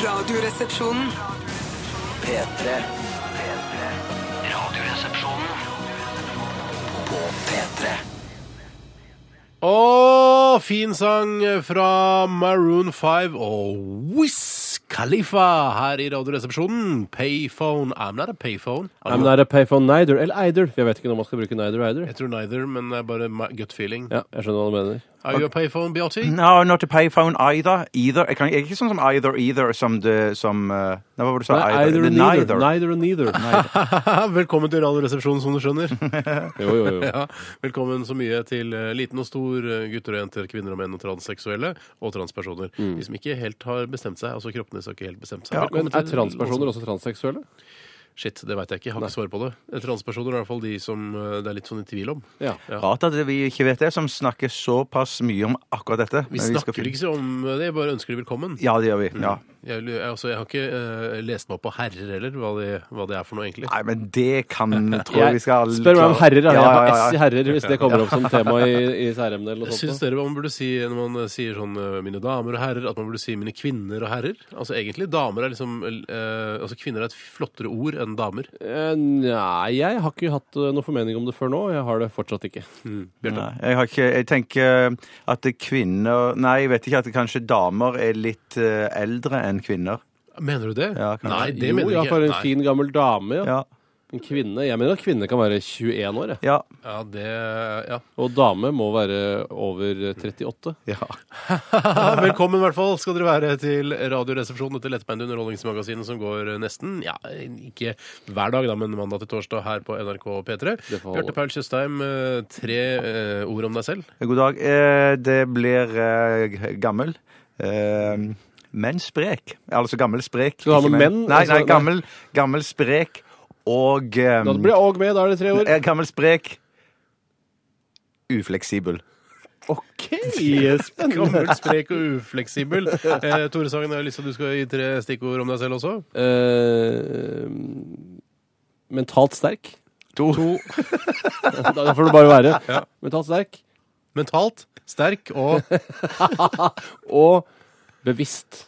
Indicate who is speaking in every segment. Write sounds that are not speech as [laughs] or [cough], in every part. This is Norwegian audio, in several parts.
Speaker 1: Radioresepsjonen.
Speaker 2: P3. Radioresepsjonen på P3.
Speaker 3: Å, fin sang fra Maroon 5 og Wiz Khalifa her i Radioresepsjonen. Payphone. I'm not a payphone.
Speaker 4: I'm not a payphone neither. Eller either. For jeg vet ikke når man skal bruke neither either.
Speaker 3: Jeg tror neither, men det er bare my gut feeling.
Speaker 4: Ja, jeg skjønner hva du mener.
Speaker 3: Are you a payphone, Beatty?
Speaker 4: [laughs]
Speaker 5: No, not a payphone either. Either. Jeg, kan, jeg er ikke sånn som either, either, som det som eh, Nei, hva var det du sa?
Speaker 4: Nei, either,
Speaker 5: The
Speaker 4: and neither. Neither and
Speaker 5: [laughs]
Speaker 4: neither.
Speaker 3: Velkommen til Radioresepsjonen, som du skjønner.
Speaker 4: Jo, jo, jo.
Speaker 3: [laughs] Ja, velkommen så mye til eh, liten og stor, eh, gutter og jenter, kvinner og menn og transseksuelle og transpersoner. De som ikke helt har bestemt seg. Altså kroppene som ikke helt bestemt seg. Velkommen
Speaker 4: Mm. Men er
Speaker 3: til-
Speaker 4: transpersoner også transseksuelle?
Speaker 3: Shit, det veit jeg ikke. Jeg har ikke svar på det. Transpersoner er i hvert fall de som eh, det er litt sånn i tvil om.
Speaker 4: Ja.
Speaker 5: Rart at vi ikke vet det, som snakker såpass mye om akkurat dette.
Speaker 3: Vi
Speaker 5: Men skal
Speaker 3: snakker
Speaker 5: finne-
Speaker 4: liksom.
Speaker 3: ikke så om det, jeg bare ønsker de velkommen.
Speaker 5: Ja, det gjør vi. ja.
Speaker 3: Jeg, jeg, altså, jeg har ikke eh, lest meg opp på herrer heller, hva det, hva det er for noe, egentlig.
Speaker 5: Nei, men det kan tror jeg
Speaker 4: [laughs] Jeg
Speaker 5: vi skal alle
Speaker 4: spør meg om
Speaker 5: klare.
Speaker 4: herrer. da.
Speaker 5: Ja,
Speaker 4: Jeg
Speaker 5: ja,
Speaker 4: har
Speaker 5: ja,
Speaker 4: S i
Speaker 5: ja.
Speaker 4: herrer hvis det kommer opp som tema i, i særemnet eller noe
Speaker 3: Syns
Speaker 4: sånt. da.
Speaker 3: dere man burde si når man eh, sier sånn eh, 'mine damer og herrer', at man burde si 'mine kvinner og herrer'? Altså egentlig, damer er liksom eh, Altså kvinner er et flottere ord enn damer.
Speaker 4: Eh, Nei, jeg har ikke hatt eh, noe formening om det før nå. og Jeg har det fortsatt ikke.
Speaker 5: Nei, jeg, har ikke, jeg tenker eh, at kvinner Nei, jeg vet ikke at kanskje damer er litt eh, eldre enn kvinner.
Speaker 3: Mener du det?
Speaker 5: Ja, kanskje.
Speaker 3: Nei, det
Speaker 4: jo,
Speaker 3: mener
Speaker 4: ja,
Speaker 3: jeg ikke.
Speaker 4: for en
Speaker 3: Nei.
Speaker 4: fin gammel dame, ja.
Speaker 5: Ja.
Speaker 4: En kvinne. Jeg mener at kvinne kan være 21 år, jeg.
Speaker 5: Ja.
Speaker 3: Ja, det Ja.
Speaker 4: og dame må være over 38.
Speaker 5: ja.
Speaker 3: Ja, [laughs] Velkommen i hvert fall skal dere være til Radioresepsjonen, dette lettbeinte underholdningsmagasinet som går nesten, ja, ikke hver dag da, men mandag til torsdag her på NRK P3.
Speaker 4: Det får holde.
Speaker 3: Bjarte Paul Tjøstheim, eh, tre eh, ord om deg selv.
Speaker 5: God dag. Eh, Det blir eh, g- gammel. Eh, Men sprek. Altså gammel sprek.
Speaker 4: Skal du ha
Speaker 5: ikke
Speaker 4: med menn?
Speaker 5: Nei,
Speaker 4: Altså,
Speaker 5: nei
Speaker 4: nei.
Speaker 5: gammel, gammel sprek og eh,
Speaker 4: Da blir jeg òg med, da er det tre år.
Speaker 5: eh, Gammel sprek Ufleksibel.
Speaker 4: [laughs] OK!
Speaker 3: Gammel, sprek og ufleksibel. Eh, Tore Sagen, jeg har lyst til at du skal gi tre stikkord om deg selv også.
Speaker 4: Eh, mentalt sterk.
Speaker 5: To.
Speaker 4: Da da får det bare [laughs] være. Mentalt sterk
Speaker 3: Mentalt, sterk
Speaker 4: [laughs]
Speaker 3: og
Speaker 4: og bevisst.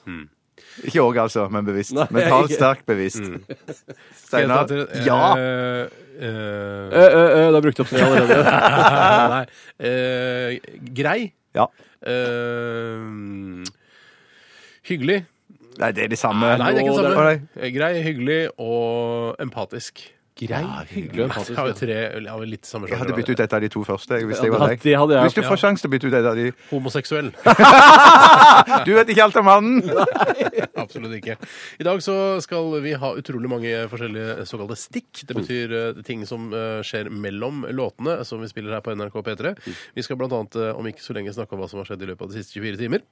Speaker 5: Ikke òg, altså, men bevisst.
Speaker 4: Nei,
Speaker 5: Mentalt
Speaker 4: ikke.
Speaker 5: sterkt bevisst.
Speaker 3: Skal jeg ta
Speaker 5: [laughs] Steinar?
Speaker 3: til- eh,
Speaker 5: Ja!
Speaker 4: Ø,
Speaker 3: eh,
Speaker 4: ø, ø, da brukte jeg opp tre [laughs] allerede.
Speaker 3: Nei. eh, Grei.
Speaker 5: ja.
Speaker 3: eh, Hyggelig.
Speaker 5: Nei, det er de samme.
Speaker 3: Nei, det er ikke
Speaker 4: Nå,
Speaker 3: det
Speaker 5: det er-
Speaker 3: samme. Grei, hyggelig og empatisk.
Speaker 4: Grei, hyggelig
Speaker 3: Jeg
Speaker 4: og
Speaker 3: har jo
Speaker 4: empatisk.
Speaker 3: tre ja, vel, litt samme
Speaker 5: Jeg hadde
Speaker 3: sjanger.
Speaker 5: byttet ut et av de to første. jeg, Hvis, jeg
Speaker 4: Ja,
Speaker 5: var
Speaker 4: det hadde
Speaker 5: deg.
Speaker 4: jeg.
Speaker 5: hvis du får sjanse til å bytte ut et av de
Speaker 3: Homoseksuell.
Speaker 5: Du vet ikke alt om mannen!
Speaker 3: [laughs] Absolutt ikke. I dag så skal vi ha utrolig mange forskjellige såkalte stikk. Det betyr eh, ting som eh, skjer mellom låtene som vi spiller her på NRK P3. Vi skal blant annet eh, om ikke så lenge snakke om hva som har skjedd i løpet av de siste 24 timer.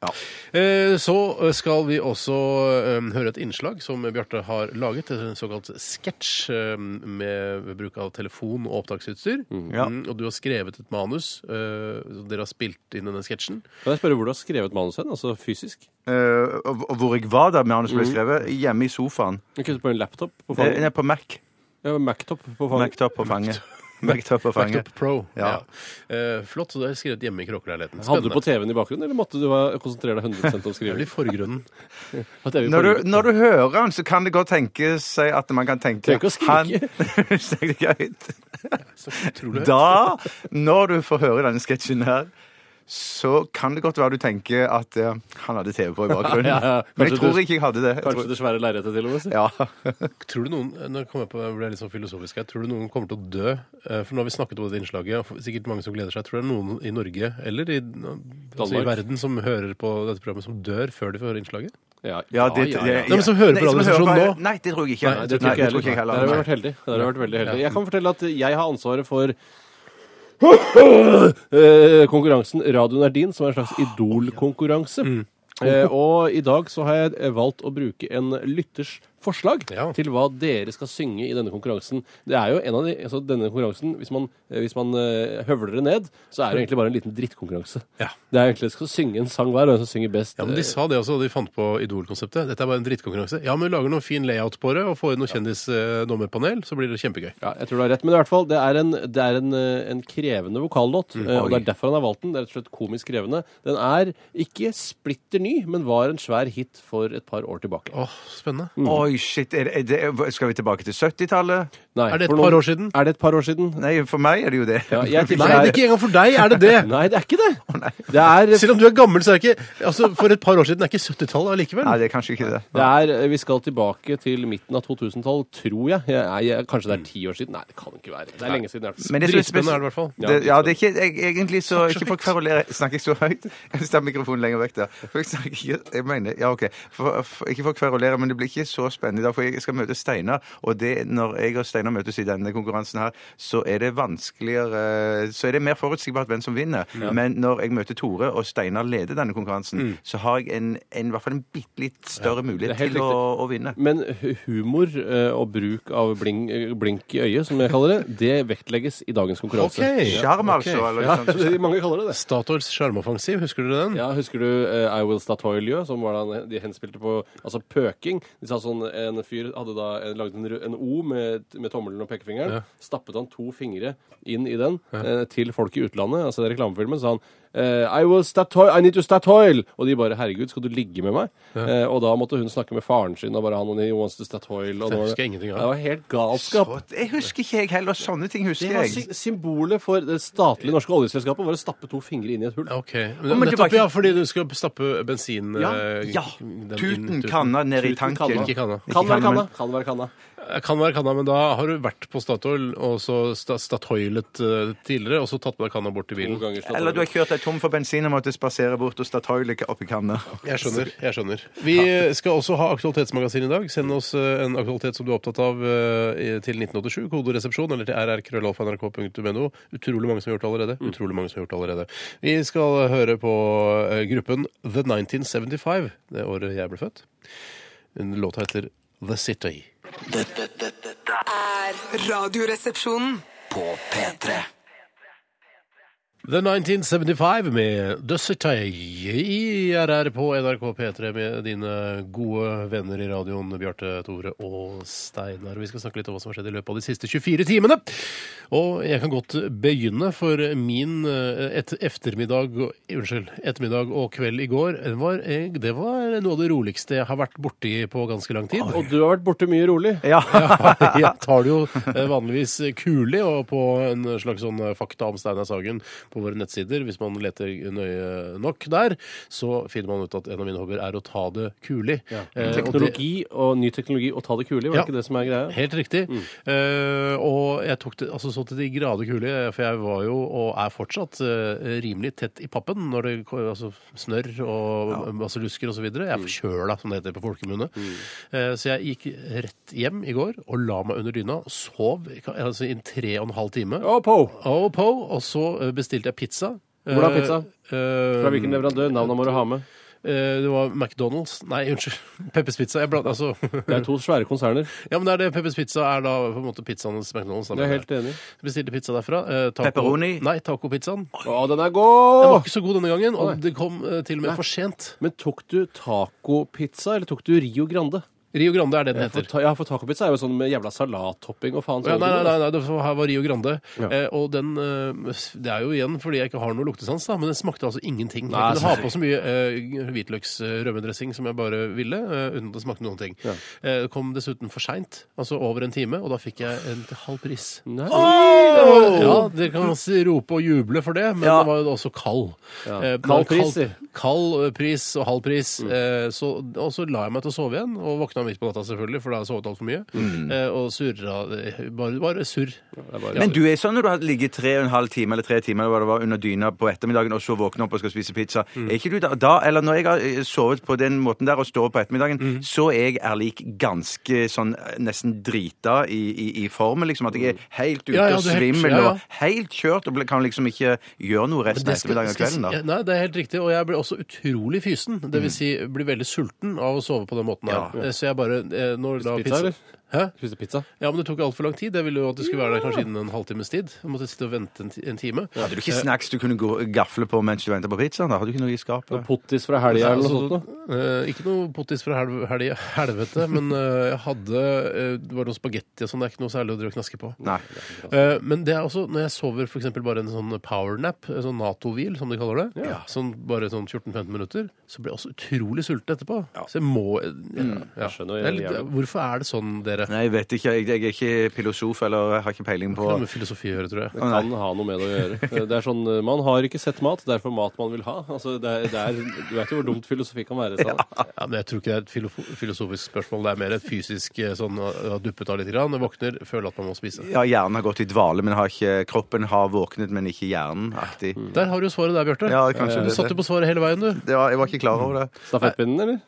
Speaker 3: Eh, Så eh, skal vi også eh, høre et innslag som Bjarte har laget, en såkalt sketsj eh, med ved bruk av telefon og opptaksutstyr.
Speaker 5: Ja.
Speaker 3: Mm, Og du har skrevet et manus. eh, og Dere har spilt inn denne sketsjen.
Speaker 4: Kan jeg spørre hvor du har skrevet manuset? Altså fysisk?
Speaker 5: Eh, og- og hvor jeg var da manuset ble skrevet? Hjemme i sofaen.
Speaker 4: Ikke på en laptop Mm. på
Speaker 5: Eh,
Speaker 4: fanget?
Speaker 5: Nei, på Mac.
Speaker 4: Ja, Mac-top på fanget.
Speaker 5: Mac-top på fanget. [laughs] Mac-top på fanget.
Speaker 3: Backup Pro.
Speaker 5: Ja.
Speaker 3: Eh, Flott. Så du har skrevet hjemme i kråkeleiligheten.
Speaker 4: Hadde du på TV-en i bakgrunnen, eller måtte du ha- konsentrere deg 100 om
Speaker 3: Det
Speaker 4: skriving?
Speaker 3: blir forgrunnen.
Speaker 4: At jeg vil
Speaker 5: Når du,
Speaker 4: forberede-
Speaker 5: når du hører han, så kan det godt tenke seg at man kan tenke
Speaker 4: Trenger ikke å skrike.
Speaker 5: Han- [laughs] Snakk det greit.
Speaker 3: Så utrolig høyt.
Speaker 5: Da, når du får høre denne sketsjen her, så kan det godt være du tenker at eh, han hadde TV på i bakgrunnen.
Speaker 4: [laughs] Ja, ja, ja.
Speaker 5: Men jeg
Speaker 4: Kanskje
Speaker 5: tror
Speaker 4: du-
Speaker 5: ikke jeg hadde det. Jeg
Speaker 4: Kanskje
Speaker 5: tror,
Speaker 4: det svære lerretet, til og med. si.
Speaker 5: ja.
Speaker 3: Tror du noen nå kom jeg på, jeg ble litt sånn filosofisk her, tror du noen kommer til å dø? Eh, For nå har vi snakket om dette innslaget, og sikkert mange som gleder seg. Tror du det er noen i Norge eller i, altså i
Speaker 4: Danmark.
Speaker 3: verden som hører på dette programmet, som dør før de får høre innslaget?
Speaker 4: Ja,
Speaker 5: Ja, det, det,
Speaker 4: ja, ja.
Speaker 3: Nei, men som hører på
Speaker 5: Nei, som
Speaker 3: radiostasjonen
Speaker 5: hører på-
Speaker 3: nå.
Speaker 5: Nei, det tror jeg ikke.
Speaker 4: Nei, det tror ikke jeg
Speaker 5: jeg
Speaker 4: heller. Der har
Speaker 5: heller.
Speaker 4: vi
Speaker 5: Nei.
Speaker 4: vært heldig. Der har vi vært veldig heldig. Jeg kan fortelle at jeg har ansvaret for eh, konkurransen Radioen er din, som er en slags idolkonkurranse. Eh, og i dag så har jeg valgt å bruke en lytters forslag
Speaker 3: Ja.
Speaker 4: til hva dere skal synge i denne konkurransen. Det er jo en av de, altså denne konkurransen, Hvis man, eh, hvis man eh, høvler det ned, så er det egentlig bare en liten drittkonkurranse.
Speaker 3: Ja.
Speaker 4: Det er egentlig skal synge en sang hver, og den som synger best
Speaker 3: Ja, men De
Speaker 4: eh,
Speaker 3: sa det også, de fant på Idol-konseptet. Dette er bare en drittkonkurranse. Ja, men vi lager noen fin layout på det, og får inn noe kjendisdommerpanel, så blir det kjempegøy.
Speaker 4: Ja, jeg tror du har rett, men i hvert fall, det er en, det er en, eh, en krevende vokallåt.
Speaker 3: Mm.
Speaker 4: eh, og Det er derfor han har valgt den. Det er rett og slett komisk krevende. Den er ikke splitter ny, men var en svær hit for et par år tilbake.
Speaker 3: Åh, spennende.
Speaker 5: Oi, shit. Er det, er det, skal vi tilbake til 70-tallet?
Speaker 4: Nei,
Speaker 3: Er det et
Speaker 4: for noen-
Speaker 3: par år siden?
Speaker 4: Er det et par år siden?
Speaker 5: Nei, for meg er det jo det.
Speaker 4: Ja, jeg
Speaker 5: [laughs]
Speaker 4: tipper
Speaker 3: Nei, det er ikke engang for deg, er det det?
Speaker 4: Nei, det er ikke
Speaker 3: [laughs]
Speaker 4: det! Det er
Speaker 3: Selv om du er gammel, så er det ikke altså, For et par år siden er ikke 70-tallet allikevel.
Speaker 5: Nei, det er kanskje ikke det.
Speaker 4: det er, eh, Vi skal tilbake til midten av 2000-tallet, tror jeg. jeg, er- jeg kanskje det er ti år siden? Nei, det kan ikke være. Det er lenge siden. i hvert fall.
Speaker 5: Men det som
Speaker 3: Dritspennende er det i hvert fall.
Speaker 5: spes- det, ja, det er ikke, jeg, egentlig så ikke for å kverulere Snakker jeg så høyt? Jeg tar mikrofonen lenger vekk der. For jeg snakker ikke Jeg mener Ja, OK. For, for, ikke for å kverulere, men det blir ikke så spennende i dag, for jeg skal møte Steinar. Og det, når jeg og Steinar møtes i denne konkurransen her, så er det vanskeligere Så er det mer forutsigbart hvem som vinner. Men når jeg møter Tore, og Steinar leder denne konkurransen, så har jeg en, en, i hvert fall en bitte litt større
Speaker 4: det er
Speaker 5: mulighet
Speaker 4: helt
Speaker 5: til å, å vinne.
Speaker 4: Men hu- humor eh, og bruk av bling, eh, blink i øyet, som jeg kaller det, det vektlegges i dagens konkurranse.
Speaker 3: Ok.
Speaker 5: Sjarm,
Speaker 3: ok.
Speaker 5: altså. Eller
Speaker 4: Ja, [laughs]
Speaker 5: noe sånt.
Speaker 4: mange kaller det det.
Speaker 3: Statoils sjarmoffensiv, husker dere den?
Speaker 4: Ja, Husker du eh, I Will Statoilio, som var da han- de henspilte på altså pøking? De sa sånn, En fyr hadde da eh, lagd en, ru- en O med, med tommelen og pekefingeren.
Speaker 3: Ja.
Speaker 4: Stappet han to fingre inn i den eh, til folk i utlandet. altså i Reklamefilmen sa han eh, I will Statoil, I need to Statoil! Og de bare Herregud, skal du ligge med meg? Eh, og da måtte hun snakke med faren sin og bare han og he wants to Statoil. Og
Speaker 3: Det
Speaker 4: var-
Speaker 3: husker jeg ingenting av.
Speaker 4: Det var helt galskap.
Speaker 5: Og Jeg husker ikke, jeg heller. Sånne ting husker
Speaker 4: Det var
Speaker 5: jeg.
Speaker 4: sy symbolet for det statlige norske oljeselskapet var å stappe to fingre inn i et hull.
Speaker 3: Ok.
Speaker 5: men
Speaker 3: Men, nettopp,
Speaker 5: tilbake-
Speaker 3: ja, fordi du skal stappe bensin
Speaker 4: Ja,
Speaker 3: eh,
Speaker 5: Ja.
Speaker 3: den inn-
Speaker 5: Tuten kanna ned i
Speaker 4: Tuten
Speaker 5: tanken.
Speaker 4: kanna.
Speaker 3: Ikke kanna.
Speaker 4: Kan være kanna.
Speaker 5: kanna, men-
Speaker 4: Kan være kanna.
Speaker 3: Eh, Kan være kanna, men da har du vært på Statoil og så sta- Statoilet eh, tidligere, og så tatt med deg kanna bort til bilen.
Speaker 5: Eller du har kjørt deg tom for bensin og måtte spasere bort og Statoil ikke opp i kanna.
Speaker 3: Jeg skjønner. jeg skjønner. Vi skal også ha Aktualitetsmagasin i dag. Send oss eh, en aktualitet som du er opptatt av eh, til 1987, koderesepsjon, eller til rrkrøllalfa.nrk.no. Utrolig mange som har gjort det allerede. Utrolig mange som har gjort det allerede. Vi skal høre på eh, gruppen The 1975, det året jeg ble født. En låt heter The City.
Speaker 2: Dette, dette, dette
Speaker 1: er Radioresepsjonen.
Speaker 2: på P3.
Speaker 3: The 1975 med The City i RR på NRK P3 med dine gode venner i radioen, Bjarte, Tore og Steinar. Vi skal snakke litt om hva som har skjedd i løpet av de siste 24 timene. Og jeg kan godt begynne, for min eh, et eftermiddag og- Unnskyld, ettermiddag og kveld i går, den var, eh, det var noe av det roligste jeg har vært borti på ganske lang tid.
Speaker 4: Og du har vært borte mye rolig. Eh,
Speaker 5: Ja.
Speaker 3: [laughs] Ja, jeg tar det jo eh, vanligvis kulig og på en slags sånn eh, fakta om Steinar Sagen på våre nettsider. Hvis man leter nøye nok der, så finner man ut at en av mine hobbyer er å ta det kulig. Eh, og det-
Speaker 4: Teknologi og ny teknologi og ta det kule, var det
Speaker 3: Ja.
Speaker 4: ikke det som er greia?
Speaker 3: Helt riktig.
Speaker 4: Mm.
Speaker 3: Eh, og jeg tok det altså, så til de grader kulig, for jeg var jo, og er fortsatt, eh, rimelig tett i pappen når det ko- altså, snørr og basillusker og så videre. Jeg
Speaker 4: Mm.
Speaker 3: er forkjøla, som det heter på folkemunne. Eh, så jeg gikk rett hjem i går og la meg under dyna, sov i ka- altså, i tre og en halv time.
Speaker 4: Å, po!
Speaker 3: Og på, og så eh, bestilte jeg pizza.
Speaker 4: Hvordan
Speaker 3: Eh,
Speaker 4: pizza?
Speaker 3: eh,
Speaker 4: Fra hvilken leverandør? Navnet må du ha med.
Speaker 3: eh, Det var McDonald's. Nei, unnskyld. [laughs] Peppers Pizza. Jeg blant, altså,
Speaker 4: Det er to svære konserner.
Speaker 3: ja, men det er det. Peppers Pizza er da på en måte pizzaenes McDonald's. da,
Speaker 4: Jeg er
Speaker 3: mener jeg.
Speaker 4: helt enig.
Speaker 3: Bestilte pizza derfra. Eh, taco,
Speaker 5: Pepperoni?
Speaker 3: Nei, tacopizzaen. Den
Speaker 4: Å, den
Speaker 3: var
Speaker 4: er god!
Speaker 3: ikke så god denne gangen,
Speaker 4: Nei.
Speaker 3: og det kom eh, til og med for sent.
Speaker 4: Men tok du tacopizza, eller tok du Rio Grande?
Speaker 3: Rio Grande er det den
Speaker 4: For,
Speaker 3: heter.
Speaker 4: ta, ja, for tacopizza er jo sånn med jævla salattopping og faen.
Speaker 3: Ja,
Speaker 4: sånn.
Speaker 3: nei, nei, nei, nei, det var- her var Rio Grande.
Speaker 4: Ja.
Speaker 3: Eh, og den eh, Det er jo igjen fordi jeg ikke har noe luktesans, da, men den smakte altså ingenting.
Speaker 4: Nei,
Speaker 3: jeg kunne ha på så mye eh, hvitløksrømmedressing som jeg bare ville, eh, uten at det smakte noen ting. Eh, kom dessuten for seint, altså over en time, og da fikk jeg en til halv pris.
Speaker 4: Nei.
Speaker 3: Ja, dere kan også rope og juble for det, men
Speaker 5: Ja.
Speaker 3: den var jo også kald. Eh,
Speaker 4: Kald
Speaker 3: det var
Speaker 4: pris, sier.
Speaker 3: Kald eh, pris og halv pris. Eh, så, og så la jeg meg til å sove igjen, og våkna midt på natta selvfølgelig, for da har jeg sovet altfor mye. Eh, og surra eh, Bare, bare surr.
Speaker 5: Men du er sånn når du har ligget tre og en halv time eller tre timer eller hva det var, under dyna på ettermiddagen og så våkner opp og skal spise pizza.
Speaker 3: Mm.
Speaker 5: Er ikke du da, da, eller når jeg har eh, sovet på den måten der og står opp på ettermiddagen,
Speaker 3: Mm.
Speaker 5: så er jeg ærlig ganske sånn eh, nesten drita i, i, i formen, liksom. At jeg er helt ute
Speaker 3: Mm. Ja, ja,
Speaker 5: og
Speaker 3: du er helt-
Speaker 5: svimmel
Speaker 3: ja, ja.
Speaker 5: og helt kjørt og ble- kan liksom ikke gjøre noe resten av
Speaker 3: Det skal-
Speaker 5: ettermiddagen og
Speaker 3: skal jeg
Speaker 5: kvelden da. Mm.
Speaker 3: si- Nei, det er helt riktig. Og jeg ble også utrolig fysen. Det vil si, blir veldig sulten av å sove på den måten her. Eh, Så jeg jeg bare eh, når da
Speaker 4: Spiste pizza,
Speaker 3: pizza-
Speaker 4: eller?
Speaker 3: Hæ?
Speaker 4: Spiste pizza.
Speaker 3: Ja, men det tok altfor lang tid. Jeg ville jo at du skulle være der kanskje innen en halvtimes tid. Jeg måtte sitte og vente en, ti- en time.
Speaker 5: Hadde du ikke snacks du kunne gå, gafle på mens du venta på pizzaen? da? Hadde du ikke noe i skapet?
Speaker 4: Pottis fra helga eller noe
Speaker 3: Altså,
Speaker 4: sånt. noe.
Speaker 3: eh, ikke noe pottis fra helv helg- helvete, men eh, jeg hadde eh, Det var noe spagetti og sånn. Det er ikke noe særlig å drive og knaske på.
Speaker 5: Nei.
Speaker 3: Eh, Men det er også når jeg sover for eksempel bare en sånn powernap, en sånn Nato-hvil som de kaller det, sånn bare sånn 14-15 minutter, så blir jeg også utrolig sulten etterpå. Så jeg må ja, ja.
Speaker 4: skjønner
Speaker 3: Det er
Speaker 4: jævlig
Speaker 3: litt,
Speaker 4: godt.
Speaker 3: Hvorfor er det sånn, dere?
Speaker 5: Nei, jeg vet ikke. Jeg, jeg er ikke filosof eller har ikke peiling på
Speaker 3: Det har med filosofi å gjøre, tror jeg.
Speaker 5: Å, nei.
Speaker 4: Kan ha noe med det å gjøre. Det er sånn, Man har ikke sett mat, derfor mat man vil ha. Altså, det er, det er, du vet jo hvor dumt filosofi kan være. Sånn.
Speaker 3: [laughs] Ja, men jeg tror ikke det er et filo- filosofisk spørsmål. Det er mer et fysisk eh, sånn å å ha duppet av litt, grann, våkner, føler at man må spise.
Speaker 5: Ja, hjernen har gått i dvale, men har ikke Kroppen har våknet, men ikke hjernen. Aktig.
Speaker 4: Mm.
Speaker 3: Der har du jo svaret der, Bjarte. Eh,
Speaker 5: Ja, kanskje
Speaker 3: du
Speaker 5: det-
Speaker 3: satt jo på svaret hele veien, du.
Speaker 5: Det var, jeg var ikke klar over det.
Speaker 4: Stafettpinnen, eller?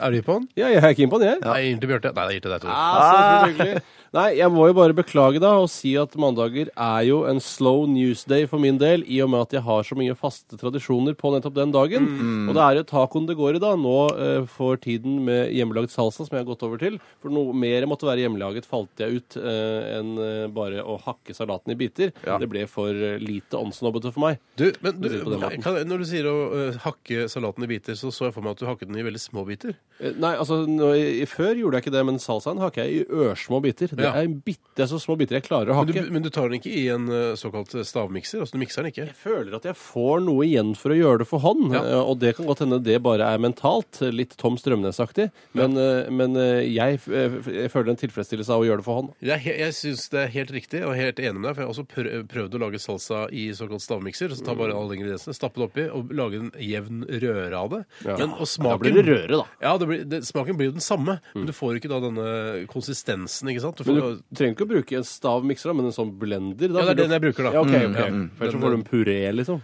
Speaker 3: Er du på den?
Speaker 4: Ja, jeg er keen på den, jeg.
Speaker 3: Nei, jeg gir den til Bjarte. Nei, jeg gir til deg, Tore.
Speaker 4: Ah, så [laughs] hyggelig. Nei, jeg må jo bare beklage da og si at mandager er jo en slow news day for min del, i og med at jeg har så mye faste tradisjoner på nettopp den dagen. Og det er jo tacoen det går i da, nå eh, for tiden med hjemmelaget salsa, som jeg har gått over til. For noe mer måtte være hjemmelaget, falt jeg ut, eh, enn eh, bare å hakke salaten i biter. Det ble for eh, lite åndsnobbete for meg.
Speaker 3: Du, men du,
Speaker 4: Du sier det på den måten.
Speaker 3: kan, jeg- når du sier å eh, hakke salaten i biter, så så jeg for meg at du hakket den i veldig små biter.
Speaker 4: Eh, Nei, altså, nå, i, i- Før gjorde jeg ikke det, men salsaen hakker jeg i ørsmå biter. Det
Speaker 3: Ja.
Speaker 4: er bitte så små biter jeg klarer å
Speaker 3: Men
Speaker 4: hakke.
Speaker 3: du, men du tar den ikke i en eh, såkalt stavmikser? Altså du mikser den ikke?
Speaker 4: Jeg føler at jeg får noe igjen for å gjøre det for hånd.
Speaker 3: Ja.
Speaker 4: eh, Og det kan godt hende det bare er mentalt, litt Tom Strømnes-aktig. Men, eh, men eh, jeg, f- eh, f- jeg føler en tilfredsstillelse av å gjøre det for hånd.
Speaker 3: Det er, he- jeg syns det er helt riktig, og helt enig med deg. For jeg har også prø- prøvd å lage salsa i såkalt stavmikser. Så ta
Speaker 4: Mm.
Speaker 3: bare alle ingrediensene, stappe det oppi og lage en jevn røre av det. Men, og smaken,
Speaker 4: røre, da. Mm.
Speaker 3: Ja, det blir, det, Smaken blir jo den samme, men du får ikke da denne konsistensen, ikke sant? Du
Speaker 4: Men
Speaker 3: får,
Speaker 4: du trenger ikke å bruke en stavmikser, da, men en sånn blender.
Speaker 3: Ja,
Speaker 4: Da,
Speaker 3: det er
Speaker 4: vil du-
Speaker 3: den jeg bruker, da.
Speaker 4: Ja, ok,
Speaker 3: Mm,
Speaker 4: ok.
Speaker 3: ja, mm.
Speaker 4: For ellers så
Speaker 3: Den-
Speaker 4: får du en puré, liksom.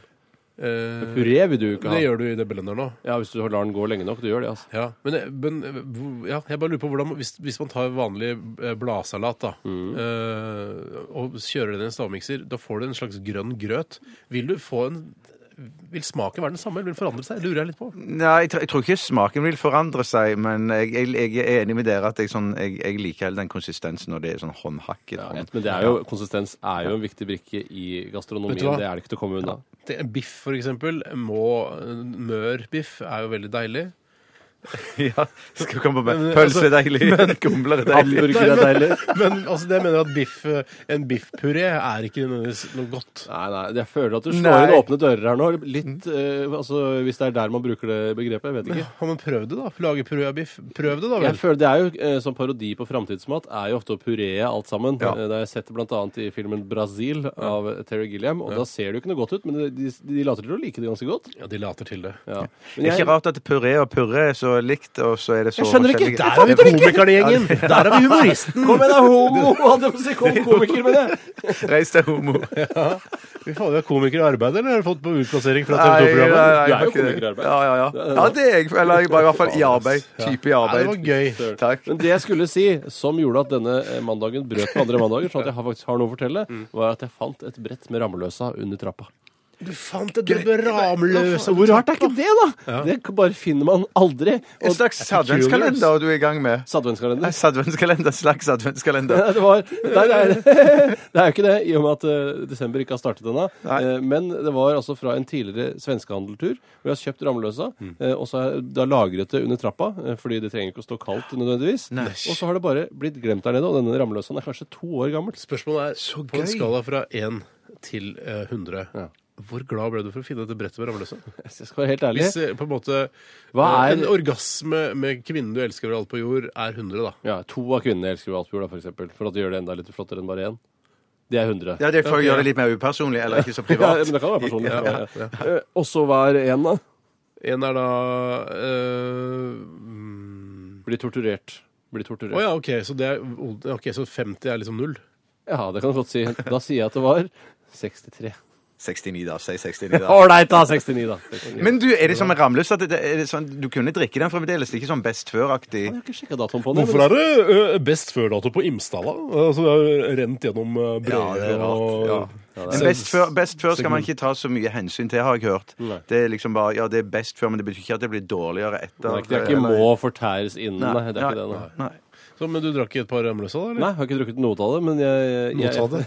Speaker 3: eh,
Speaker 4: Puré vil du jo ikke ha.
Speaker 3: det gjør du i det blenderen nå.
Speaker 4: Ja, Hvis du lar den gå lenge nok. Du gjør det, altså.
Speaker 3: Ja, men, jeg- men eh, hvor- ja, jeg bare lurer på hvordan Hvis, hvis man tar vanlig eh, bladsalat da, eh, og kjører den i en stavmikser, da får du en slags grønn grøt. Vil du få en vil smaken være den samme, eller vil den forandre seg? Lurer jeg litt på.
Speaker 5: Nei, jeg, tr- jeg tror ikke smaken vil forandre seg, men jeg, jeg, jeg er enig med dere at jeg, sånn, jeg, jeg liker heller den konsistensen når det er sånn håndhakket.
Speaker 4: Ja,
Speaker 5: hånd.
Speaker 4: men det er jo, konsistens er jo en viktig brikke i gastronomien.
Speaker 3: Vet du hva?
Speaker 4: Det er det ikke til å komme unna.
Speaker 3: Det, en biff, for eksempel. Må, mør biff er jo veldig deilig.
Speaker 5: [laughs] Ja, skal du komme med
Speaker 3: Men,
Speaker 5: Pølse er deilig, [laughs] kumler er deilig.
Speaker 4: altså, Hamburger er deilig.
Speaker 3: [laughs] Men altså, det mener jeg at biff, eh, en biffpuré er ikke nødvendigvis noe godt.
Speaker 4: Nei, nei, jeg føler at du slår
Speaker 5: Nei.
Speaker 4: inn åpne dører her nå. Litt, eh, altså, Hvis det er der man bruker det begrepet, jeg vet ikke.
Speaker 3: Har man prøvd det, da? Lage puré av biff? Prøv det, da
Speaker 4: Jeg
Speaker 3: vel.
Speaker 4: føler Det er jo eh, som parodi på framtidsmat, er jo ofte å puree alt sammen.
Speaker 5: Ja.
Speaker 4: Eh, Det har jeg sett bl.a. i filmen 'Brasil' av Terry Gilliam, og da ser det jo ikke noe godt ut, men de, de, de later til å like det ganske godt.
Speaker 3: Ja, de later til det.
Speaker 4: Ja.
Speaker 5: Det
Speaker 4: Men
Speaker 5: er
Speaker 4: jeg,
Speaker 5: ikke rart at puré og puré er så likt, og så er det så
Speaker 4: Jeg skjønner ikke!
Speaker 5: forskjellige-
Speaker 4: Der er vi
Speaker 3: komikergjengen! Der er vi humoristen!
Speaker 4: Kom igjen, da, homo! Hadde jeg på å si kom komiker, men jeg
Speaker 5: [laughs] Reis deg, homo.
Speaker 4: [laughs]
Speaker 3: Vi får jo komikere i arbeid, eller har du fått på utplassering fra
Speaker 5: Nei, nei,
Speaker 3: TV2-programmet?
Speaker 4: Du er jo
Speaker 5: nei, ikke det.
Speaker 4: komikerarbeid.
Speaker 5: Ja, ja, ja. ja, det er jeg. Eller jeg var i hvert fall i arbeid. Type i
Speaker 3: Ja, det var
Speaker 5: arbeid.
Speaker 3: gøy.
Speaker 5: Takk.
Speaker 4: Men det jeg skulle si, som gjorde at denne eh, mandagen brøt med andre mandager, sånn at jeg har faktisk har noe å fortelle, var at jeg fant et brett med rammeløsa under trappa.
Speaker 3: Du fant et ramløse
Speaker 4: Så hvor rart er ikke det, da? Det k- bare finner man aldri.
Speaker 5: En slags adventskalender du er i gang med.
Speaker 4: Adventskalender.
Speaker 5: Slags adventskalender, slags adventskalender.
Speaker 4: Det, var, nei, nei, [laughs] det er jo ikke det, i og med at eh, desember ikke har startet ennå.
Speaker 5: Nei.
Speaker 4: Eh, men det var altså fra en tidligere svenskehandeltur hvor jeg har kjøpt rammeløsa.
Speaker 5: Mm.
Speaker 4: eh, og så har jeg da lagret det under trappa, eh, fordi det trenger ikke å stå kaldt nødvendigvis. Og så har det bare blitt glemt der nede, og denne rammeløsa er kanskje to år gammel. [laughs]
Speaker 3: Spørsmålet er, på en
Speaker 5: gøy.
Speaker 3: skala fra 1 til eh, 100, hvor glad ble du for å finne dette brettet med ramløse?
Speaker 4: Jeg skal være helt ærlig.
Speaker 3: Hvis eh, på en måte
Speaker 4: Hva
Speaker 3: eh,
Speaker 4: er-
Speaker 3: en orgasme med kvinnen du elsker over alt på jord, er 100, da.
Speaker 4: Ja, To av kvinnene elsker jo Altfjord, da, for eksempel. For at de gjør det enda litt flottere enn bare én. Det er 100.
Speaker 5: Ja, det er for å gjøre det litt mer upersonlig, eller ikke så privat.
Speaker 4: Ja, men det kan være personlig. Ja, ja. Eh, Og så hver én, da.
Speaker 3: En er da eh, mm,
Speaker 4: Blir torturert. Blir torturert.
Speaker 3: Å ja, OK. Så, det er, ok, så 50 er liksom null?
Speaker 4: ja, det kan du godt si. Da sier jeg at det var 63.
Speaker 5: 69, da. Si 69, da.
Speaker 4: Ålreit, da! 69, da. 69.
Speaker 5: Men du, er det som en ramløs at det, er det sånn, du kunne drikke den fremdeles? Ikke sånn best før-aktig?
Speaker 4: Jeg har ikke sjekka datoen på den.
Speaker 3: Hvorfor er det eh, ø, best før-dato på Imsdala? Altså, det har rent gjennom ø, breer
Speaker 5: Ja, det er rart,
Speaker 3: og
Speaker 5: ja. Men best før, best før skal man ikke ta så mye hensyn til, har jeg hørt.
Speaker 4: Nei.
Speaker 5: Det er liksom bare, ja, det er best før, men det betyr ikke at det blir dårligere etter.
Speaker 4: Nei, det er ikke
Speaker 5: Eller-
Speaker 4: må fortæres innen, nei. Det er ikke det, nei.
Speaker 5: nei.
Speaker 3: Så, men du drakk ikke et par Ramløsa, da?
Speaker 4: Nei, jeg har ikke drukket noe av det, men jeg, jeg,
Speaker 6: Motta det.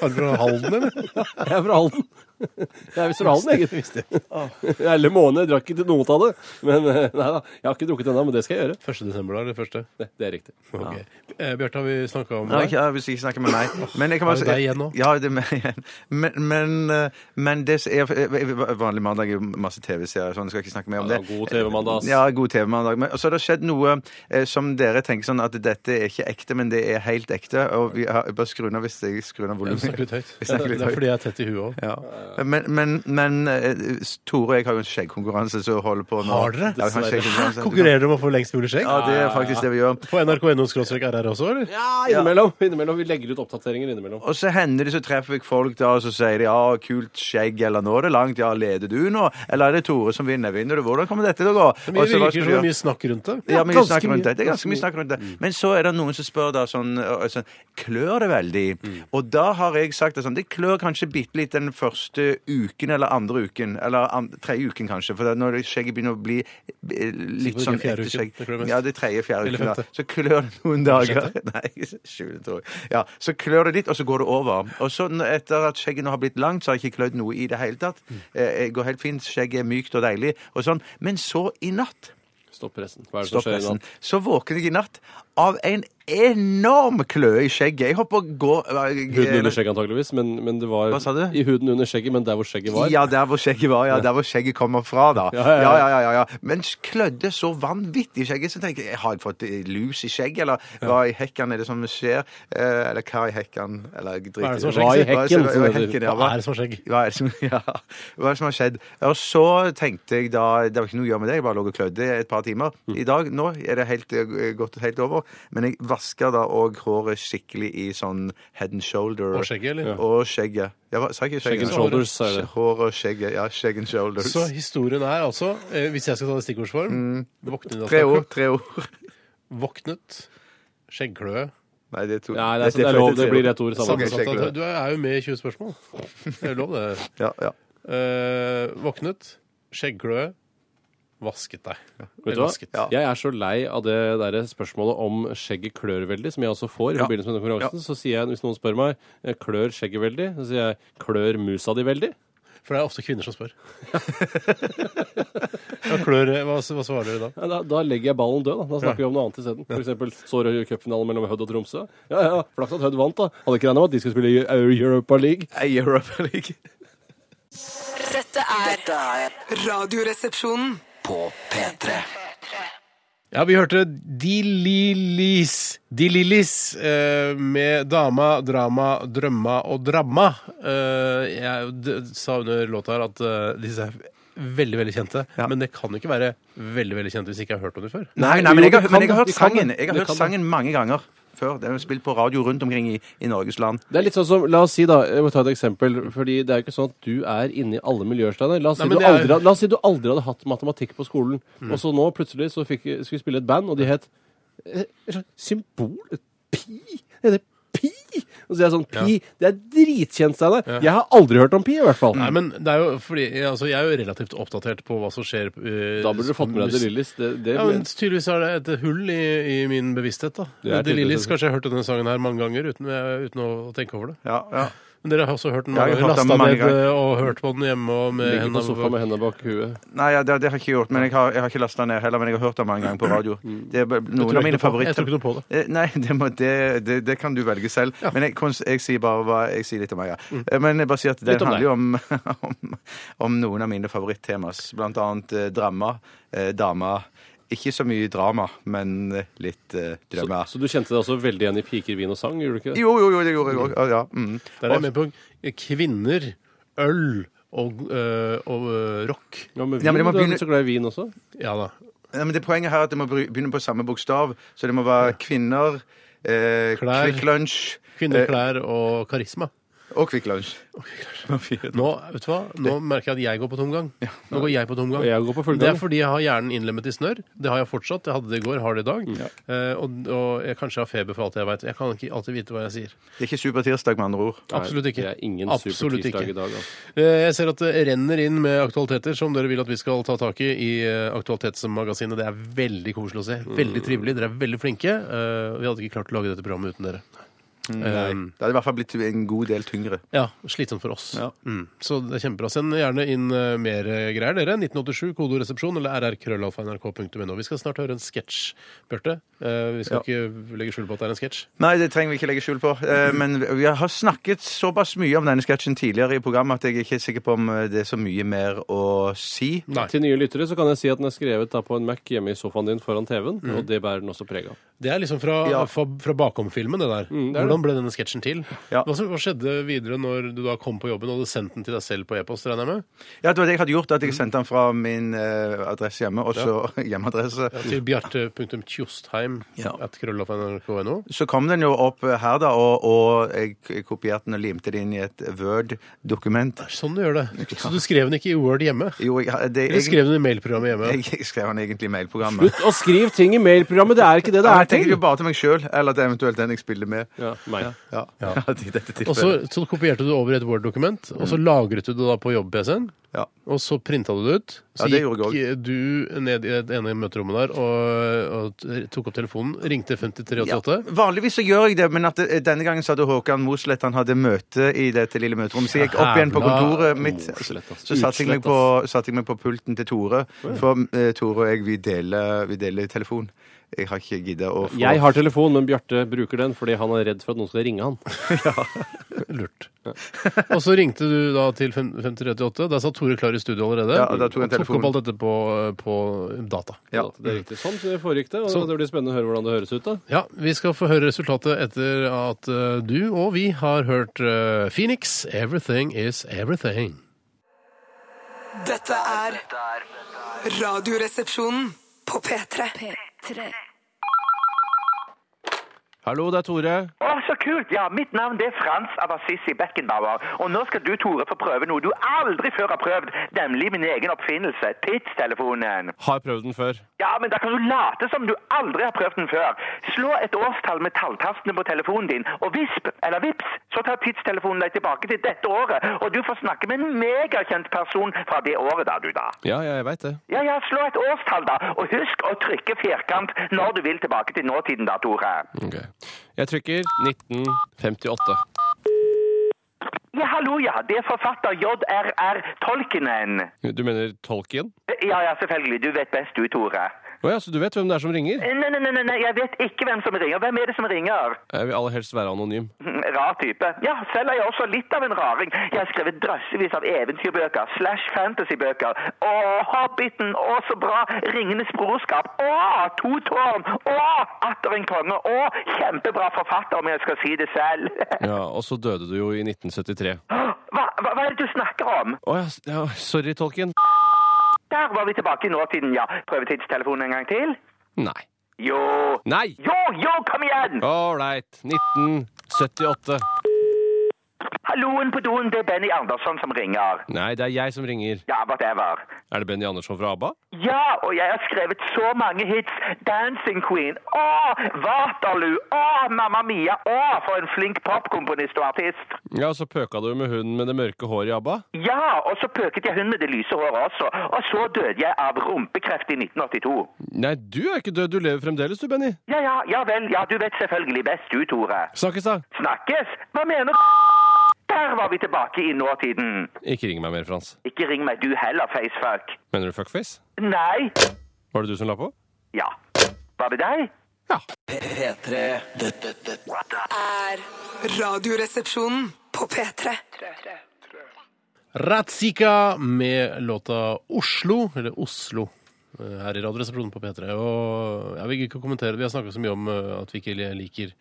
Speaker 3: Har du fra Halden,
Speaker 5: [laughs]
Speaker 3: eller?
Speaker 4: Jeg er fra Halden. Jeg er visst fra Halden, jeg. Eller måned. Jeg drakk ikke noe av det. Men eh, nei da, jeg har ikke drukket ennå, men det skal jeg gjøre.
Speaker 3: 1. desember, da? Eller første?
Speaker 4: Det, det er riktig.
Speaker 3: Ok. Eh, Bjarte, har vi snakka om
Speaker 5: Nei,
Speaker 3: deg?
Speaker 5: ikke, ja, hvis jeg ikke snakker med meg. Men jeg kan bare
Speaker 3: Er det
Speaker 5: si-
Speaker 3: deg igjen nå?
Speaker 5: Ja, det er meg igjen. Men, men, eh, men det som er eh, Vanlig mandag er jo masse TV-serier, sånn, jeg skal ikke snakke mer om
Speaker 4: Ja,
Speaker 5: det.
Speaker 4: det er god TV-mandag, ass.
Speaker 5: Ja, god TV-mandag. Men så har det skjedd noe eh, som dere tenker sånn at dette er ikke ekte, men det er helt ekte. Og vi har, bare skru ned hvis jeg skrur ned
Speaker 3: Du
Speaker 5: volumet.
Speaker 3: snakker litt høyt.
Speaker 5: Jeg snakker litt
Speaker 3: det er
Speaker 5: høyt.
Speaker 3: fordi jeg er tett i huet òg.
Speaker 5: Ja. Men, men, men eh, Tore og jeg har jo en skjeggkonkurranse som holder på nå.
Speaker 3: Har dere?
Speaker 5: Ja, vi har en skjeggkonkurranse.
Speaker 3: Konkurrerer du om å få lengst mulig skjegg?
Speaker 5: Ja, det er faktisk det vi gjør.
Speaker 3: På nrk.no rr også, eller?
Speaker 4: Ja, innimellom. innimellom. Vi legger ut oppdateringer innimellom.
Speaker 5: Og så hender det så treffer jeg folk da, og så sier de ja, kult skjegg, eller nå er det langt, ja, leder du nå? Eller er det Tore som vinner? Vinner du? Hvordan kommer dette til å gå?
Speaker 3: Men
Speaker 5: Og så,
Speaker 3: det
Speaker 5: hva
Speaker 3: virker som det
Speaker 5: skal du
Speaker 3: er
Speaker 5: gjøre?
Speaker 3: mye snakk rundt det.
Speaker 5: Ja, mye
Speaker 4: ganske
Speaker 5: snakk rundt
Speaker 4: mye.
Speaker 5: det. Det er ganske mye snakk rundt det.
Speaker 3: Mm.
Speaker 5: Men så er det noen som spør da sånn, øh, sånn Klør det veldig?
Speaker 3: Mm.
Speaker 5: Og da har jeg sagt det sånn Det klør kanskje bitte litt den første uken eller andre uken. Eller an, tredje uken, kanskje. For da når det- skjegget begynner å bli eh, litt
Speaker 3: Sikkert
Speaker 5: sånn
Speaker 3: ikke fjerde
Speaker 5: ekte
Speaker 3: uken.
Speaker 5: skjegg.
Speaker 3: Det klør mest.
Speaker 5: Ja, det er tredje, fjerde
Speaker 3: Eller
Speaker 5: uken. Da.
Speaker 3: femte.
Speaker 5: Så klør det noen dager. [laughs] Nei, sjuende, tror jeg. Ja, så klør det litt, og så går det over. Og så n- etter at skjegget nå har blitt langt, så har jeg ikke klødd noe i det hele tatt.
Speaker 3: Mm.
Speaker 5: Eh, Det går helt fint. Skjegget er mykt og deilig og sånn. Men så i natt
Speaker 4: Stopp pressen. Hva er det som
Speaker 5: Stopp
Speaker 4: skjer i
Speaker 5: nesten.
Speaker 4: natt?
Speaker 5: Så våkner jeg i natt av en enorm kløe i skjegget. Jeg hopper og går
Speaker 4: Huden under skjegget, antakeligvis. Men, men det var
Speaker 5: Hva sa du?
Speaker 4: I huden under skjegget, men der hvor skjegget var.
Speaker 5: eh, Ja, der hvor skjegget var. Ja, der hvor skjegget kommer fra, da.
Speaker 4: Ja, ja, ja.
Speaker 5: ja, ja, ja, ja. Men klødde så vanvittig i skjegget, så tenker jeg har jeg fått eh, lus i skjegget, eller hva i hekken er det som skjer? Eh, Eller hva i hekken? Eller jeg
Speaker 3: Hva er
Speaker 5: driter
Speaker 3: det som har
Speaker 5: i
Speaker 3: skjedd?
Speaker 4: Hva i
Speaker 5: Hva
Speaker 4: hekken? som det
Speaker 5: er det som- hva i
Speaker 4: heter.
Speaker 5: hekken, ja,
Speaker 3: Hva er det som har skjegg?
Speaker 5: Hva er det som, [laughs] ja, hva er det som har skjedd? Og så tenkte jeg da Det var ikke noe å gjøre med det, jeg bare lå og klødde et par timer.
Speaker 4: Mm.
Speaker 5: I dag, nå er det helt, eh, gått helt over. Men jeg vasker da òg håret skikkelig i sånn head and shoulder.
Speaker 3: Og skjegget, eller? Ja.
Speaker 5: Og skjegget. Ja, hva, sa jeg ikke
Speaker 4: Skjegg
Speaker 5: skjegget?
Speaker 4: and shoulders, sa jeg det.
Speaker 5: Hår og skjegget. Ja, skjegg and shoulders.
Speaker 3: Så historien er altså, eh, hvis jeg skal ta det i stikkordsform våknet,
Speaker 5: Mm.
Speaker 3: altså.
Speaker 5: Tre ord. Tre ord.
Speaker 3: våknet, skjeggkløe
Speaker 5: Nei, det er to.
Speaker 4: Nei, altså, det er, det er lov. Det blir ett ord
Speaker 5: Ok,
Speaker 4: sammen.
Speaker 5: skjegg. skjeggkløe.
Speaker 3: Du er jo med i 20 spørsmål. Det er jo lov, det.
Speaker 5: Ja, ja.
Speaker 3: Eh, våknet, skjeggkløe, vasket deg.
Speaker 4: Vet du hva? Jeg er så lei av det der spørsmålet om skjegget klør veldig, som jeg også får i
Speaker 5: Ja.
Speaker 4: forbindelse med den konkurransen. Så sier jeg, hvis noen spør meg, eh, klør skjegget veldig? Så sier jeg, klør musa di veldig?
Speaker 3: For det er ofte kvinner som
Speaker 5: [laughs]
Speaker 3: spør. Hva, klør, hva, hva svarer dere da?
Speaker 4: Ja, da, da legger jeg ballen død, da. Da snakker vi om noe annet isteden. For eksempel så rød cupfinalen mellom Hødd og Tromsø. Ja, ja, flaks at Hødd vant, da. Hadde ikke regna med at de skulle spille i Eu- Europa League.
Speaker 5: Nei, Europa League.
Speaker 1: Dette er
Speaker 2: Dette er
Speaker 1: Radioresepsjonen.
Speaker 2: på P3.
Speaker 3: Ja, vi hørte De Lillis. De Lillis eh, med Dama, Drama, Drømma og Dramma. Eh, jeg d sa under låta her at eh, disse er veldig, veldig kjente. Men det kan jo ikke være veldig veldig kjente hvis jeg ikke har hørt om det før.
Speaker 5: Nei, nei, men
Speaker 4: Jo,
Speaker 5: jeg
Speaker 4: det
Speaker 5: har,
Speaker 4: kan
Speaker 5: men
Speaker 4: det.
Speaker 5: jeg har hørt
Speaker 4: Det kan det.
Speaker 5: sangen Jeg har
Speaker 4: Det
Speaker 5: hørt
Speaker 4: kan det.
Speaker 5: sangen mange ganger før. Den er spilt på radio rundt omkring i, i Norges land.
Speaker 4: Det er litt sånn som, La oss si, da, jeg må ta et eksempel. fordi det er jo ikke sånn at du er inne i alle miljøsteiner. La oss,
Speaker 3: Nei,
Speaker 4: si,
Speaker 3: men
Speaker 4: du
Speaker 3: det er- Mm.
Speaker 4: aldri, had- la oss si du aldri hadde hatt matematikk på skolen, og så nå plutselig så fikk, skulle vi spille et band, og de het eh, et slags Symbol? Et pi? Er det pi? Og så er jeg sånn Pi! Det er dritkjent, Steinar. Jeg har aldri hørt om pi, i hvert fall.
Speaker 3: Nei, men det er jo fordi, altså, Jeg er jo relativt oppdatert på hva som skjer eh,
Speaker 4: da burde du fått med deg
Speaker 3: mus-
Speaker 4: The Lillies. Det, det,
Speaker 3: Ja, men Tydeligvis er det et hull i, i min bevissthet. da.
Speaker 4: Det er
Speaker 3: The Lillis,
Speaker 4: tydeligvis-
Speaker 3: kanskje jeg har hørt denne sangen her mange ganger uten, eh, uten å tenke over det.
Speaker 5: Ja, ja.
Speaker 3: Men dere har også hørt den
Speaker 5: Jeg har
Speaker 3: mange ganger.
Speaker 5: hørt den
Speaker 3: Lasta
Speaker 5: mange
Speaker 3: ned
Speaker 5: ganger.
Speaker 3: eh, og hørt på den hjemme og med
Speaker 4: Ligger på
Speaker 3: hendene
Speaker 4: sofaen med hendene bak huet.
Speaker 5: Nei, ja, det, det har jeg ikke gjort, men jeg har, jeg har ikke lasta ned heller. Men jeg har hørt det mange ganger på radio. Det er b- noen
Speaker 3: ikke
Speaker 5: av mine
Speaker 3: noe på-
Speaker 5: favoritter.
Speaker 3: Mm. jeg tror ikke noe på det.
Speaker 5: Eh, Nei, [laughs] det, må, det, det, det kan du velge selv. Men jeg, kons- jeg sier bare hva jeg sier litt om meg. Ja.
Speaker 3: Mm.
Speaker 5: Eh, Men jeg bare sier at det
Speaker 4: Litt om
Speaker 5: handler jo om, [laughs] om, om noen av mine favorittemaer. Blant annet eh, drama, eh, dama. Ikke så mye drama, men eh, litt eh,
Speaker 4: Så,
Speaker 5: drømmer.
Speaker 4: så du kjente deg også veldig igjen i piker, vin og sang? gjorde du ikke det?
Speaker 5: Jo, jo, jo, det gjorde jeg òg. Ja, mm.
Speaker 3: Der er jeg med på kvinner, øl og, øh, og øh, rock.
Speaker 4: Ja, men, vin,
Speaker 5: Ja, men det må
Speaker 4: du er
Speaker 5: begynne-
Speaker 4: litt så glad i vin også?
Speaker 3: Ja da.
Speaker 5: Nei, men det Poenget her er at det må bry- begynne på samme bokstav. Så det må være kvinner, eh,
Speaker 3: Klær.
Speaker 5: Quick Lunch
Speaker 4: Eh.
Speaker 3: Kvinner, klær og karisma.
Speaker 5: eh, Og Kvikk Lunsj.
Speaker 3: Nå, vet du hva? Nå merker jeg at jeg går på tomgang. Nå går jeg på tomgang.
Speaker 4: Og Eh. jeg går på fullgang.
Speaker 3: Det er fordi jeg har hjernen innlemmet i snørr. Det har jeg fortsatt. Jeg hadde det i går, har det i dag. Eh, og, og jeg kanskje har feber for alt jeg veit. Jeg kan ikke alltid vite hva jeg sier.
Speaker 5: Det er ikke supertirsdag, med andre ord.
Speaker 3: Absolutt ikke.
Speaker 4: Det er ingen
Speaker 3: Absolutt
Speaker 4: supertirsdag
Speaker 3: ikke.
Speaker 4: i dag. Altså.
Speaker 3: Eh, Jeg ser at det renner inn med aktualiteter som dere vil at vi skal ta tak i i eh, Aktualitetsmagasinet. Det er veldig koselig å se. Veldig trivelig. Dere er veldig flinke. Eh, Vi hadde ikke klart å lage dette programmet uten dere. Um,
Speaker 5: Det hadde i hvert fall blitt en god del tyngre.
Speaker 3: ja, slitsomt for oss.
Speaker 5: Ja.
Speaker 3: Mm. Så det er kjempebra. Send gjerne inn eh, mer eh, greier, dere. 1987, kodoresepsjon eller rrkrøllalfa.nrk.no. Vi skal snart høre en sketsj, Bjarte. Eh, Vi skal ikke legge skjul på at det er en sketsj.
Speaker 5: Nei, det trenger vi ikke legge skjul på. Eh, Men vi har snakket såpass mye om denne sketsjen tidligere i programmet at jeg er ikke sikker på om eh, det er så mye mer å si.
Speaker 3: Nei.
Speaker 4: Til nye lyttere så kan jeg si at den er skrevet da på en Mac hjemme i sofaen din foran TV-en, og det bærer den også preg av.
Speaker 3: Det er liksom fra,
Speaker 5: Ja.
Speaker 3: fra, fra bakom-filmen, det der.
Speaker 4: Mm, det er det.
Speaker 3: Hvordan ble denne sketsjen til?
Speaker 5: Ja.
Speaker 3: Hva, som- hva skjedde videre når du da kom på jobben og hadde sendt den til deg selv på e-post? regner jeg med?
Speaker 5: Ja, det var det jeg hadde gjort, at jeg sendte den fra min eh, adresse hjemme, og så [laughs] hjemmeadresse.
Speaker 3: Til bjarte.tjostheim
Speaker 5: Ja.
Speaker 3: at krøllalfa.nrk.no.
Speaker 5: Så kom den jo opp her, da, og, og jeg kopierte den og limte det inn i et Word-dokument.
Speaker 3: Sånn du gjør det. Så du skrev den ikke i Word hjemme?
Speaker 5: Jo, jeg, det,
Speaker 3: Eller
Speaker 5: jeg,
Speaker 3: skrev den i mailprogrammet hjemme?
Speaker 5: jeg, [laughs] jeg skrev den egentlig i mailprogrammet.
Speaker 4: Slutt å skrive ting i mailprogrammet! Det er ikke det det
Speaker 5: Ja,
Speaker 4: er
Speaker 5: jeg tenker
Speaker 4: til!
Speaker 5: jo bare til meg sjøl, eller til eventuelt den jeg spiller med.
Speaker 4: Ja, meg.
Speaker 5: Ja, [laughs] i dette tilfellet.
Speaker 3: Og så, så kopierte du det over i et Word-dokument, og
Speaker 5: Mm.
Speaker 3: så lagret du det da på jobb-PC-en.
Speaker 5: Ja.
Speaker 3: Og så printa du det ut. Så
Speaker 5: Ja, det gjorde
Speaker 3: gikk du ned i det ene møterommet der og, og tok opp telefonen, ringte 5388.
Speaker 5: Ja, vanligvis så gjør jeg det, men at det, denne gangen så hadde Håkan Mosleth han hadde møte i dette lille møterommet. Så jeg gikk opp igjen på
Speaker 3: Jævla
Speaker 5: kontoret mitt.
Speaker 4: Mosleth, ass.
Speaker 5: Så satte jeg, meg på, satte jeg meg på pulten til Tore, for eh, Tore og jeg, vi deler, vi deler telefon. Jeg har ikke gidda å få
Speaker 4: Jeg har telefon, men Bjarte bruker den fordi han er redd for at noen skal ringe han.
Speaker 3: Lurt. [laughs] Og så ringte du da til 538. Der satt Tore klar i studio allerede.
Speaker 5: Ja, da tok jeg
Speaker 3: og tok
Speaker 5: telefonen.
Speaker 3: opp alt dette på, på data.
Speaker 5: Ja.
Speaker 4: Så Det er riktig. Sånn så det foregikk det, og det blir spennende å høre hvordan det høres ut. da.
Speaker 3: Ja, vi skal få høre resultatet etter at eh, du og vi har hørt eh, Phoenix, 'Everything Is Everything'.
Speaker 1: Dette er Radioresepsjonen på P3.
Speaker 4: Hallo, det er Tore.
Speaker 6: Å, så kult! Ja, mitt navn det er Frans Abassisi Beckenbauer. Og nå skal du, Tore, få prøve noe du aldri før har prøvd, nemlig min egen oppfinnelse, tidstelefonen.
Speaker 4: Har prøvd den før.
Speaker 6: Ja, men da kan du late som du aldri har prøvd den før. Slå et årstall med talltastene på telefonen din, og visp, eller vips, så tar tidstelefonen deg tilbake til dette året, og du får snakke med en megakjent person fra det året da, du da.
Speaker 4: Ja, jeg veit det.
Speaker 6: Ja, ja, slå et årstall da, og husk å trykke firkant når du vil tilbake til nåtiden da, Tore.
Speaker 4: Ok. Jeg trykker 1958.
Speaker 6: Ja, hallo, ja. Det er forfatter J.R.R. Tolkenen.
Speaker 4: Du mener Tolkien?
Speaker 6: Ja, ja, selvfølgelig. Du vet best du, Tore.
Speaker 4: Å ja, så du vet hvem det er som ringer?
Speaker 6: Nei, nei, nei, nei, nei, jeg vet ikke hvem som ringer. Hvem er det som ringer? [laughs]
Speaker 4: Jeg vil aller helst være anonym.
Speaker 6: Hm, Rar type. Ja, selv er jeg også litt av en raring. Jeg har skrevet drøssevis av eventyrbøker, slash fantasybøker. Å, Hobbiten, å, så bra. Ringenes brorskap. Å, To tårn. Å, Atter en konge. Å, kjempebra forfatter, om jeg skal si det selv. [laughs]
Speaker 4: Ja, Og så døde du jo i 1973.
Speaker 6: Hva, hva, hva er det du snakker om?
Speaker 4: Å ja, s- ja, sorry, Tolkien.
Speaker 6: Der var vi tilbake i nåtiden, ja. Prøvetidstelefonen en gang til.
Speaker 4: Nei.
Speaker 6: Jo.
Speaker 4: Nei!
Speaker 6: Jo, jo, kom igjen!
Speaker 4: Ålreit. 1978.
Speaker 6: Halloen på doen, det er Benny Andersson som ringer.
Speaker 4: Nei, det er jeg som ringer.
Speaker 6: Ja, whatever.
Speaker 4: Er det Benny Andersson fra ABBA?
Speaker 6: Ja, og jeg har skrevet så mange hits. Dancing Queen, å, Waterloo, å, Mamma Mia, å, for en flink popkomponist og artist.
Speaker 4: Ja, og så pøka du med hunden med det mørke håret i ABBA?
Speaker 6: Ja, og så pøket jeg hun med det lyse håret også, og så døde jeg av rumpekreft i 1982.
Speaker 4: Nei, du er ikke død. Du lever fremdeles, du, Benny.
Speaker 6: Ja, ja, ja vel, ja, du vet selvfølgelig best du, Tore.
Speaker 4: Snakkes, da.
Speaker 6: Snakkes? Hva mener du? Der var vi tilbake i nåtiden.
Speaker 4: Ikke ring meg mer, Frans.
Speaker 6: Ikke ring meg du heller, facefuck.
Speaker 4: Mener du fuckface?
Speaker 6: Nei.
Speaker 4: Var det du som la på?
Speaker 6: Ja. Var det deg?
Speaker 2: P3. Dette, dette
Speaker 1: Er Radioresepsjonen på P3.
Speaker 3: Ratzika med låta Oslo, eller Oslo, eh, her i Radioresepsjonen på P3. Og jeg vil ikke kommentere, Vi har snakka så mye om eh, at vi ikke liker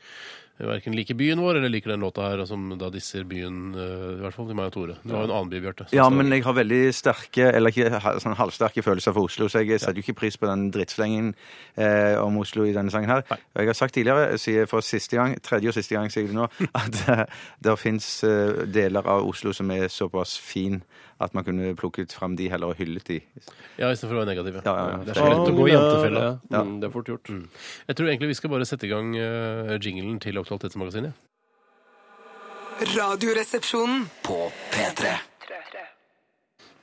Speaker 3: verken liker byen vår eller liker den låta her, som da disser byen, eh, i hvert fall til meg og Tore. Det var jo en annen by, Bjarte. som
Speaker 5: Ja,
Speaker 3: står-
Speaker 5: men jeg har veldig sterke, eller ikke ha- sånn halvsterke følelser for Oslo, så jeg setter jo ikke pris på den drittslengen eh, om Oslo i denne sangen her. Og jeg har sagt tidligere, jeg sier for siste gang, tredje og siste gang sier jeg det nå, [laughs] at eh, det finnes eh, deler av Oslo som er såpass fin at man kunne plukket fram de heller og hyllet de.
Speaker 3: Ja, istedenfor å være negativ. Ja.
Speaker 5: Ja, ja, ja.
Speaker 3: Det er så lett å gå i jentefella.
Speaker 4: Ja. Mm, det er fort gjort.
Speaker 3: Jeg tror egentlig vi skal bare sette i gang eh, jinglen til Aktualitetsmagasinet.
Speaker 1: Radioresepsjonen.
Speaker 2: På P3.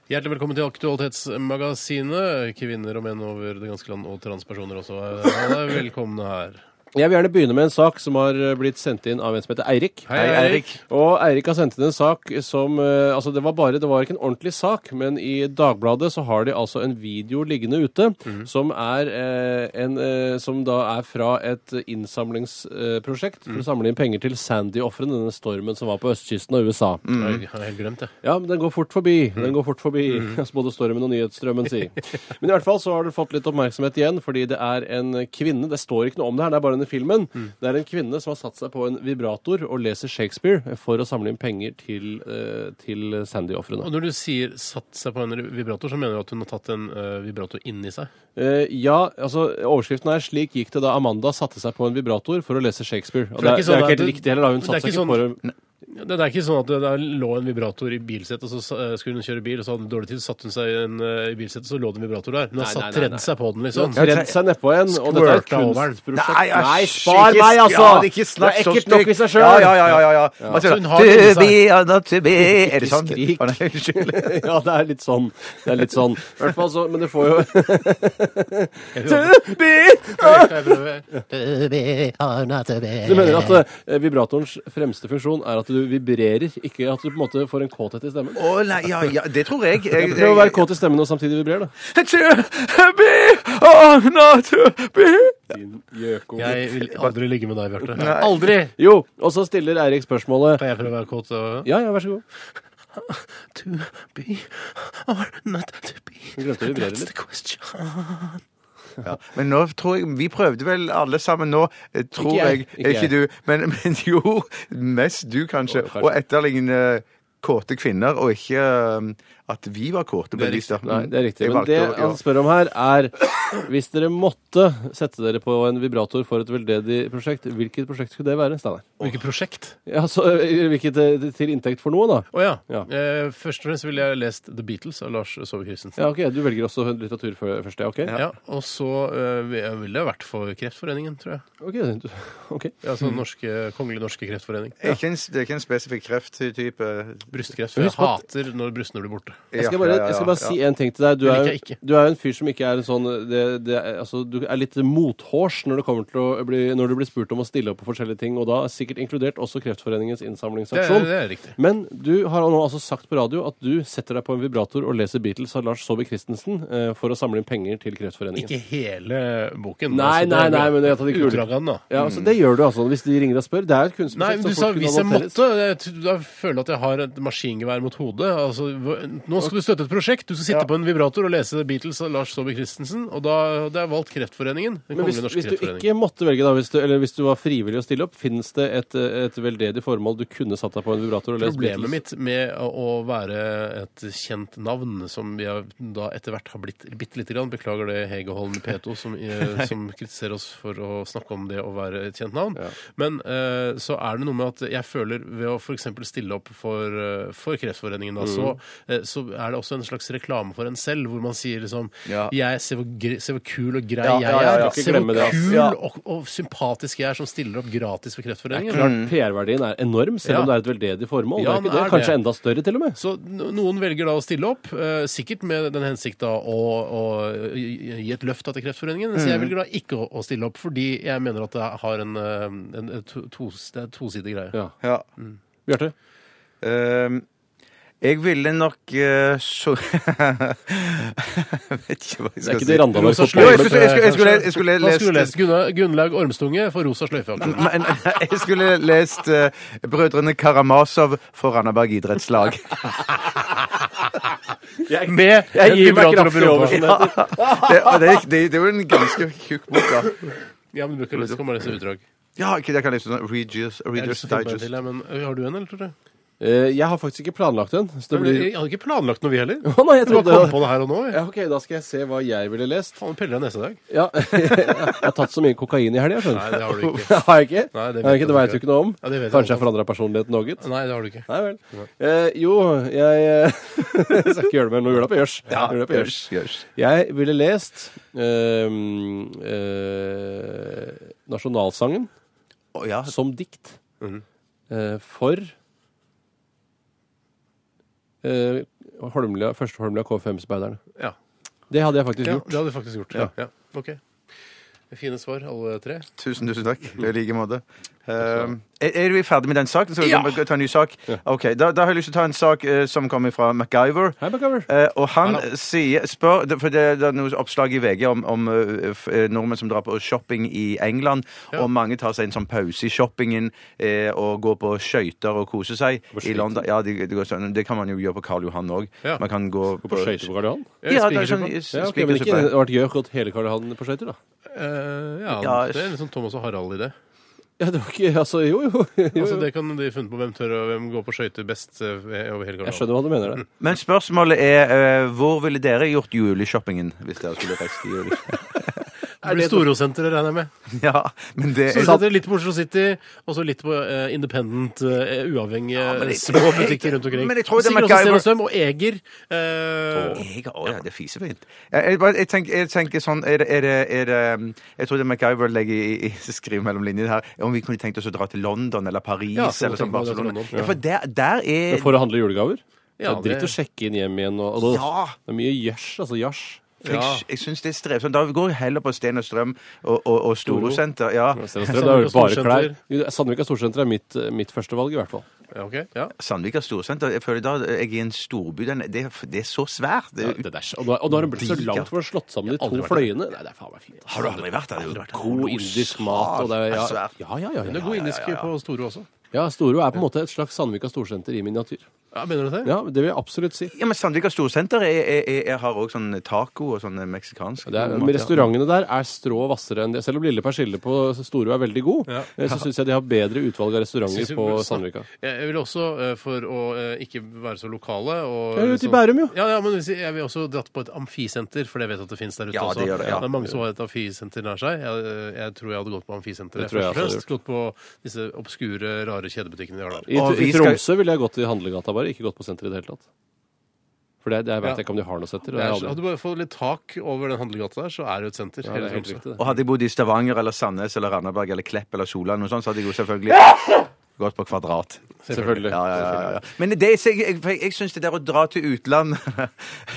Speaker 3: Hjertelig velkommen til Aktualitetsmagasinet. Kvinner og menn over det ganske land, og transpersoner også. er- Alle er velkomne her.
Speaker 4: Jeg vil gjerne begynne med en sak som har eh, blitt sendt inn av en som heter Eirik.
Speaker 3: Hei, Hei,
Speaker 5: Eirik. Eirik.
Speaker 4: Og Eirik har sendt inn en sak som eh, Altså, det var bare Det var ikke en ordentlig sak, men i Dagbladet så har de altså en video liggende ute som er eh, en eh, Som da er fra et innsamlingsprosjekt for å samle inn penger til Sandy-ofrene, denne stormen som var på østkysten av USA.
Speaker 3: Jeg har helt glemt det.
Speaker 4: Ja, men den går fort forbi.
Speaker 3: Mm.
Speaker 4: Den går fort forbi, [laughs] som både stormen og nyhetsstrømmen sier. Men i hvert fall så har det fått litt oppmerksomhet igjen, fordi det er en kvinne Det står ikke noe om det her, det er bare denne filmen.
Speaker 3: Mm.
Speaker 4: Det er en kvinne som har satt seg på en vibrator og leser Shakespeare for å samle inn penger til, eh, til Sandy-ofrene.
Speaker 3: Og når du sier 'satt seg på en vibrator', så mener du at hun har tatt en eh, vibrator inni seg?
Speaker 4: Eh, ja, altså overskriften er 'Slik gikk det da Amanda satte seg på en vibrator for å lese Shakespeare'. Og
Speaker 3: For det
Speaker 4: det,
Speaker 3: er ikke sånn
Speaker 4: er, det er ikke
Speaker 3: at
Speaker 4: helt
Speaker 3: det-
Speaker 4: riktig heller, da. Hun
Speaker 3: det er
Speaker 4: satte seg
Speaker 3: ikke sånn-
Speaker 4: ikke på en
Speaker 3: Det det er ikke sånn at det der lå en vibrator i bilsettet, og så sa- eh, skulle hun kjøre bil, og så hadde hun dårlig tid, så satte hun seg i en, eh, i bilsettet, så lå det en vibrator der. Hun har
Speaker 4: Nei, nei,
Speaker 3: satt
Speaker 4: nei,
Speaker 3: tredd
Speaker 4: nei.
Speaker 3: seg på den, liksom.
Speaker 4: Tredd seg nedpå igjen, og dette er et
Speaker 3: Squirta over den.
Speaker 4: kunstprosjekt.
Speaker 5: Nei, asj,
Speaker 4: spar
Speaker 5: ikke-
Speaker 4: meg, altså!
Speaker 5: Ja, det er ikke snakk så
Speaker 4: ekkelt nok i
Speaker 5: stygt.
Speaker 4: seg sjøl!
Speaker 5: Ja, ja, ja, ja, ja. Altså,
Speaker 3: Så hun har
Speaker 5: to
Speaker 3: det i seg.
Speaker 5: be or not to be. Er det sånn?
Speaker 4: skrik.
Speaker 5: Å, nei, unnskyld.
Speaker 4: [laughs] ja, det er litt sånn. Det er litt sånn. I hvert fall så, men det får jo
Speaker 3: [laughs] Jeg prøver-
Speaker 4: Du
Speaker 3: jeg prøver-
Speaker 4: mener at eh, vibratorens fremste funksjon er at du vibrerer, ikke at du på en måte får en kåthet i stemmen?
Speaker 5: Å, nei, ja, ja, det tror jeg. jeg, jeg,
Speaker 4: Prøv å være kåt i stemmen og samtidig vibrere, da.
Speaker 5: To be or not to be.
Speaker 3: Jeg vil aldri ligge med deg, Bjarte.
Speaker 5: Nei.
Speaker 3: Aldri!
Speaker 4: Jo, og så stiller Eirik spørsmålet
Speaker 3: Kan jeg prøve å være kåt? og-
Speaker 4: Ja, ja, vær så god.
Speaker 3: To be or not to be.
Speaker 4: Du glemte å vibrere
Speaker 3: That's the
Speaker 4: litt.
Speaker 3: question.
Speaker 5: Men nå tror jeg Vi prøvde vel alle sammen nå, eh, tror
Speaker 4: Ikke jeg,
Speaker 5: jeg.
Speaker 4: ikke
Speaker 5: Ikke,
Speaker 4: jeg.
Speaker 5: du. Men, [laughs] men jo, mest du, kanskje.
Speaker 4: Å, kanskje.
Speaker 5: Og etterligne kåte kvinner, og ikke eh, at vi var kåte.
Speaker 3: Det er
Speaker 5: bevisst, da.
Speaker 4: Nei, det er riktig.
Speaker 5: Jeg
Speaker 4: Men
Speaker 5: valgte
Speaker 4: det
Speaker 5: å- ja.
Speaker 4: han spør om her, er hvis dere måtte sette dere på en vibrator for et veldedig prosjekt, hvilket prosjekt skulle det være, Steinar?
Speaker 3: Hvilket prosjekt?
Speaker 4: Ja, så eh, hvilket eh, til inntekt for noe, da?
Speaker 3: Å ja.
Speaker 4: Ja.
Speaker 3: Eh, først og fremst ville jeg lest The Beatles av Lars Saabye Christensen.
Speaker 4: Ja, ok, Du velger også litteratur før- først, ja? Ok,
Speaker 3: Ja, og så eh, ville jeg vært for Kreftforeningen, tror jeg.
Speaker 4: Ok, du- ok.
Speaker 3: Altså norske, Kongelig norske kreftforening.
Speaker 4: Eh,
Speaker 5: Det er ikke en, det er ikke en spesifikk krefttype.
Speaker 3: Brystkreft. For jeg
Speaker 4: Husk på at-
Speaker 3: hater når brystene blir borte.
Speaker 4: Jeg skal bare, jeg skal bare si en ting til deg. Du
Speaker 3: Det
Speaker 4: er,
Speaker 3: liker jeg
Speaker 4: jo-
Speaker 3: ikke.
Speaker 4: du er jo en fyr som ikke er en sånn det, det, er- altså, Du er litt mothårs når, det kommer til å bli, når du blir spurt om å stille opp på forskjellige ting, og da sikkert inkludert også Kreftforeningens
Speaker 3: Det er,
Speaker 4: innsamlingsaksjon.
Speaker 3: det er riktig.
Speaker 4: Men du har nå altså sagt på radio at du setter deg på en vibrator og leser Beatles av Lars Saabye Christensen eh, for å samle inn penger til Kreftforeningen.
Speaker 3: Ikke hele boken. altså,
Speaker 4: Nei, nei, nei, men jeg tar det ikke ut.
Speaker 3: Utdrag av den, da.
Speaker 4: Ja, altså, Det gjør du altså hvis de ringer og spør. Det er et kunstprosjekt.
Speaker 3: Mm. Nei, men
Speaker 4: som
Speaker 3: du
Speaker 4: fort
Speaker 3: sa
Speaker 4: kunne
Speaker 3: hvis jeg
Speaker 4: annonseres.
Speaker 3: måtte. Jeg t- da føler jeg at jeg har et maskingevær mot hodet. Altså, hva- nå skal du støtte et prosjekt. Du skal sitte på en vibrator og lese Beatles av Lars Saabye Christensen. Og da det er valgt Kreftforeningen. Den
Speaker 4: Men hvis,
Speaker 3: kongelige norske
Speaker 4: hvis du
Speaker 3: kreftforening.
Speaker 4: ikke måtte velge, da, hvis du, eller hvis du var frivillig å stille opp, finnes det et, et veldedig formål du kunne satt deg på en vibrator og lest
Speaker 3: Problemet mitt med å å være et kjent navn, som jeg da etter hvert har blitt bitte lite grann Beklager det, Hege Holm Peto, som,
Speaker 4: [laughs]
Speaker 3: eh, som kritiserer oss for å snakke om det å være et kjent navn. Men eh, så er det noe med at jeg føler ved å f.eks. stille opp for, eh, for Kreftforeningen, da,
Speaker 4: Mm.
Speaker 3: så, eh, så er det også en slags reklame for en selv, hvor man sier liksom
Speaker 5: Ja.
Speaker 3: jeg, se, hvor gre, se hvor kul og grei
Speaker 4: Ja, ja, ja,
Speaker 3: jeg
Speaker 4: ja,
Speaker 3: er.
Speaker 4: ikke
Speaker 3: Se
Speaker 4: glemme
Speaker 3: hvor
Speaker 4: det, ass.
Speaker 3: kul
Speaker 4: Ja.
Speaker 3: og, og sympatisk jeg er som stiller opp gratis for Kreftforeningen.
Speaker 4: Klart PR-verdien er enorm, selv om det
Speaker 3: Ja.
Speaker 4: er et veldedig formål.
Speaker 3: Ja, den
Speaker 4: det er ikke det.
Speaker 3: er
Speaker 4: Kanskje
Speaker 3: det.
Speaker 4: enda større, til og med.
Speaker 3: Så no- noen velger da å stille opp, eh, sikkert med den hensikt da å, å gi gi et løft da til Kreftforeningen. Så jeg velger da ikke å, å stille opp, fordi jeg mener at det har en, eh, en, en to, to, det er en tosidig greie.
Speaker 4: Ja.
Speaker 5: Ja.
Speaker 4: Bjarte?
Speaker 5: Ehm, jeg ville nok eh, så [laughs] Jeg vet ikke hva jeg skal si.
Speaker 4: Det er ikke de Randaberg
Speaker 3: Rosa
Speaker 4: som
Speaker 5: Jo, jeg
Speaker 3: sløyfe,
Speaker 5: skulle, jeg skulle, jeg skulle,
Speaker 3: kanskje?
Speaker 5: jeg skulle
Speaker 3: Hva skulle du
Speaker 5: lest [laughs]
Speaker 3: lest Gunnar, Gunnlaug Ormstunge for Rosa sløyfe. altså. akkurat.
Speaker 5: Men jeg skulle lest eh, Brødrene Karamazov for Randaberg
Speaker 3: [laughs]
Speaker 5: idrettslag.
Speaker 3: Med en vibrator og rumpa.
Speaker 4: det heter.
Speaker 5: Det, og det, det, det er jo en ganske tjukk bok, da.
Speaker 3: Ja, men du bruker lyst til å lese utdrag.
Speaker 5: Ja, ikke det kan jeg lese sånn Readers,
Speaker 3: Jeg har
Speaker 5: Readers
Speaker 3: lyst til å finne meg
Speaker 5: Digest.
Speaker 3: til, jeg, men ø, Har du en, eller? tror du?
Speaker 4: Eh, jeg har faktisk ikke planlagt en. Så det blir...
Speaker 3: Jeg hadde ikke planlagt noe, vi heller.
Speaker 4: Å, nei, jeg
Speaker 3: Du bare
Speaker 4: trodde-
Speaker 3: kom på det her og nå. Jeg.
Speaker 4: Ja, OK, da skal jeg se hva jeg ville lest.
Speaker 3: Faen, piller deg neste dag.
Speaker 4: Ja, [laughs] jeg har tatt så mye kokain i helga,
Speaker 3: Nei,
Speaker 4: skjønner
Speaker 3: det har du ikke.
Speaker 4: [laughs] Har jeg ikke?
Speaker 3: Nei, det
Speaker 4: det,
Speaker 3: vet
Speaker 4: ikke,
Speaker 3: jeg
Speaker 4: det vet
Speaker 3: ikke.
Speaker 4: du ikke noe om.
Speaker 3: Ja, det vet jeg
Speaker 4: Kanskje
Speaker 3: ikke.
Speaker 4: jeg forandra personligheten noe? gitt?
Speaker 3: Nei, det har du ikke.
Speaker 4: Nei vel. Eh, jo, jeg [laughs] eh, Skal ikke gjøre det mer nå. Gjør det på gjørs. Gjør det på gjørs.
Speaker 5: Gjørs.
Speaker 4: Jeg ville lest ehm, eh, nasjonalsangen
Speaker 5: Å, ja.
Speaker 4: som dikt eh, for eh, Holmlia, første Holmlia K5-speiderne.
Speaker 3: Ja.
Speaker 4: Det hadde jeg faktisk
Speaker 3: ja,
Speaker 4: gjort.
Speaker 3: det hadde du faktisk gjort. Ja. ja. Ok. Fine svar, alle tre.
Speaker 5: Tusen, tusen takk. I like måte. Ehm, er, er vi ferdig med den saken? Så vi kan bare ta en ny sak? Ok, da, da har jeg lyst til å ta en sak eh, som kommer fra MacGyver.
Speaker 4: Hei, MacGyver.
Speaker 5: Eh, og han sier, spør, det- for det, det er noe oppslag i VG om, om eh, f- eh, nordmenn som drar på shopping i England, og mange tar seg en sånn pause i shoppingen eh, og går på skøyter og koser seg i London. Ja, det, det, går sånn, det kan man jo gjøre på Karl Johan òg.
Speaker 3: Ja.
Speaker 5: Man kan gå på,
Speaker 4: På skøyter på Karl Johan?
Speaker 5: Ja, det er sånn
Speaker 3: Spikersuppe.
Speaker 4: Ja, ok, men ikke
Speaker 5: spikersuppe.
Speaker 4: vært gjør gått hele Karl Johan på skøyter, da?
Speaker 3: Eh, ja,
Speaker 5: Ja,
Speaker 3: det er litt sånn Thomas og Harald-idé.
Speaker 4: Ja, det var ikke Altså, jo, jo. jo, jo.
Speaker 3: Altså, det kan de funnet på hvem tør og hvem går på skøyter best eh, over hele
Speaker 4: Jeg
Speaker 3: Karl
Speaker 4: skjønner hva du mener. det.
Speaker 5: Men spørsmålet er eh, hvor ville dere gjort juleshoppingen hvis dere skulle reist i juli?
Speaker 3: Det blir Storosenteret, regner jeg med.
Speaker 5: [laughs] ja, men det
Speaker 3: Så setter dere litt på Oslo City, og så litt på eh, independent, eh, uavhengige
Speaker 5: det-
Speaker 3: små butikker rundt omkring.
Speaker 5: Men jeg tror det er
Speaker 3: Sikkert
Speaker 5: MacGyver-
Speaker 3: også Sten og Strøm og Eger. eh,
Speaker 5: Jeg, å, ja, det er fisefint. Jeg, jeg, bare- jeg, tenker, jeg tenker sånn er det, er det, er det, um, Jeg tror det er MacGyver legger i, [laughs] i skriver mellom linjene her, om vi kunne tenkt oss å dra til London eller Paris
Speaker 3: Ja, så
Speaker 5: eller sånn
Speaker 3: tenker man det til
Speaker 5: Barcelona.
Speaker 3: London, ja.
Speaker 5: Ja, for der, der er
Speaker 4: Men For å handle julegaver?
Speaker 3: Ja,
Speaker 4: det er dritt
Speaker 3: det-
Speaker 4: å sjekke inn hjem igjen. Og, og det,
Speaker 5: Ja.
Speaker 4: det er mye gjørs, altså jazz.
Speaker 5: for Jeg, jeg syns det er strevsomt. Da går jeg heller på Sten og Strøm og, og, og Storosenter. Ja.
Speaker 4: Strøm, det er
Speaker 3: Sandvika
Speaker 4: jo bare klær.
Speaker 3: Storsenter.
Speaker 4: Jo, Sandvika Storsenter er mitt, eh, mitt førstevalg, i hvert fall.
Speaker 3: ja, ok, ja.
Speaker 5: Sandvika Storsenter. Jeg føler da jeg er i en storby. Den, det, er- det er så svært. Det,
Speaker 4: Det der, og nå og nå har hun blitt så
Speaker 5: Digert.
Speaker 4: langt for å ha slått sammen de
Speaker 3: aldri
Speaker 4: to
Speaker 3: vært der.
Speaker 4: fløyene. Nei, det er faen meg fint.
Speaker 5: har du aldri vært der? Det er jo
Speaker 4: God indisk mat og det er, ja,
Speaker 5: svært.
Speaker 4: ja, ja, ja,
Speaker 3: Men det er
Speaker 4: ja,
Speaker 3: god
Speaker 4: ja.
Speaker 3: indisk på Storo også.
Speaker 4: ja, Storo er på en måte et slags Sandvika Storsenter i miniatyr.
Speaker 3: Ja, Mener du det?
Speaker 4: Ja, det vil jeg absolutt si.
Speaker 5: Ja, men Sandvika Storsenter er, er, er, er, har også sånn taco og sånn meksikansk
Speaker 4: Det er,
Speaker 5: mat,
Speaker 4: men
Speaker 5: ja.
Speaker 4: restaurantene der er strå hvassere enn det. Selv om Lille Persille på Storo er veldig god,
Speaker 3: Ja.
Speaker 4: eh, så syns jeg de har bedre utvalg av
Speaker 3: Jeg synes
Speaker 4: restauranter
Speaker 3: vi
Speaker 4: på
Speaker 3: burde snakke-
Speaker 4: Sandvika.
Speaker 3: Jeg jeg vil også, eh, for å eh, ikke være så lokale og liksom-
Speaker 4: Ja, ute i Bærum, jo.
Speaker 3: Ja, ja, men hvis jeg jeg vil også dratt på et amfisenter, for det vet jeg at det finnes der ute
Speaker 5: Ja,
Speaker 3: også.
Speaker 5: det gjør det, ja.
Speaker 3: er mange som har et amfisenter nær seg. Jeg, eh, jeg tror jeg hadde gått på amfisenteret
Speaker 4: Det tror jeg
Speaker 3: først og
Speaker 4: også
Speaker 3: fremst. Gått på disse obskure, rare kjedebutikkene de har der.
Speaker 4: I,
Speaker 5: Og
Speaker 4: i
Speaker 5: vi skal-
Speaker 4: Tromsø ville jeg gått i handlegata bare, ikke gått på senteret i det hele tatt. For det, det jeg vet
Speaker 3: Ja.
Speaker 4: jeg ikke om de har noe senter.
Speaker 3: Det
Speaker 4: og jeg
Speaker 3: er,
Speaker 4: har
Speaker 3: så-
Speaker 4: aldri-
Speaker 3: hadde du bare fått litt tak over den handlegata der, så er det jo et senter.
Speaker 4: Ja,
Speaker 3: hele
Speaker 4: det er helt
Speaker 3: Tromsø.
Speaker 4: riktig, det.
Speaker 5: Og hadde jeg bodd i Stavanger eller Sandnes eller Randaberg eller Klepp eller Solan, og sånn, så hadde jeg jo selvfølgelig gått på Kvadrat.
Speaker 4: Selvfølgelig.
Speaker 5: Ja, ja, ja, ja, ja. Men det, jeg, jeg, for jeg, jeg syns det der å dra til utlandet [laughs]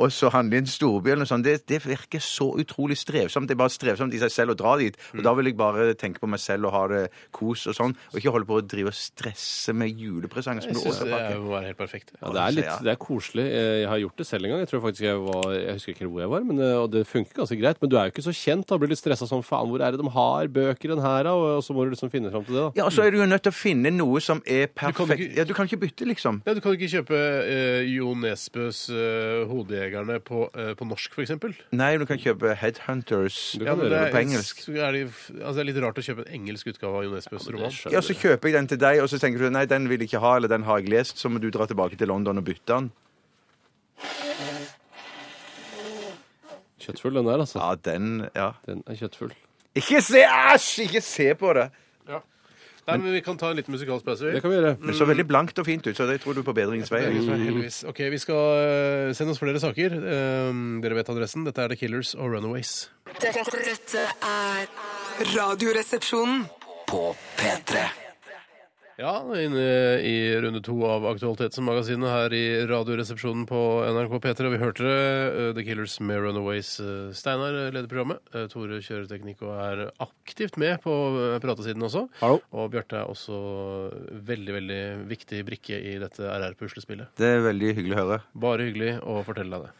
Speaker 5: og så handle i en storby eller noe sånt, det, det virker så utrolig strevsomt. Det er bare strevsomt i seg selv å dra dit. Og da vil jeg bare tenke på meg selv og ha det kos og sånn, og ikke holde på å drive og stresse med julepresanger som
Speaker 3: Jeg
Speaker 5: du
Speaker 3: synes
Speaker 5: også
Speaker 3: det er-
Speaker 5: pakker.
Speaker 3: må være helt perfekt.
Speaker 4: Ja, det, er litt, det er koselig. Eh, Jeg har gjort det selv en gang. Jeg tror faktisk jeg var, jeg husker ikke hvor jeg var, men, eh, og det funker ganske greit. Men du er jo ikke så kjent. Da blir du litt stressa sånn faen, hvor er det de har bøker den her, da? Og så må du liksom finne fram til det, da.
Speaker 5: Ja, og så er du jo nødt til å finne noe som er
Speaker 3: kan
Speaker 5: perfekt.
Speaker 3: ikke-
Speaker 5: Ja, du kan ikke bytte, liksom.
Speaker 3: Ja, du kan ikke kjøpe eh, Jo Nesbøs eh, 'Hodejegerne' på, eh, på norsk, for eksempel.
Speaker 5: Nei, du kan kjøpe Headhunters.
Speaker 4: Du
Speaker 3: Ja,
Speaker 4: kan
Speaker 3: men det
Speaker 4: gjøre
Speaker 3: er,
Speaker 5: det på engelsk.
Speaker 3: Er det, altså det er litt rart å kjøpe en engelsk utgave av Jo Nesbøs roman.
Speaker 5: Ja, så kjøper jeg den til deg, og så tenker du nei, den vil jeg ikke ha, eller den har jeg lest, så må du dra tilbake til London og bytte den.
Speaker 4: Kjøttfull den der, altså.
Speaker 5: Ja, den Ja.
Speaker 4: Den er kjøttfull.
Speaker 5: Ikke se! Æsj! Ikke se på det!
Speaker 3: Nei, men Vi kan ta en liten musikalsk pause.
Speaker 4: Det
Speaker 3: vi.
Speaker 4: kan vi gjøre.
Speaker 5: Det så veldig blankt og fint ut, så det tror du på bedringens vei.
Speaker 3: Heldigvis. Ok, Vi skal eh, sende oss flere saker. Eh, dere vet adressen. Dette er The Killers og Runaways.
Speaker 1: Dette, dette er Radioresepsjonen.
Speaker 2: På P3.
Speaker 3: Ja, inne i runde to av Aktualitetsmagasinet her i Radioresepsjonen på NRK P3. Og vi hørte eh, The Killers med Runaways. Eh, Steinar eh, leder programmet. Eh, Tore kjører teknikk og er aktivt med på eh, pratesiden også.
Speaker 4: Hallo.
Speaker 3: Og Bjarte er også veldig, veldig viktig brikke i dette RR-puslespillet.
Speaker 5: Det er veldig hyggelig å høre.
Speaker 3: Bare hyggelig å fortelle deg det.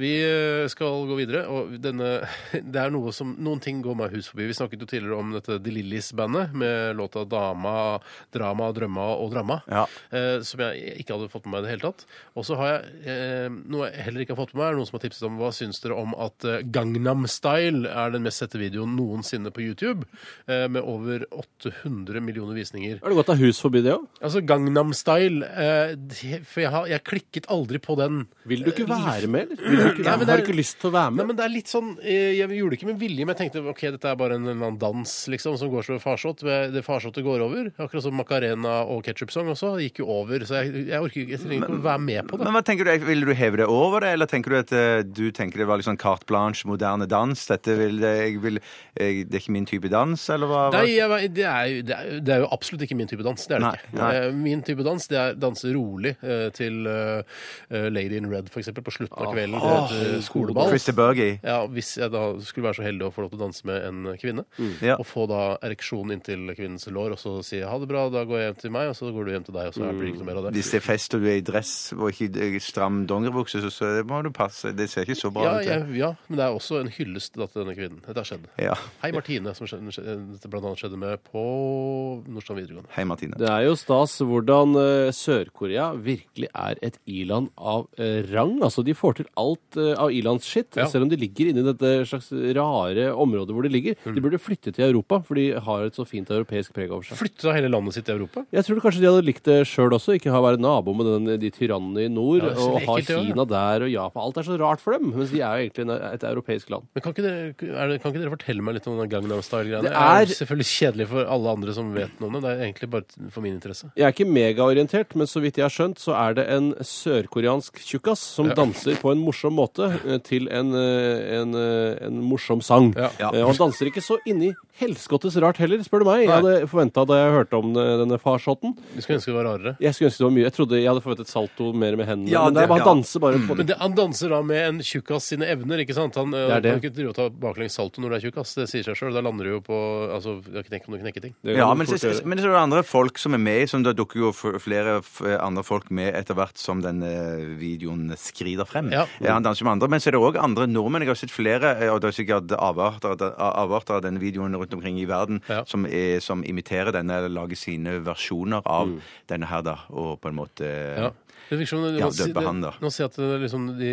Speaker 3: Vi eh, skal gå videre, og denne, [laughs] det er noe som, noen ting går meg hus forbi. Vi snakket jo tidligere om dette De Lillis-bandet med låta 'Dama', 'Drama', 'Drømma' og 'Dramma',
Speaker 5: Ja.
Speaker 3: eh, som jeg ikke hadde fått med meg i det hele tatt. Og så har jeg eh, noe jeg heller ikke har fått med meg, er noen som har tipset om hva syns dere om at eh, 'Gangnam Style' er den mest sette videoen noensinne på YouTube, eh, med over 800 millioner visninger.
Speaker 4: Har du gått av hus forbi det òg?
Speaker 3: Altså Gangnam Style eh, det- For jeg, har, jeg klikket aldri på den.
Speaker 4: Vil du
Speaker 5: Eh,
Speaker 4: ikke være med, eller? Vil du ikke,
Speaker 3: Nei, men det er-
Speaker 4: har du ikke lyst til å være
Speaker 3: Nei,
Speaker 4: med?
Speaker 3: men det er litt sånn, eh, Jeg gjorde det ikke med vilje, men jeg tenkte ok, dette er bare en, eller annen dans liksom, som går som en farsott. men Det farsotte går over. Akkurat som Macarena og Ketchup-sang også. Det gikk jo over. Så jeg, jeg orker ikke, jeg trenger ikke å være med på det.
Speaker 5: Men hva tenker du, Ville du heve det over det, eller tenker du at eh, du tenker det var liksom carte blanche, moderne dans? Dette vil, jeg vil, jeg, det er ikke min type dans, eller hva? hva-
Speaker 3: Nei, jeg, vet- det, er, jo- det, er, jo- det er jo absolutt ikke min type dans. Det er det
Speaker 5: Nei,
Speaker 3: ikke.
Speaker 5: nei.
Speaker 3: Eh, Min type dans det er danse rolig eh, til eh, eh, Lady in Red, for eksempel, på slutten av kvelden etter skoleball.
Speaker 5: Christer Berge.
Speaker 3: Ja, Hvis jeg da skulle være så heldig å få lov til å danse med en kvinne,
Speaker 5: Ja.
Speaker 3: og få da ereksjon inntil kvinnens lår, og så si ha det bra, da går jeg hjem til meg, og så går du hjem til deg, og så blir det ikke noe mer av det.
Speaker 5: Hvis det er fest og du er i dress og ikke eh, stram dongeribukse, så, så må du passe. Det ser ikke så bra
Speaker 3: Ja,
Speaker 5: ut.
Speaker 3: jeg, ja, men det er også en hyllest da til denne kvinnen. Dette har skjedd.
Speaker 5: Ja.
Speaker 3: Hei, Martine, som skjedde, dette blant annet skjedde med på Nordstrand videregående.
Speaker 5: Hei, Martine.
Speaker 4: Det er jo stas hvordan eh, Sør-Korea virkelig er et i-land av eh, rang. Altså, De får til alt eh, av i-landsskitt,
Speaker 3: Ja.
Speaker 4: selv om de ligger inni dette slags rare området hvor de ligger.
Speaker 3: Mm.
Speaker 4: De burde flytte til Europa, for de har et så fint europeisk preg over seg.
Speaker 3: Flytte hele landet sitt til Europa?
Speaker 4: Jeg tror kanskje de hadde likt det sjøl også, ikke ha være nabo med den, de tyrannene i nord.
Speaker 3: Ja, det er så
Speaker 4: og ha
Speaker 3: ekkelt, ja.
Speaker 4: Kina der og Japan. Alt er så rart for dem, mens de er jo egentlig en, et europeisk land.
Speaker 3: Men kan ikke, dere, er det, kan ikke dere fortelle meg litt om den Gangnam Style-greiene?
Speaker 4: Det
Speaker 3: Det er
Speaker 4: er-
Speaker 3: selvfølgelig kjedelig for alle andre som vet noe om det. Det er egentlig bare for min interesse.
Speaker 4: Jeg er ikke megaorientert, men så vidt jeg har skjønt, så er det en sørkoreansk tjukkas som danser på en morsom måte eh, til en, eh, en, eh, en morsom sang.
Speaker 3: Ja. Ja.
Speaker 4: Eh, Og han danser ikke så inni helskottes rart heller, spør du meg. Jeg hadde forventa da jeg hørte om eh, denne farsotten.
Speaker 3: Vi skulle ønske det var rarere.
Speaker 4: Jeg skulle ønske det var mye. Jeg trodde jeg hadde forventet salto mer med hendene.
Speaker 5: Ja,
Speaker 4: men det
Speaker 5: det-
Speaker 4: er bare
Speaker 5: ja.
Speaker 4: han danser bare på
Speaker 3: Men det, han danser da med en tjukkas sine evner, ikke sant? Han det
Speaker 4: er det.
Speaker 3: kan ikke drive og ta baklengs salto når du er tjukkas. Det sier seg sjøl. Da lander du jo på Altså, jeg kan ikke om du knekker ting.
Speaker 4: Det kan
Speaker 5: Ja,
Speaker 4: du
Speaker 5: men,
Speaker 4: fort
Speaker 5: så,
Speaker 4: gjøre.
Speaker 5: men så er det andre folk som er med, som det dukker jo f- flere f- andre folk med etter hvert som den eh, videoen skrider frem.
Speaker 3: Ja.
Speaker 5: han danser med andre, men så er det òg andre nordmenn. Jeg har sett flere, eh, og det er sikkert avarter, av- avarter av denne videoen rundt omkring i verden,
Speaker 3: Ja.
Speaker 5: som, er, som imiterer denne, eller lager sine versjoner av denne her, da, og på en måte
Speaker 3: Mm. Ja. Det virker som du
Speaker 5: Ja,
Speaker 3: må si-
Speaker 5: døpe
Speaker 3: det-
Speaker 5: han, da.
Speaker 3: Nå sier jeg at det liksom, de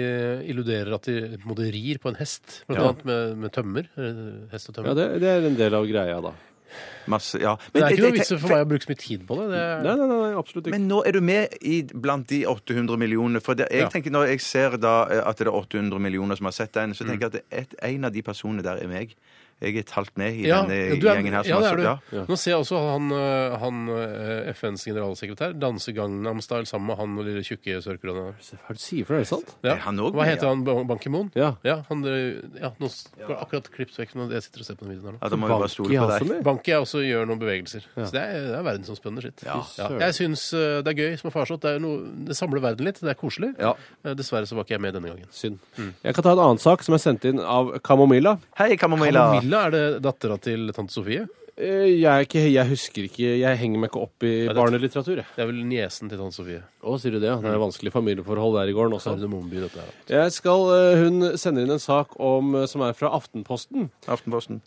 Speaker 3: illuderer at de på en måte rir på en hest, blant annet med, med tømmer. eh, Hest og tømmer.
Speaker 4: ja, det, det er en del av greia, da.
Speaker 5: masse Ja.
Speaker 3: Men det er
Speaker 5: jeg-
Speaker 3: ikke noe
Speaker 5: jeg-
Speaker 3: vits for meg å bruke så mye tid på det. det er,
Speaker 4: Nei, nei, nei, nei, absolutt ikke.
Speaker 5: Men nå er du med i, blant de 800 millionene. For det, jeg
Speaker 3: Ja.
Speaker 5: tenker når jeg ser da eh, at det er 800 millioner som har sett den, så tenker jeg
Speaker 3: Mm.
Speaker 5: at et, en av de personene der er meg. Jeg er talt med i denne
Speaker 3: du er-
Speaker 5: gjengen her. Som
Speaker 3: ja, det
Speaker 5: har-
Speaker 3: er du.
Speaker 5: ja.
Speaker 3: Nå ser jeg også han, eh, han eh, FNs generalsekretær danse Gangnam Style sammen med han og lille tjukke sørkoreaneren.
Speaker 4: Hva er det du sier for noe? Er det sant?
Speaker 3: Ja.
Speaker 5: Er han også
Speaker 3: Hva
Speaker 5: med,
Speaker 3: heter
Speaker 5: ja?
Speaker 3: han? Ban Ban Ki-moon?
Speaker 4: Ja.
Speaker 3: han, eh, ja, nå går det akkurat klippet vekk. men Jeg sitter og ser på den videoen her nå.
Speaker 5: Ja, da må vi bare
Speaker 4: Banki
Speaker 5: stole på
Speaker 4: har så
Speaker 5: deg.
Speaker 4: mye.
Speaker 3: Banki er også gjør noen bevegelser. Så det er, det er verdensomspennende skitt. Ja. Jeg syns eh, det er gøy som er farsott. Det, er noe- det samler verden litt. Det er koselig.
Speaker 4: Ja.
Speaker 3: Eh, Dessverre så var ikke jeg med denne gangen.
Speaker 4: Synd.
Speaker 5: Mm.
Speaker 4: Jeg kan ta en annen sak som er sendt inn av Kamomilla.
Speaker 5: Hei,
Speaker 3: Milla
Speaker 5: Kamomilla.
Speaker 3: er det dattera til tante Sofie.
Speaker 4: Eh, Jeg, er ikke, jeg husker ikke Jeg henger meg ikke opp i
Speaker 3: det-
Speaker 4: barnelitteratur. jeg.
Speaker 3: Det er vel niesen til tante Sofie.
Speaker 4: Å, sier du det? ja? Det er vanskelig familieforhold der i gården også.
Speaker 3: Kardemommeby, dette her.
Speaker 4: Jeg skal, eh, hun sender inn en sak om, eh, som er fra Aftenposten.
Speaker 5: Aftenposten.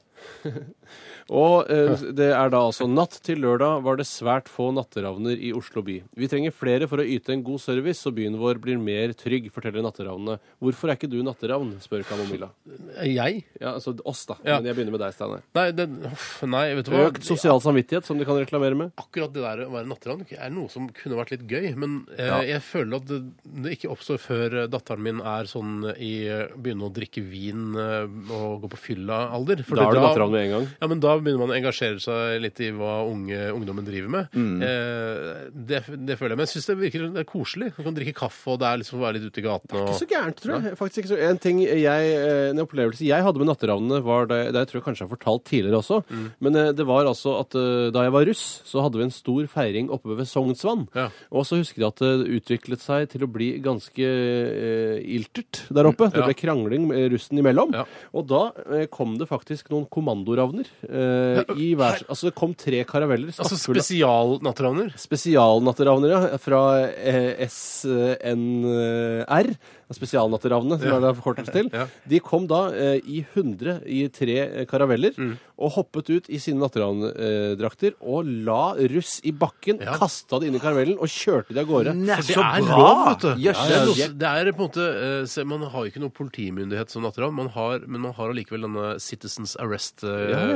Speaker 4: Og eh, det er da altså Natt til lørdag var det svært få natteravner i Oslo by. Vi trenger flere for å yte en god service, så byen vår blir mer trygg, forteller natteravnene. Hvorfor er ikke du natteravn, spør Kamomilla.
Speaker 3: Eh, Jeg?
Speaker 4: Ja, altså oss, da.
Speaker 3: Ja.
Speaker 4: Men jeg begynner med deg, Steinar.
Speaker 3: Nei, den, uff, nei, vet du hva?
Speaker 4: Økt sosial samvittighet, som de kan reklamere med.
Speaker 3: Akkurat det der å være natteravn er noe som kunne vært litt gøy, men eh, jeg føler at det, det ikke oppstår før eh, datteren min er sånn i eh, begynner å drikke vin eh, og gå på fylla-alder.
Speaker 4: Da er du natteravn med en gang.
Speaker 3: Ja, men da begynner man å engasjere seg litt i hva unge, ungdommen driver med.
Speaker 4: Mm.
Speaker 3: Eh, det, det føler jeg. Men jeg syns det virker det er koselig. Du kan drikke kaffe, og det er liksom være litt ute i gatene
Speaker 4: Ikke så
Speaker 3: og
Speaker 4: gærent, tror jeg. Faktisk ikke så En ting jeg, eh, en opplevelse jeg hadde med Natteravnene, var det, det jeg tror jeg kanskje jeg har fortalt tidligere også, men eh, det var altså at eh, da jeg var russ, så hadde vi en stor feiring oppe ved Sognsvann.
Speaker 3: Ja.
Speaker 4: Og så husker jeg at det utviklet seg til å bli ganske eh, iltert der oppe. Det
Speaker 3: Ja.
Speaker 4: ble krangling med russen imellom.
Speaker 3: Ja.
Speaker 4: Og da eh, kom det faktisk noen kommandoravner eh, i hver Altså, det kom tre karaveller
Speaker 3: Altså
Speaker 4: stappfulle av-
Speaker 3: spesialnattravner.
Speaker 4: Spesialnatteravner, ja. Fra eh, SNR. Spesialnatteravnene, som det er forkortelse til.
Speaker 3: [laughs] Ja.
Speaker 4: De kom da eh, i 100 i tre eh, karaveller
Speaker 3: Mm.
Speaker 4: og hoppet ut i sine natteravndrakter og la russ i bakken,
Speaker 3: Ja.
Speaker 4: kasta det inn i karavellen og kjørte de av gårde.
Speaker 3: For det
Speaker 5: så
Speaker 3: er
Speaker 5: bra!
Speaker 3: lov, vet du.
Speaker 5: Jøss.
Speaker 3: Det, er noe, det er på en måte eh, se, Man har jo ikke noe politimyndighet som natteravn, man har, men man har allikevel denne Citizens Arrest eh,
Speaker 4: Ja, ja, ja, ja.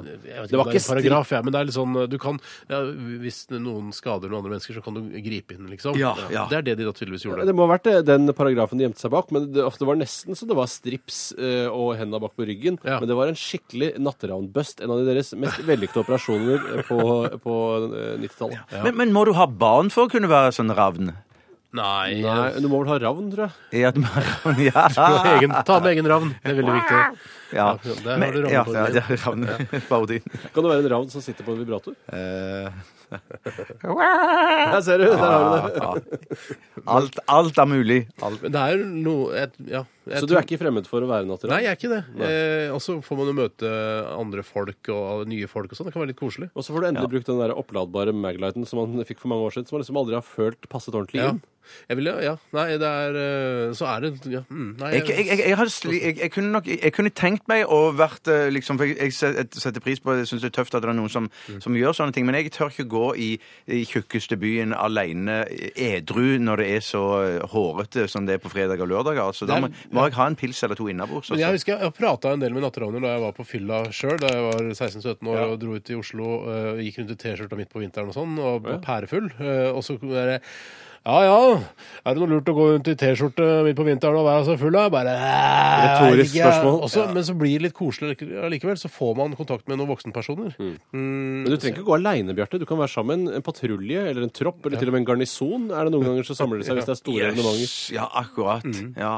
Speaker 3: Jeg vet ikke
Speaker 4: Det var
Speaker 3: om
Speaker 4: ikke
Speaker 3: det er en paragraf, jeg, men det er litt sånn eh, du kan, ja, Hvis noen skader noen andre mennesker, så kan du gripe inn, liksom.
Speaker 5: Ja, ja.
Speaker 3: Det er det de da tydeligvis
Speaker 4: Ja,
Speaker 3: gjorde.
Speaker 4: Det må ha vært eh, den paragrafen de gjemte seg bak, men det, ofte var nesten så det var strips eh, og henda bak på ryggen.
Speaker 3: Ja.
Speaker 4: Men det var en skikkelig natteravnbust, en av de deres mest vellykkede operasjoner eh, på, på eh, 90-tallet.
Speaker 5: Men, men må du ha barn for å kunne være sånn ravn?
Speaker 3: Nei,
Speaker 4: Nei,
Speaker 3: [laughs]
Speaker 4: du må vel ha ravn, tror jeg.
Speaker 5: I at man, [laughs] ja.
Speaker 3: eh, egen, Ta med egen ravn. Det er veldig viktig.
Speaker 5: ja.
Speaker 3: der har
Speaker 5: Men-
Speaker 3: du ravn
Speaker 5: ja,
Speaker 3: på
Speaker 5: ja,
Speaker 3: din.
Speaker 5: det er [laughs] ravneparodien.
Speaker 4: Kan det være en ravn som sitter på en vibrator?
Speaker 5: Eh,
Speaker 4: Der ser du! Der har du det.
Speaker 5: ja. alt, alt er mulig.
Speaker 3: Men det er noe et, ja, jeg
Speaker 4: Så
Speaker 3: tror-
Speaker 4: du er ikke fremmed for å være natteravn?
Speaker 3: Nei, jeg er ikke det. Eh, og så får man jo møte andre folk og nye folk og sånn. Det kan være litt koselig.
Speaker 4: Og så får du endelig brukt den der oppladbare Maglighten som man fikk for mange år siden, som man liksom aldri har følt passet ordentlig
Speaker 3: Ja.
Speaker 4: inn.
Speaker 3: Jeg ville, ja. Nei, det er eh, Så er det ja. mm, Nei,
Speaker 5: Jeg, jeg, jeg, jeg, hadde sli, jeg, jeg, kunne nok, jeg, jeg kunne tenkt meg å vært eh, liksom, For jeg, jeg set- setter pris på det, jeg syns det er tøft at det er noen som,
Speaker 4: Mm.
Speaker 5: som gjør sånne ting. Men jeg tør ikke gå i, i tjukkeste byen aleine edru når det er så eh, hårete som det er på fredag og lørdag. Altså,
Speaker 3: Det
Speaker 5: da
Speaker 3: er-
Speaker 5: må, må jeg ha en pils eller to innabords.
Speaker 3: Men jeg
Speaker 5: Altså.
Speaker 3: husker jeg, jeg prata en del med natteravner da jeg var på fylla sjøl. Da jeg var 16-17 år og dro ut i Oslo eh, og gikk rundt i T-skjorta midt på vinteren og sånn, og var pærefull. Eh, og så kom det der, ja ja, er det noe lurt å gå rundt i T-skjorte midt på vinteren og være så full? da? Jeg Bare «Eh, jeg vet
Speaker 4: Retorisk
Speaker 3: ikke».
Speaker 4: spørsmål.
Speaker 3: Også, Men så blir det litt koselig likevel. Så får man kontakt med noen voksenpersoner. Mm.
Speaker 4: Men du trenger ikke gå aleine, Bjarte. Du kan være sammen med en patrulje eller en tropp eller til og med en garnison. Er det noen ganger så samler de seg hvis det er store Mm. evenementer.
Speaker 5: Yes, ja, akkurat. Ja.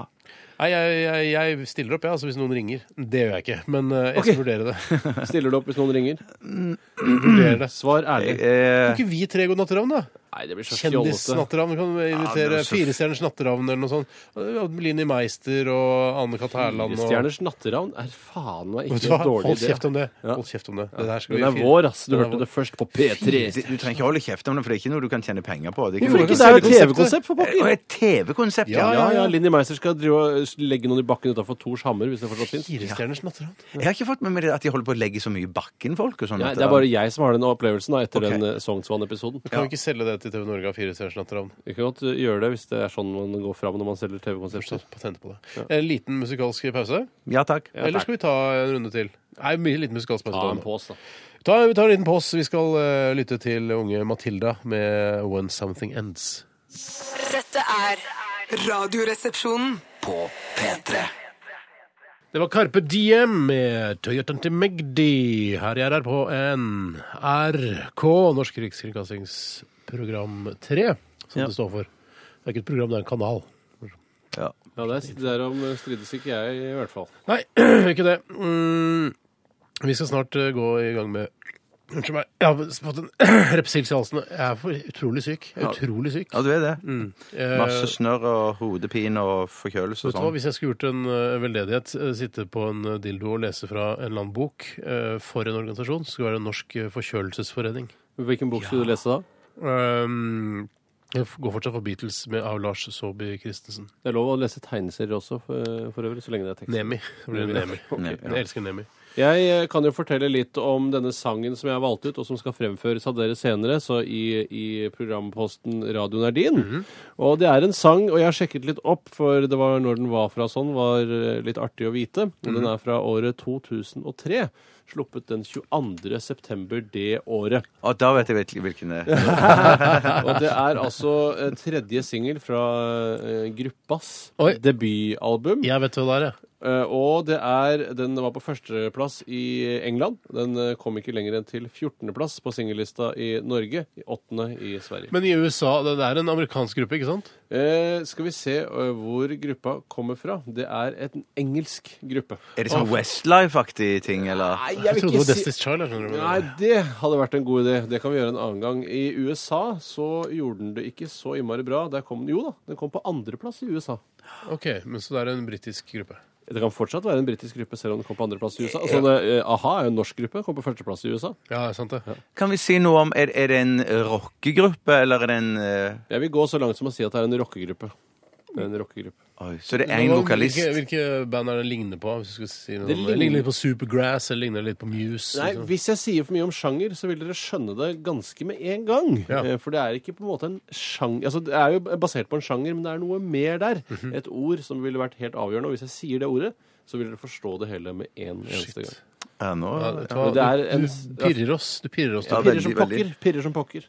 Speaker 3: Nei, jeg, jeg, jeg stiller opp, jeg, altså, hvis noen ringer. Det gjør jeg ikke, men eh, jeg
Speaker 4: Ok.
Speaker 3: skal vurdere det.
Speaker 4: [clears throat] Stiller du opp hvis noen ringer?
Speaker 3: Vurdere det.
Speaker 4: Svar ærlig.
Speaker 5: Eh,
Speaker 3: Kan ikke vi tre gå natteravn, da?
Speaker 4: Nei, det blir så fjollete.
Speaker 3: Kjendisnatteravn. Kan vi
Speaker 5: Ja,
Speaker 3: invitere
Speaker 5: men så-
Speaker 3: Firestjerners natteravn eller noe sånt? Lini Meister og Anne-Kat. Hærland og
Speaker 4: Stjerners natteravn er faen meg
Speaker 3: Vet
Speaker 4: ikke
Speaker 3: du hva?
Speaker 4: en dårlig
Speaker 3: Hold
Speaker 4: idé.
Speaker 3: kjeft om det.
Speaker 4: Ja.
Speaker 3: Hold kjeft om det. Det der skal
Speaker 4: Den
Speaker 3: vi
Speaker 4: er vår, ass. Du hørte det først på P3.
Speaker 5: det- du trenger ikke holde kjeft om det, for det er ikke noe du kan tjene penger på. Det er
Speaker 4: Hvorfor ikke? Det
Speaker 5: noe-
Speaker 4: er jo et TV-konsept for
Speaker 5: Og
Speaker 4: pokker.
Speaker 5: et TV-konsept,
Speaker 4: Ja,
Speaker 5: ja.
Speaker 4: ja, ja. Linni Meister skal drive og legge noen i bakken utafor Tors Hammer, hvis det fortsatt fins.
Speaker 3: Firestjerners natteravn?
Speaker 5: Jeg har ikke fått med meg det at de holder på å legge så mye i bakken, folk. og sånn.
Speaker 4: Ja,
Speaker 5: at
Speaker 4: det er
Speaker 5: det-
Speaker 4: bare jeg som har den opplevelsen da, etter
Speaker 5: Ok.
Speaker 4: den eh, Sognsvann-episoden.
Speaker 3: Kan vi ikke selge det til TV Norge av Firestjerners natteravn?
Speaker 4: Vi kan godt eh, gjøre det hvis det er sånn man går fram når man selger TV-konsepter.
Speaker 3: Sånn, patent på det. En liten musikalsk pause?
Speaker 5: Ja, takk.
Speaker 3: Eller skal vi ta en runde til? Nei, mye liten musikalsk pause.
Speaker 4: Ta
Speaker 3: på
Speaker 4: en
Speaker 3: den.
Speaker 4: pause, da.
Speaker 3: Ta, vi tar en liten pause. Vi skal eh, lytte til unge Matilda med When Something Ends.
Speaker 1: Dette er Radioresepsjonen.
Speaker 2: På P3.
Speaker 3: Det var Carpe Diem med Toyotaen til Magdi. Her i RR på NRK, Norsk Rikskringkastingsprogram 3, som
Speaker 5: Ja.
Speaker 3: det står for. Det er ikke et program, det er en kanal.
Speaker 5: Ja.
Speaker 4: Ja, der, derom eh, strides ikke jeg, i hvert fall.
Speaker 3: Nei, [clears throat] ikke det. Mm, vi skal snart eh, gå i gang med Unnskyld meg. Jeg har fått en [clears throat] repsils i halsen. Jeg er for utrolig syk. Jeg er utrolig syk.
Speaker 5: ja, du er det.
Speaker 3: Eh,
Speaker 5: Masse snørr og hodepine og forkjølelse og
Speaker 3: Vet du hva,
Speaker 5: sånn.
Speaker 3: Hvis jeg skulle gjort en eh, veldedighet, eh, sitte på en eh, dildo og lese fra en eller annen bok eh, for en organisasjon, så skulle det være Norsk eh, forkjølelsesforening.
Speaker 4: Hvilken bok skulle du lese da?
Speaker 3: Um, jeg f- går fortsatt for Beatles med av Lars Saabye Christensen.
Speaker 4: Det er lov å lese tegneserier også, for, for øvrig, så lenge det er tekst.
Speaker 3: Nemi. Det blir Nemi.
Speaker 5: Nemi, ja.
Speaker 3: Jeg elsker Nemi.
Speaker 4: Jeg eh, kan jo fortelle litt om denne sangen som jeg har valgt ut, og som skal fremføres av dere senere, så i, i programposten Radioen er din. Og det er en sang, og jeg har sjekket litt opp, for det var når den var fra sånn, var eh, litt artig å vite. Og den er fra året 2003. Sluppet den 22. september det året.
Speaker 5: Og da vet jeg virkelig hvilken det er.
Speaker 4: Og det er altså eh, tredje singel fra eh, gruppas
Speaker 3: Oi.
Speaker 4: debutalbum.
Speaker 3: Jeg vet hva det er, jeg.
Speaker 4: Eh, og det er, den var på førsteplass i England. Den eh, kom ikke lenger enn til 14.-plass på singellista i Norge. I åttende i Sverige.
Speaker 3: Men i USA Det det er en amerikansk gruppe, ikke sant?
Speaker 4: Eh, skal vi se eh, hvor gruppa kommer fra. Det er en engelsk gruppe.
Speaker 5: Er det sånn Westlife-aktig ting, eller?
Speaker 3: Jeg trodde det var Destiny's Child. Jeg, skjønner du.
Speaker 4: Nei, det hadde vært en god idé. Det kan vi gjøre en annen gang. I USA så gjorde den det ikke så innmari bra. Der kom den, jo da, den kom på andreplass i USA.
Speaker 3: Ok, men Så det er en britisk gruppe.
Speaker 4: Det kan fortsatt være en britisk gruppe, selv om den kom på andreplass i USA. Altså, det, eh, A-ha er jo en norsk gruppe, kom på førsteplass i USA.
Speaker 3: Ja, det er sant det.
Speaker 5: Kan vi si noe om Er, er det en rockegruppe, eller er det en eh,
Speaker 4: Jeg vil gå så langt som å si at det er en rockegruppe. Det er en rockegruppe.
Speaker 5: Oi, Så det er én vokalist.
Speaker 3: Hvilke, hvilke band er det ligner på? Hvis du skal si noe
Speaker 4: Det
Speaker 3: om det
Speaker 4: ligner-
Speaker 3: ligner litt på Supergrass eller ligner det litt på Muse.
Speaker 4: Nei,
Speaker 3: liksom.
Speaker 4: Hvis jeg sier for mye om sjanger, så vil dere skjønne det ganske med en gang.
Speaker 3: Ja.
Speaker 4: Eh, For det er ikke på en måte en sjanger Altså, Det er jo basert på en sjanger, men det er noe mer der. Et ord som ville vært helt avgjørende. Og hvis jeg sier det ordet, så vil dere forstå det hele med en eneste gang.
Speaker 5: Ja, nå,
Speaker 3: Ja, vet du
Speaker 5: ja.
Speaker 3: hva?
Speaker 4: Men det er en-
Speaker 3: du, du pirrer oss. Du pirrer oss.
Speaker 5: Ja,
Speaker 3: du pirrer.
Speaker 4: Pirrer som
Speaker 5: veldig, veldig.
Speaker 4: pokker. Pirrer som pokker.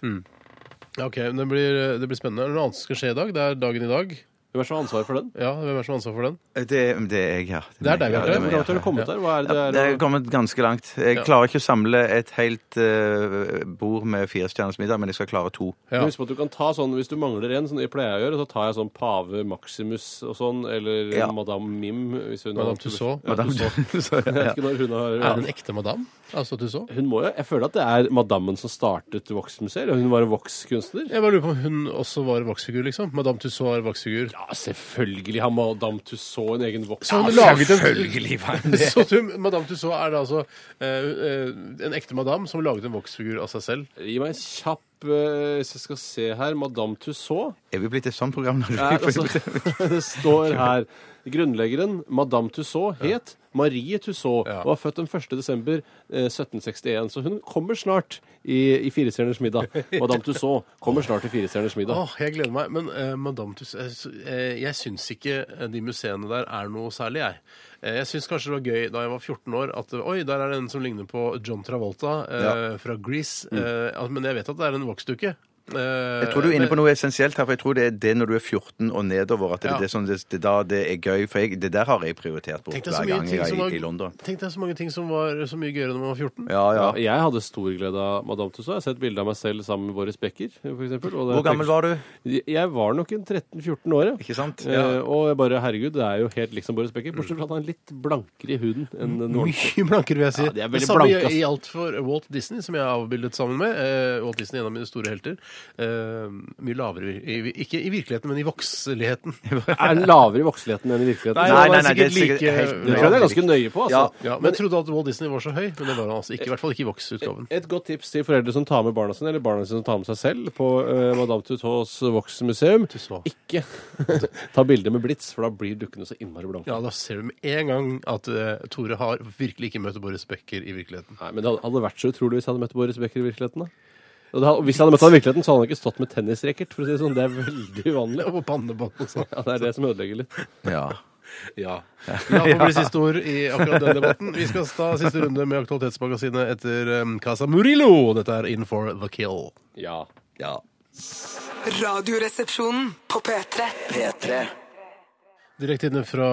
Speaker 3: Ja, ok, men det blir, det blir spennende. Er det noe annet som skal skje i dag? Det er dagen i dag.
Speaker 4: Hvem er som har ansvaret for den?
Speaker 3: Ja, Hvem er det som har ansvar for den?
Speaker 5: Det, det er jeg, ja.
Speaker 3: Det er deg, Bjarte.
Speaker 5: meg, ja, det er
Speaker 4: Hvor
Speaker 5: meg,
Speaker 4: langt har du
Speaker 5: ja.
Speaker 4: kommet der? Hva er det
Speaker 5: Ja,
Speaker 4: er-
Speaker 5: Det er kommet ganske langt. Jeg
Speaker 3: Ja.
Speaker 5: klarer ikke å samle et helt eh, bord med firestjerners middag, men jeg skal klare to.
Speaker 3: Ja.
Speaker 4: Men Husk på at du kan ta sånn, Hvis du mangler en, som jeg pleier å gjøre, så tar jeg sånn pave Maximus og sånn, eller
Speaker 5: Ja.
Speaker 4: Madame Mim. hvis hun har-
Speaker 3: Madame Tussauds.
Speaker 4: Ja, Tussauds.
Speaker 5: [laughs] Så,
Speaker 4: Jeg
Speaker 5: ja.
Speaker 4: vet ikke når hun har
Speaker 3: Er det en ekte madame? Altså Tussauds?
Speaker 4: Hun må jo, Jeg føler at det er madammen som startet Vox-museet. eller Hun var en Vox-kunstner.
Speaker 3: Jeg bare lurer på om hun også var voksfigur, liksom. Madame Tussauds er voksfigur.
Speaker 4: Ja, selvfølgelig har madame Tussauds en egen Vox.
Speaker 3: Så hun
Speaker 4: Ja,
Speaker 3: laget en-
Speaker 4: selvfølgelig
Speaker 3: [laughs]
Speaker 4: var hun det.
Speaker 3: Så du, Madame Tussauds er da altså eh, eh, en ekte madame som laget en voksfigur av seg selv.
Speaker 4: Gi meg en kjapp eh, Hvis jeg skal se her Madame Tussauds
Speaker 5: Er vi blitt et sånt
Speaker 4: [laughs]
Speaker 5: program? Når du,
Speaker 4: er,
Speaker 5: [laughs]
Speaker 4: altså, Det står her Grunnleggeren Madame Tussauds het Marie Tussauds
Speaker 3: Ja.
Speaker 4: og var født den 1. desember eh, 1761. Så hun kommer snart i, i Firestjerners [laughs] middag. Madame Tussauds kommer snart i Firestjerners middag.
Speaker 3: Åh, jeg gleder meg. Men eh, Madame Tussauds eh, s- eh, Jeg syns ikke eh, de museene der er noe særlig, jeg. Eh, jeg syns kanskje det var gøy da jeg var 14 år at eh, oi, der er det en som ligner på John Travolta eh, fra Grease. Eh, al- men jeg vet at det er en voksdukke. Eh,
Speaker 5: Mm. jeg tror du er inne på noe essensielt her, for jeg tror det er det når du er 14 og nedover, at det
Speaker 3: Ja.
Speaker 5: er det som det, det, da det er gøy. For jeg, det der har jeg prioritert bort
Speaker 3: Tenk deg så
Speaker 5: hver
Speaker 3: mye
Speaker 5: gang jeg
Speaker 3: ting
Speaker 5: er
Speaker 3: som
Speaker 5: i,
Speaker 3: var-
Speaker 5: i London.
Speaker 3: Tenk deg så mange ting som var så mye gøyere når man var 14.
Speaker 5: Ja, ja.
Speaker 4: Ja, jeg hadde stor glede av Madame Tussauds. Jeg har sett bilde av meg selv sammen med Boris Becker. For eksempel, og det-
Speaker 5: Hvor gammel var du?
Speaker 4: Jeg var nok en 13-14 år, ja.
Speaker 5: Ikke sant?
Speaker 4: Eh, og jeg bare, herregud, det er jo helt liksom Boris Becker, bortsett fra at han er litt blankere i huden enn
Speaker 5: Mm.
Speaker 4: den ordentlige.
Speaker 3: [laughs] Mye blankere, vil jeg si.
Speaker 4: Ja, de er veldig
Speaker 3: det samme
Speaker 4: blanke, ass.
Speaker 3: gjaldt for Walt Disney, som jeg er avbildet sammen med. Eh, Walt Disney, en av mine store helter. Eh, mye lavere, i, i- ikke i virkeligheten, men i vokseligheten.
Speaker 4: Er han lavere i vokseligheten enn i virkeligheten?
Speaker 5: Nei, nei,
Speaker 3: han er
Speaker 5: nei, det er
Speaker 3: sikkert
Speaker 5: sikkert
Speaker 3: like- eh,
Speaker 5: helt-
Speaker 4: Det tror jeg det er ganske nøye på, altså.
Speaker 3: Ja, men jeg trodde at Walt Disney var så høy, men det var han altså ikke. I hvert fall ikke i voksutgaven.
Speaker 4: Et godt tips til foreldre som tar med barna sine, eller barna sine som tar med seg selv, på eh, Madame Tussauds voksmuseum,
Speaker 3: Tussauds.
Speaker 4: ikke [laughs] ta bilder med blits, for da blir dukkene så innmari blanke.
Speaker 3: Ja, da ser du med en gang at eh, Tore har virkelig ikke møtt Boris Becker i virkeligheten.
Speaker 4: Nei, men det hadde- hadde vært så utrolig hvis jeg hadde møtt Boris Becker i virkeligheten, da. Og det hadde- og Hvis jeg hadde møtt han i virkeligheten, så hadde han ikke stått med tennisracket, for å si det sånn. Det er veldig uvanlig.
Speaker 3: Og på pannebånd og sånn.
Speaker 4: Ja, det er det som ødelegger litt.
Speaker 5: Ja.
Speaker 3: Ja.
Speaker 5: [laughs]
Speaker 3: La få bli siste ord i akkurat den debatten. Vi skal ta siste runde med Aktualitetsmagasinet etter eh, Casa Murillo. Dette er In for the kill.
Speaker 4: Ja.
Speaker 5: ja.
Speaker 1: Radioresepsjonen på P3.
Speaker 2: P3.
Speaker 3: Direkte inne fra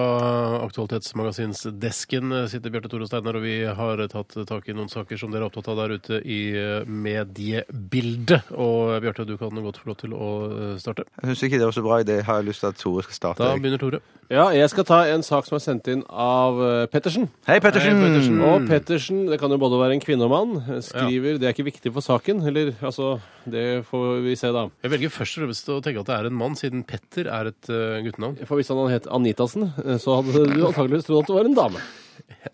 Speaker 3: Aktualitetsmagasinsdesken sitter Bjarte Tore og Steinar, og vi har tatt tak i noen saker som dere er opptatt av der ute i uh, mediebildet. Og uh, Bjarte, du kan godt få lov til å uh, starte.
Speaker 5: Jeg syns ikke det var så bra. Det har jeg lyst til at Tore skal starte.
Speaker 3: Da begynner Tore.
Speaker 4: Ja, jeg skal ta en sak som er sendt inn av eh, Pettersen.
Speaker 5: Hei, Pettersen!
Speaker 3: Hei, Pettersen.
Speaker 4: Og Pettersen, det kan jo både være en kvinne og mann, eh, skriver Det er ikke viktig for saken, eller altså Det får vi se, da.
Speaker 3: Jeg velger først og fremst å tenke at det er en mann, siden Petter er et eh, guttenavn.
Speaker 4: For hvis han hadde hett Anitasen, eh, så hadde du antakeligvis trodd at det var en dame.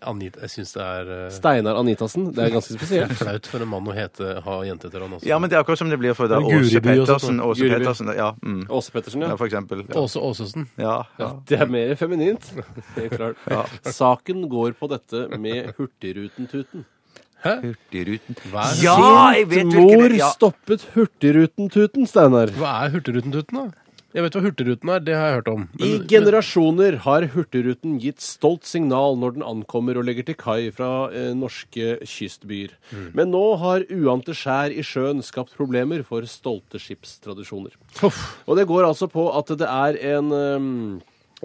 Speaker 3: Anita, jeg syns det er eh,
Speaker 4: Steinar Anitasen. Det er ganske
Speaker 3: det er
Speaker 4: spesielt.
Speaker 3: flaut for en mann å hete, ha jente etter han også.
Speaker 5: Ja, men det er akkurat som det blir for da
Speaker 3: Men Guri
Speaker 5: Åse
Speaker 3: by og sånt,
Speaker 5: Pettersen.
Speaker 3: da.
Speaker 5: Åse
Speaker 4: Guri by.
Speaker 5: Pettersen, ja. Mm.
Speaker 4: Åse Pettersen,
Speaker 5: ja,
Speaker 4: ja.
Speaker 5: for eksempel.
Speaker 3: Åse Åsesen.
Speaker 5: Ja, ja.
Speaker 4: Det er mer feminint. Helt klart. Saken går på dette med Hurtigruten-tuten.
Speaker 5: Hurtigruten.
Speaker 3: Hva er,
Speaker 5: Ja, jeg vet hvilken
Speaker 4: Mor
Speaker 5: det- ja.
Speaker 4: stoppet Hurtigruten-tuten, Steinar.
Speaker 3: hva er Hurtigruten-tuten, da? Jeg vet hva Hurtigruten er, det har jeg hørt om.
Speaker 4: I
Speaker 3: Men-
Speaker 4: generasjoner har Hurtigruten gitt stolt signal når den ankommer og legger til kai fra eh, norske kystbyer.
Speaker 3: Mm.
Speaker 4: Men nå har uante skjær i sjøen skapt problemer for stolte skipstradisjoner.
Speaker 3: Huff.
Speaker 4: Og det går altså på at det er en, em,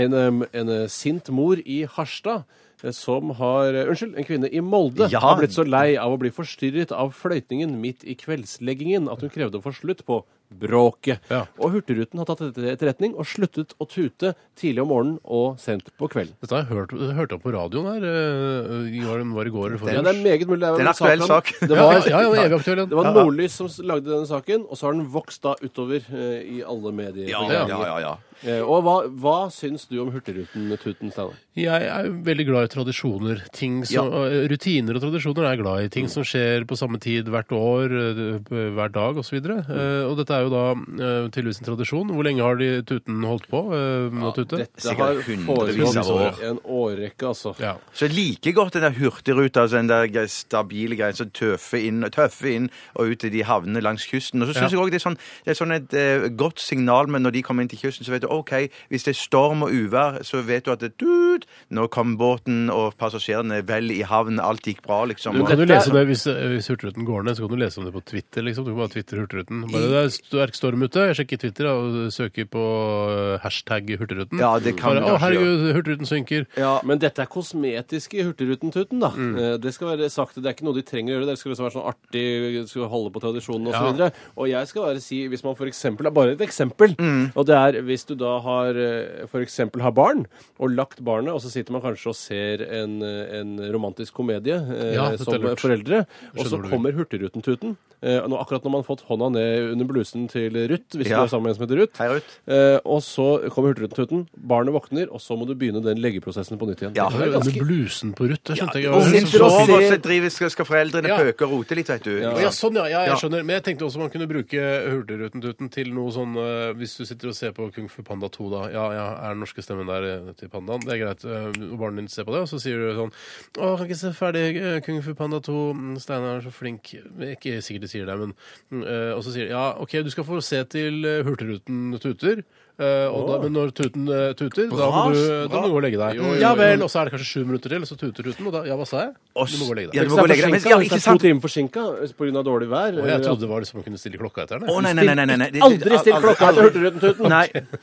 Speaker 4: en, em, en eh, sint mor i Harstad eh, som har eh, Unnskyld, en kvinne i Molde
Speaker 5: Ja.
Speaker 4: har blitt så lei av å bli forstyrret av fløytningen midt i kveldsleggingen at hun krevde å få slutt på bråket.
Speaker 3: Ja.
Speaker 4: Og Hurtigruten har tatt dette til etterretning og sluttet å tute tidlig om morgenen og sent på kvelden.
Speaker 3: Dette har jeg hørt, hørte jeg på radioen her. eh, i var det- var det i går eller forrige?
Speaker 4: Ja, det er meget mulig. Det
Speaker 5: Det er en aktuell
Speaker 4: saken.
Speaker 5: sak.
Speaker 4: Det var,
Speaker 3: Ja, ja, ja, den er evig aktuell, den.
Speaker 4: Det var
Speaker 3: Ja, ja.
Speaker 4: Nordlys som s- lagde denne saken, og så har den vokst da utover eh, i alle medier.
Speaker 3: ja,
Speaker 4: Eh, og hva, hva syns du om Hurtigruten-tuten, Steinar?
Speaker 3: Jeg er veldig glad i tradisjoner. Ting som, og eh, Rutiner og tradisjoner er jeg glad i. Ting som skjer på samme tid hvert år, eh, hver dag osv.
Speaker 4: Mm.
Speaker 3: Uh, og dette er jo da eh, tydeligvis en tradisjon. Hvor lenge har de tuten holdt på? eh, med å tute?
Speaker 4: Dette har
Speaker 5: Sikkert hundrevis
Speaker 4: foregått
Speaker 5: av år.
Speaker 4: i en årrekke, altså.
Speaker 3: Ja.
Speaker 5: Så like godt den der hurtigruta, altså den der gre- stabile greia som tøffer inn, tøffer inn og ut til de havnene langs kysten. Og så syns
Speaker 3: Ja.
Speaker 5: jeg òg det er sånn, det er sånn et eh, godt signal, men når de kommer inn til kysten, så vet du OK, hvis det er storm og uvær, så vet du at det, tut, nå kom båten og passasjerene vel i havn, alt gikk bra, liksom.
Speaker 3: Du
Speaker 5: Og-
Speaker 3: kan jo lese om det hvis, eh, hvis Hurtigruten går ned, så kan du lese om det på Twitter. liksom. Du kan bare Twitter Hurtigruten. Bare det er sterk storm ute. Jeg sjekker Twitter da, og søker på eh, hashtag Hurtigruten.
Speaker 5: Ja, det kan
Speaker 3: bare,
Speaker 5: du
Speaker 3: Å,
Speaker 5: kanskje
Speaker 3: herregud, Hurtigruten synker.
Speaker 4: Ja, Men dette er kosmetiske Hurtigruten-tuten, da.
Speaker 3: Mm.
Speaker 4: Eh, Det skal være sagt, det er ikke noe de trenger å gjøre. Det skal liksom være sånn artig, det skal holde på tradisjonen osv.
Speaker 3: Ja.
Speaker 4: videre Og jeg skal bare si, hvis man for eksempel, det er bare et eksempel,
Speaker 3: Mm.
Speaker 4: og det er hvis du da har eh, for eksempel har barn, og lagt barnet, og så sitter man kanskje og ser en, eh, en romantisk komedie eh,
Speaker 3: Ja, dette er
Speaker 4: som
Speaker 3: lurt.
Speaker 4: foreldre, og så
Speaker 3: hvor du vil.
Speaker 4: kommer Hurtigruten-tuten. Eh, nå, akkurat når man har fått hånda ned under blusen til Ruth, hvis
Speaker 5: Ja.
Speaker 4: du er sammen med en som heter Ruth.
Speaker 5: Hei, Ruth.
Speaker 4: Eh, og så kommer Hurtigruten-tuten, barnet våkner, og så må du begynne den leggeprosessen på nytt igjen.
Speaker 5: Ja.
Speaker 4: Det er
Speaker 3: Under
Speaker 4: ganske...
Speaker 3: blusen på Ruth. Det skjønte jeg.
Speaker 5: Og
Speaker 3: Hun
Speaker 5: hun
Speaker 3: som
Speaker 5: sover,
Speaker 4: sitter og
Speaker 5: og
Speaker 4: ser-
Speaker 5: så driver, skal, skal foreldrene
Speaker 3: Ja.
Speaker 5: pøke og rote litt, vet du.
Speaker 3: Ja,
Speaker 5: Ja.
Speaker 3: sånn, ja, ja, jeg
Speaker 5: Ja.
Speaker 3: skjønner. Men jeg tenkte også man kunne bruke Hurtigruten-tuten til noe sånn eh, Hvis du sitter og ser på Kung Fu Panda 2, da. Ja, ja, er den norske stemmen der eh, til pandaen? Det er greit. eh, Og barnet ditt ser på det, og så sier du sånn Å, kan ikke se ferdig eh, Kung Fu Panda 2. mm, Steinar er så flink. Ikke sikkert de sier det, men mm, eh, Og så sier de ja, OK, du skal få se til eh, Hurtigruten tuter. eh, og da, men når tuten eh, tuter, da må, du, da må du gå og legge deg. Ja vel, Og så er det kanskje sju minutter til, og så tuter tuten, og da Ja, hva sa jeg? Du må gå og legge
Speaker 5: Ja,
Speaker 3: deg.
Speaker 5: du må gå og legge deg. Men, ja,
Speaker 4: hvis det
Speaker 5: ikke
Speaker 4: er to
Speaker 5: sant?
Speaker 4: timer eh, forsinka pga. dårlig vær. eh,
Speaker 3: Og jeg trodde det var liksom å kunne stille klokka etter den. jeg.
Speaker 5: Å, nei, nei, nei, nei, nei, nei. Det- det-
Speaker 4: Aldri still
Speaker 5: aldri-
Speaker 4: klokka til
Speaker 5: aldri.
Speaker 4: Hurtigruten-tuten.
Speaker 5: [laughs]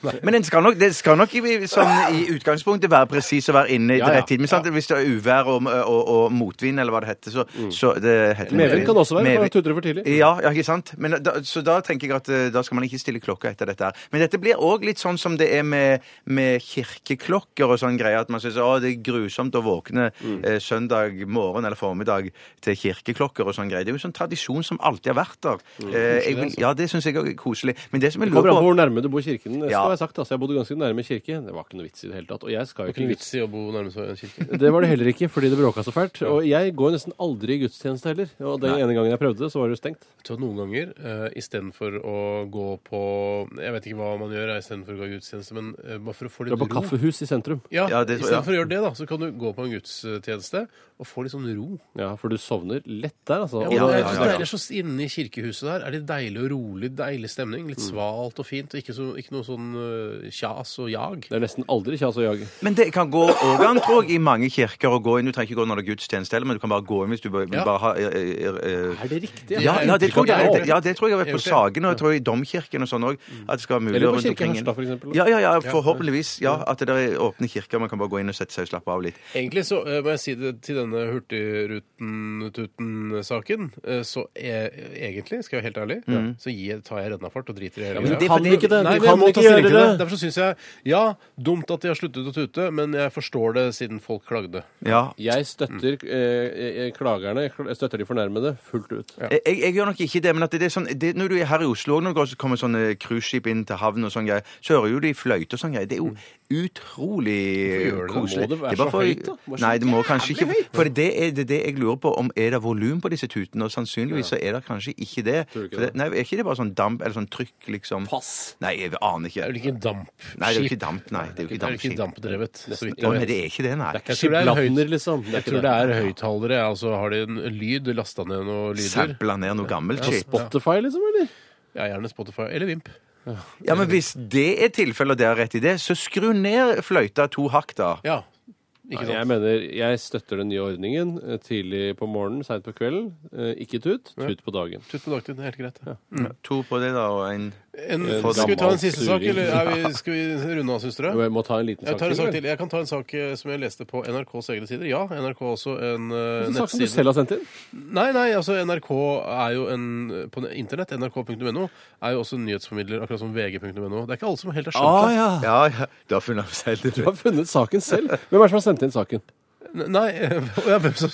Speaker 5: Nei. Men den skal nok, det skal nok i, sånn, i utgangspunktet være presis og være inne i
Speaker 4: Ja, ja. Mm.
Speaker 5: rett tid. Men sant? hvis det er uvær og, og, og motvind, eller hva det heter, så, så det heter
Speaker 4: Medvind kan også være,
Speaker 5: Medvind.
Speaker 4: bare tuter det for tidlig.
Speaker 5: Ja, ja, ikke sant? Men da, så da tenker jeg at eh, da skal man ikke stille klokka etter dette her. Men dette blir òg litt sånn som det er med, med kirkeklokker og sånn greie, at man syns det er grusomt å våkne
Speaker 4: Mm.
Speaker 5: eh, søndag morgen eller formiddag til kirkeklokker og sånn greie. Det er jo en sånn tradisjon som alltid har vært der. Eh, jeg vil, ja, det syns jeg også er koselig. Men det som jeg
Speaker 4: Mm. altså. Det kommer an
Speaker 5: lurer
Speaker 4: på
Speaker 5: på
Speaker 4: hvor nærme du bor kirken. Det
Speaker 5: Ja.
Speaker 4: skal være sagt, altså, Jeg bodde ganske nærme kirke. Det var ikke noe vits i det hele tatt. Og jeg skal
Speaker 3: Det
Speaker 4: jo
Speaker 3: er ikke
Speaker 4: ikke
Speaker 3: noe vits i å bo nærmest en kirke.
Speaker 4: Det var det heller ikke, fordi det bråka så fælt. Og jeg går nesten aldri i gudstjeneste heller. Og den ene gangen jeg prøvde det, så var det jo stengt.
Speaker 3: Så noen ganger, eh, istedenfor å gå på Jeg vet ikke hva man gjør eh, istedenfor å gå i gudstjeneste, men eh, bare for å få
Speaker 4: Det
Speaker 3: litt
Speaker 4: var på
Speaker 3: ro
Speaker 4: kaffehus i sentrum.
Speaker 3: ja,
Speaker 5: Ja, det tror jeg, ja.
Speaker 3: Istedenfor å gjøre det, da, så kan du gå på en gudstjeneste og få litt sånn ro.
Speaker 4: Ja, for du sovner lett der, altså.
Speaker 3: Ja,
Speaker 4: Og da-
Speaker 3: jeg synes det er så Inne i kirkehuset der er det deilig og rolig, deilig stemning. Litt svalt og fint. og Ikke, så, ikke noe sånn eh, kjas og jag.
Speaker 4: det er nesten aldri kjas å jage.
Speaker 5: Men det kan gå òg an, tror jeg, i mange kirker. å gå inn. Du trenger ikke gå når det er gudstjeneste heller, men du kan bare gå inn hvis du bare,
Speaker 3: Ja.
Speaker 5: bare har eh, eh, eh,
Speaker 4: Er det riktig?
Speaker 5: ja, ja, det tror jeg,
Speaker 3: Ja,
Speaker 5: det- ja, det tror jeg har vært på
Speaker 3: Jeg gjør
Speaker 5: Sagen og jeg tror i Domkirken og sånn òg. At det skal være mulig
Speaker 4: Eller på
Speaker 5: rundt
Speaker 4: kirken i
Speaker 5: omkring.
Speaker 4: Harstad, for eksempel.
Speaker 5: Ja, ja, ja, forhåpentligvis. Ja, at det der er åpne kirker. Man kan bare gå inn og sette seg og slappe av litt.
Speaker 3: Egentlig så eh, må jeg si det til denne Hurtigruten-tuten-saken. eh, så er, egentlig, skal jeg være helt ærlig, så gir, tar jeg rednafart og driter i hele
Speaker 4: Men
Speaker 3: greia.
Speaker 4: du kan ikke det!
Speaker 3: Nei,
Speaker 4: Du
Speaker 3: men jeg
Speaker 4: kan
Speaker 3: må ta
Speaker 4: ikke
Speaker 3: stilling
Speaker 4: gjøre
Speaker 3: til det.
Speaker 4: det!
Speaker 3: Derfor så syns jeg ja, dumt at de har sluttet å tute, men jeg forstår det siden folk klagde.
Speaker 5: Ja.
Speaker 4: Jeg støtter eh, eh, klagerne, jeg kl- jeg støtter de fornærmede fullt ut.
Speaker 5: Jeg, jeg, jeg gjør nok ikke det, men at det er sånn det, Når du er her i Oslo, og når det går- kommer sånne cruiseskip inn til havn og sånn greier, så hører jo de fløyte og sånn greier. Det er jo utrolig
Speaker 3: Hvorfor gjør du det?
Speaker 5: koselig.
Speaker 4: Må det være
Speaker 5: er bare
Speaker 4: så høyt, da? Må det være så
Speaker 5: Nei, det må kanskje ikke For det er det, er det jeg lurer på, om er det volum på disse tutene? Og sannsynligvis så er det kanskje ikke det.
Speaker 4: Tror du ikke
Speaker 5: For det nei, er ikke det bare sånn damp eller sånn trykk, liksom?
Speaker 4: Pass.
Speaker 5: Nei, jeg aner
Speaker 3: Det er
Speaker 5: ikke.
Speaker 3: vel ikke dampskip?
Speaker 5: Nei, det er jo ikke damp, nei. Det er jo ikke
Speaker 3: Det er jo ikke
Speaker 5: dampskip.
Speaker 3: dampdrevet, så vidt
Speaker 5: Ja,
Speaker 3: jeg
Speaker 5: men
Speaker 3: vet.
Speaker 5: det er ikke det, nei.
Speaker 4: Det er ikke
Speaker 3: tror det er en høy-
Speaker 4: skipladner, liksom. Det er
Speaker 3: Jeg
Speaker 4: ikke
Speaker 3: tror det er høyttalere. ja, Altså, har de en lyd? Lasta ned noen lyder?
Speaker 5: Sabla ned noe gammelt shit.
Speaker 4: Spotify, liksom, eller?
Speaker 3: Ja, gjerne Spotify eller Vimp.
Speaker 5: Ja, men hvis det er tilfellet og dere har rett i det, så skru ned fløyta to hakk, da.
Speaker 3: Ja. Ikke
Speaker 4: Nei, Jeg
Speaker 3: sant?
Speaker 4: mener, jeg støtter den nye ordningen. eh, Tidlig på morgenen, seint på kvelden. eh, Ikke tut, tut på dagen.
Speaker 3: Slutt på dagtid. Det er helt greit.
Speaker 5: To på det, da, og en
Speaker 3: En, skal
Speaker 4: Eh,
Speaker 3: vi ta en
Speaker 4: gammel
Speaker 3: siste sak,
Speaker 4: suring.
Speaker 3: eller er vi, skal vi runde av, syns dere?
Speaker 4: Jo, Jeg må ta en liten
Speaker 3: Jeg tar en sak til.
Speaker 4: vel?
Speaker 3: Jeg kan ta en sak eh, som jeg leste på NRKs egne sider. Ja, NRK har også en eh,
Speaker 4: En sak som du
Speaker 3: nettside.
Speaker 4: selv har sendt inn.
Speaker 3: Nei, nei, altså NRK er jo en På internett, nrk.no, er jo også en nyhetsformidler, akkurat som vg.no. Det er ikke alle som helt har skjønt det.
Speaker 4: Ah, ja.
Speaker 5: Ja, ja. Du har funnet opp selv det.
Speaker 4: Du har funnet saken selv. Hvem er det som har sendt inn saken?
Speaker 3: N- Nei, [laughs] og jeg, hvem
Speaker 4: [laughs]
Speaker 3: som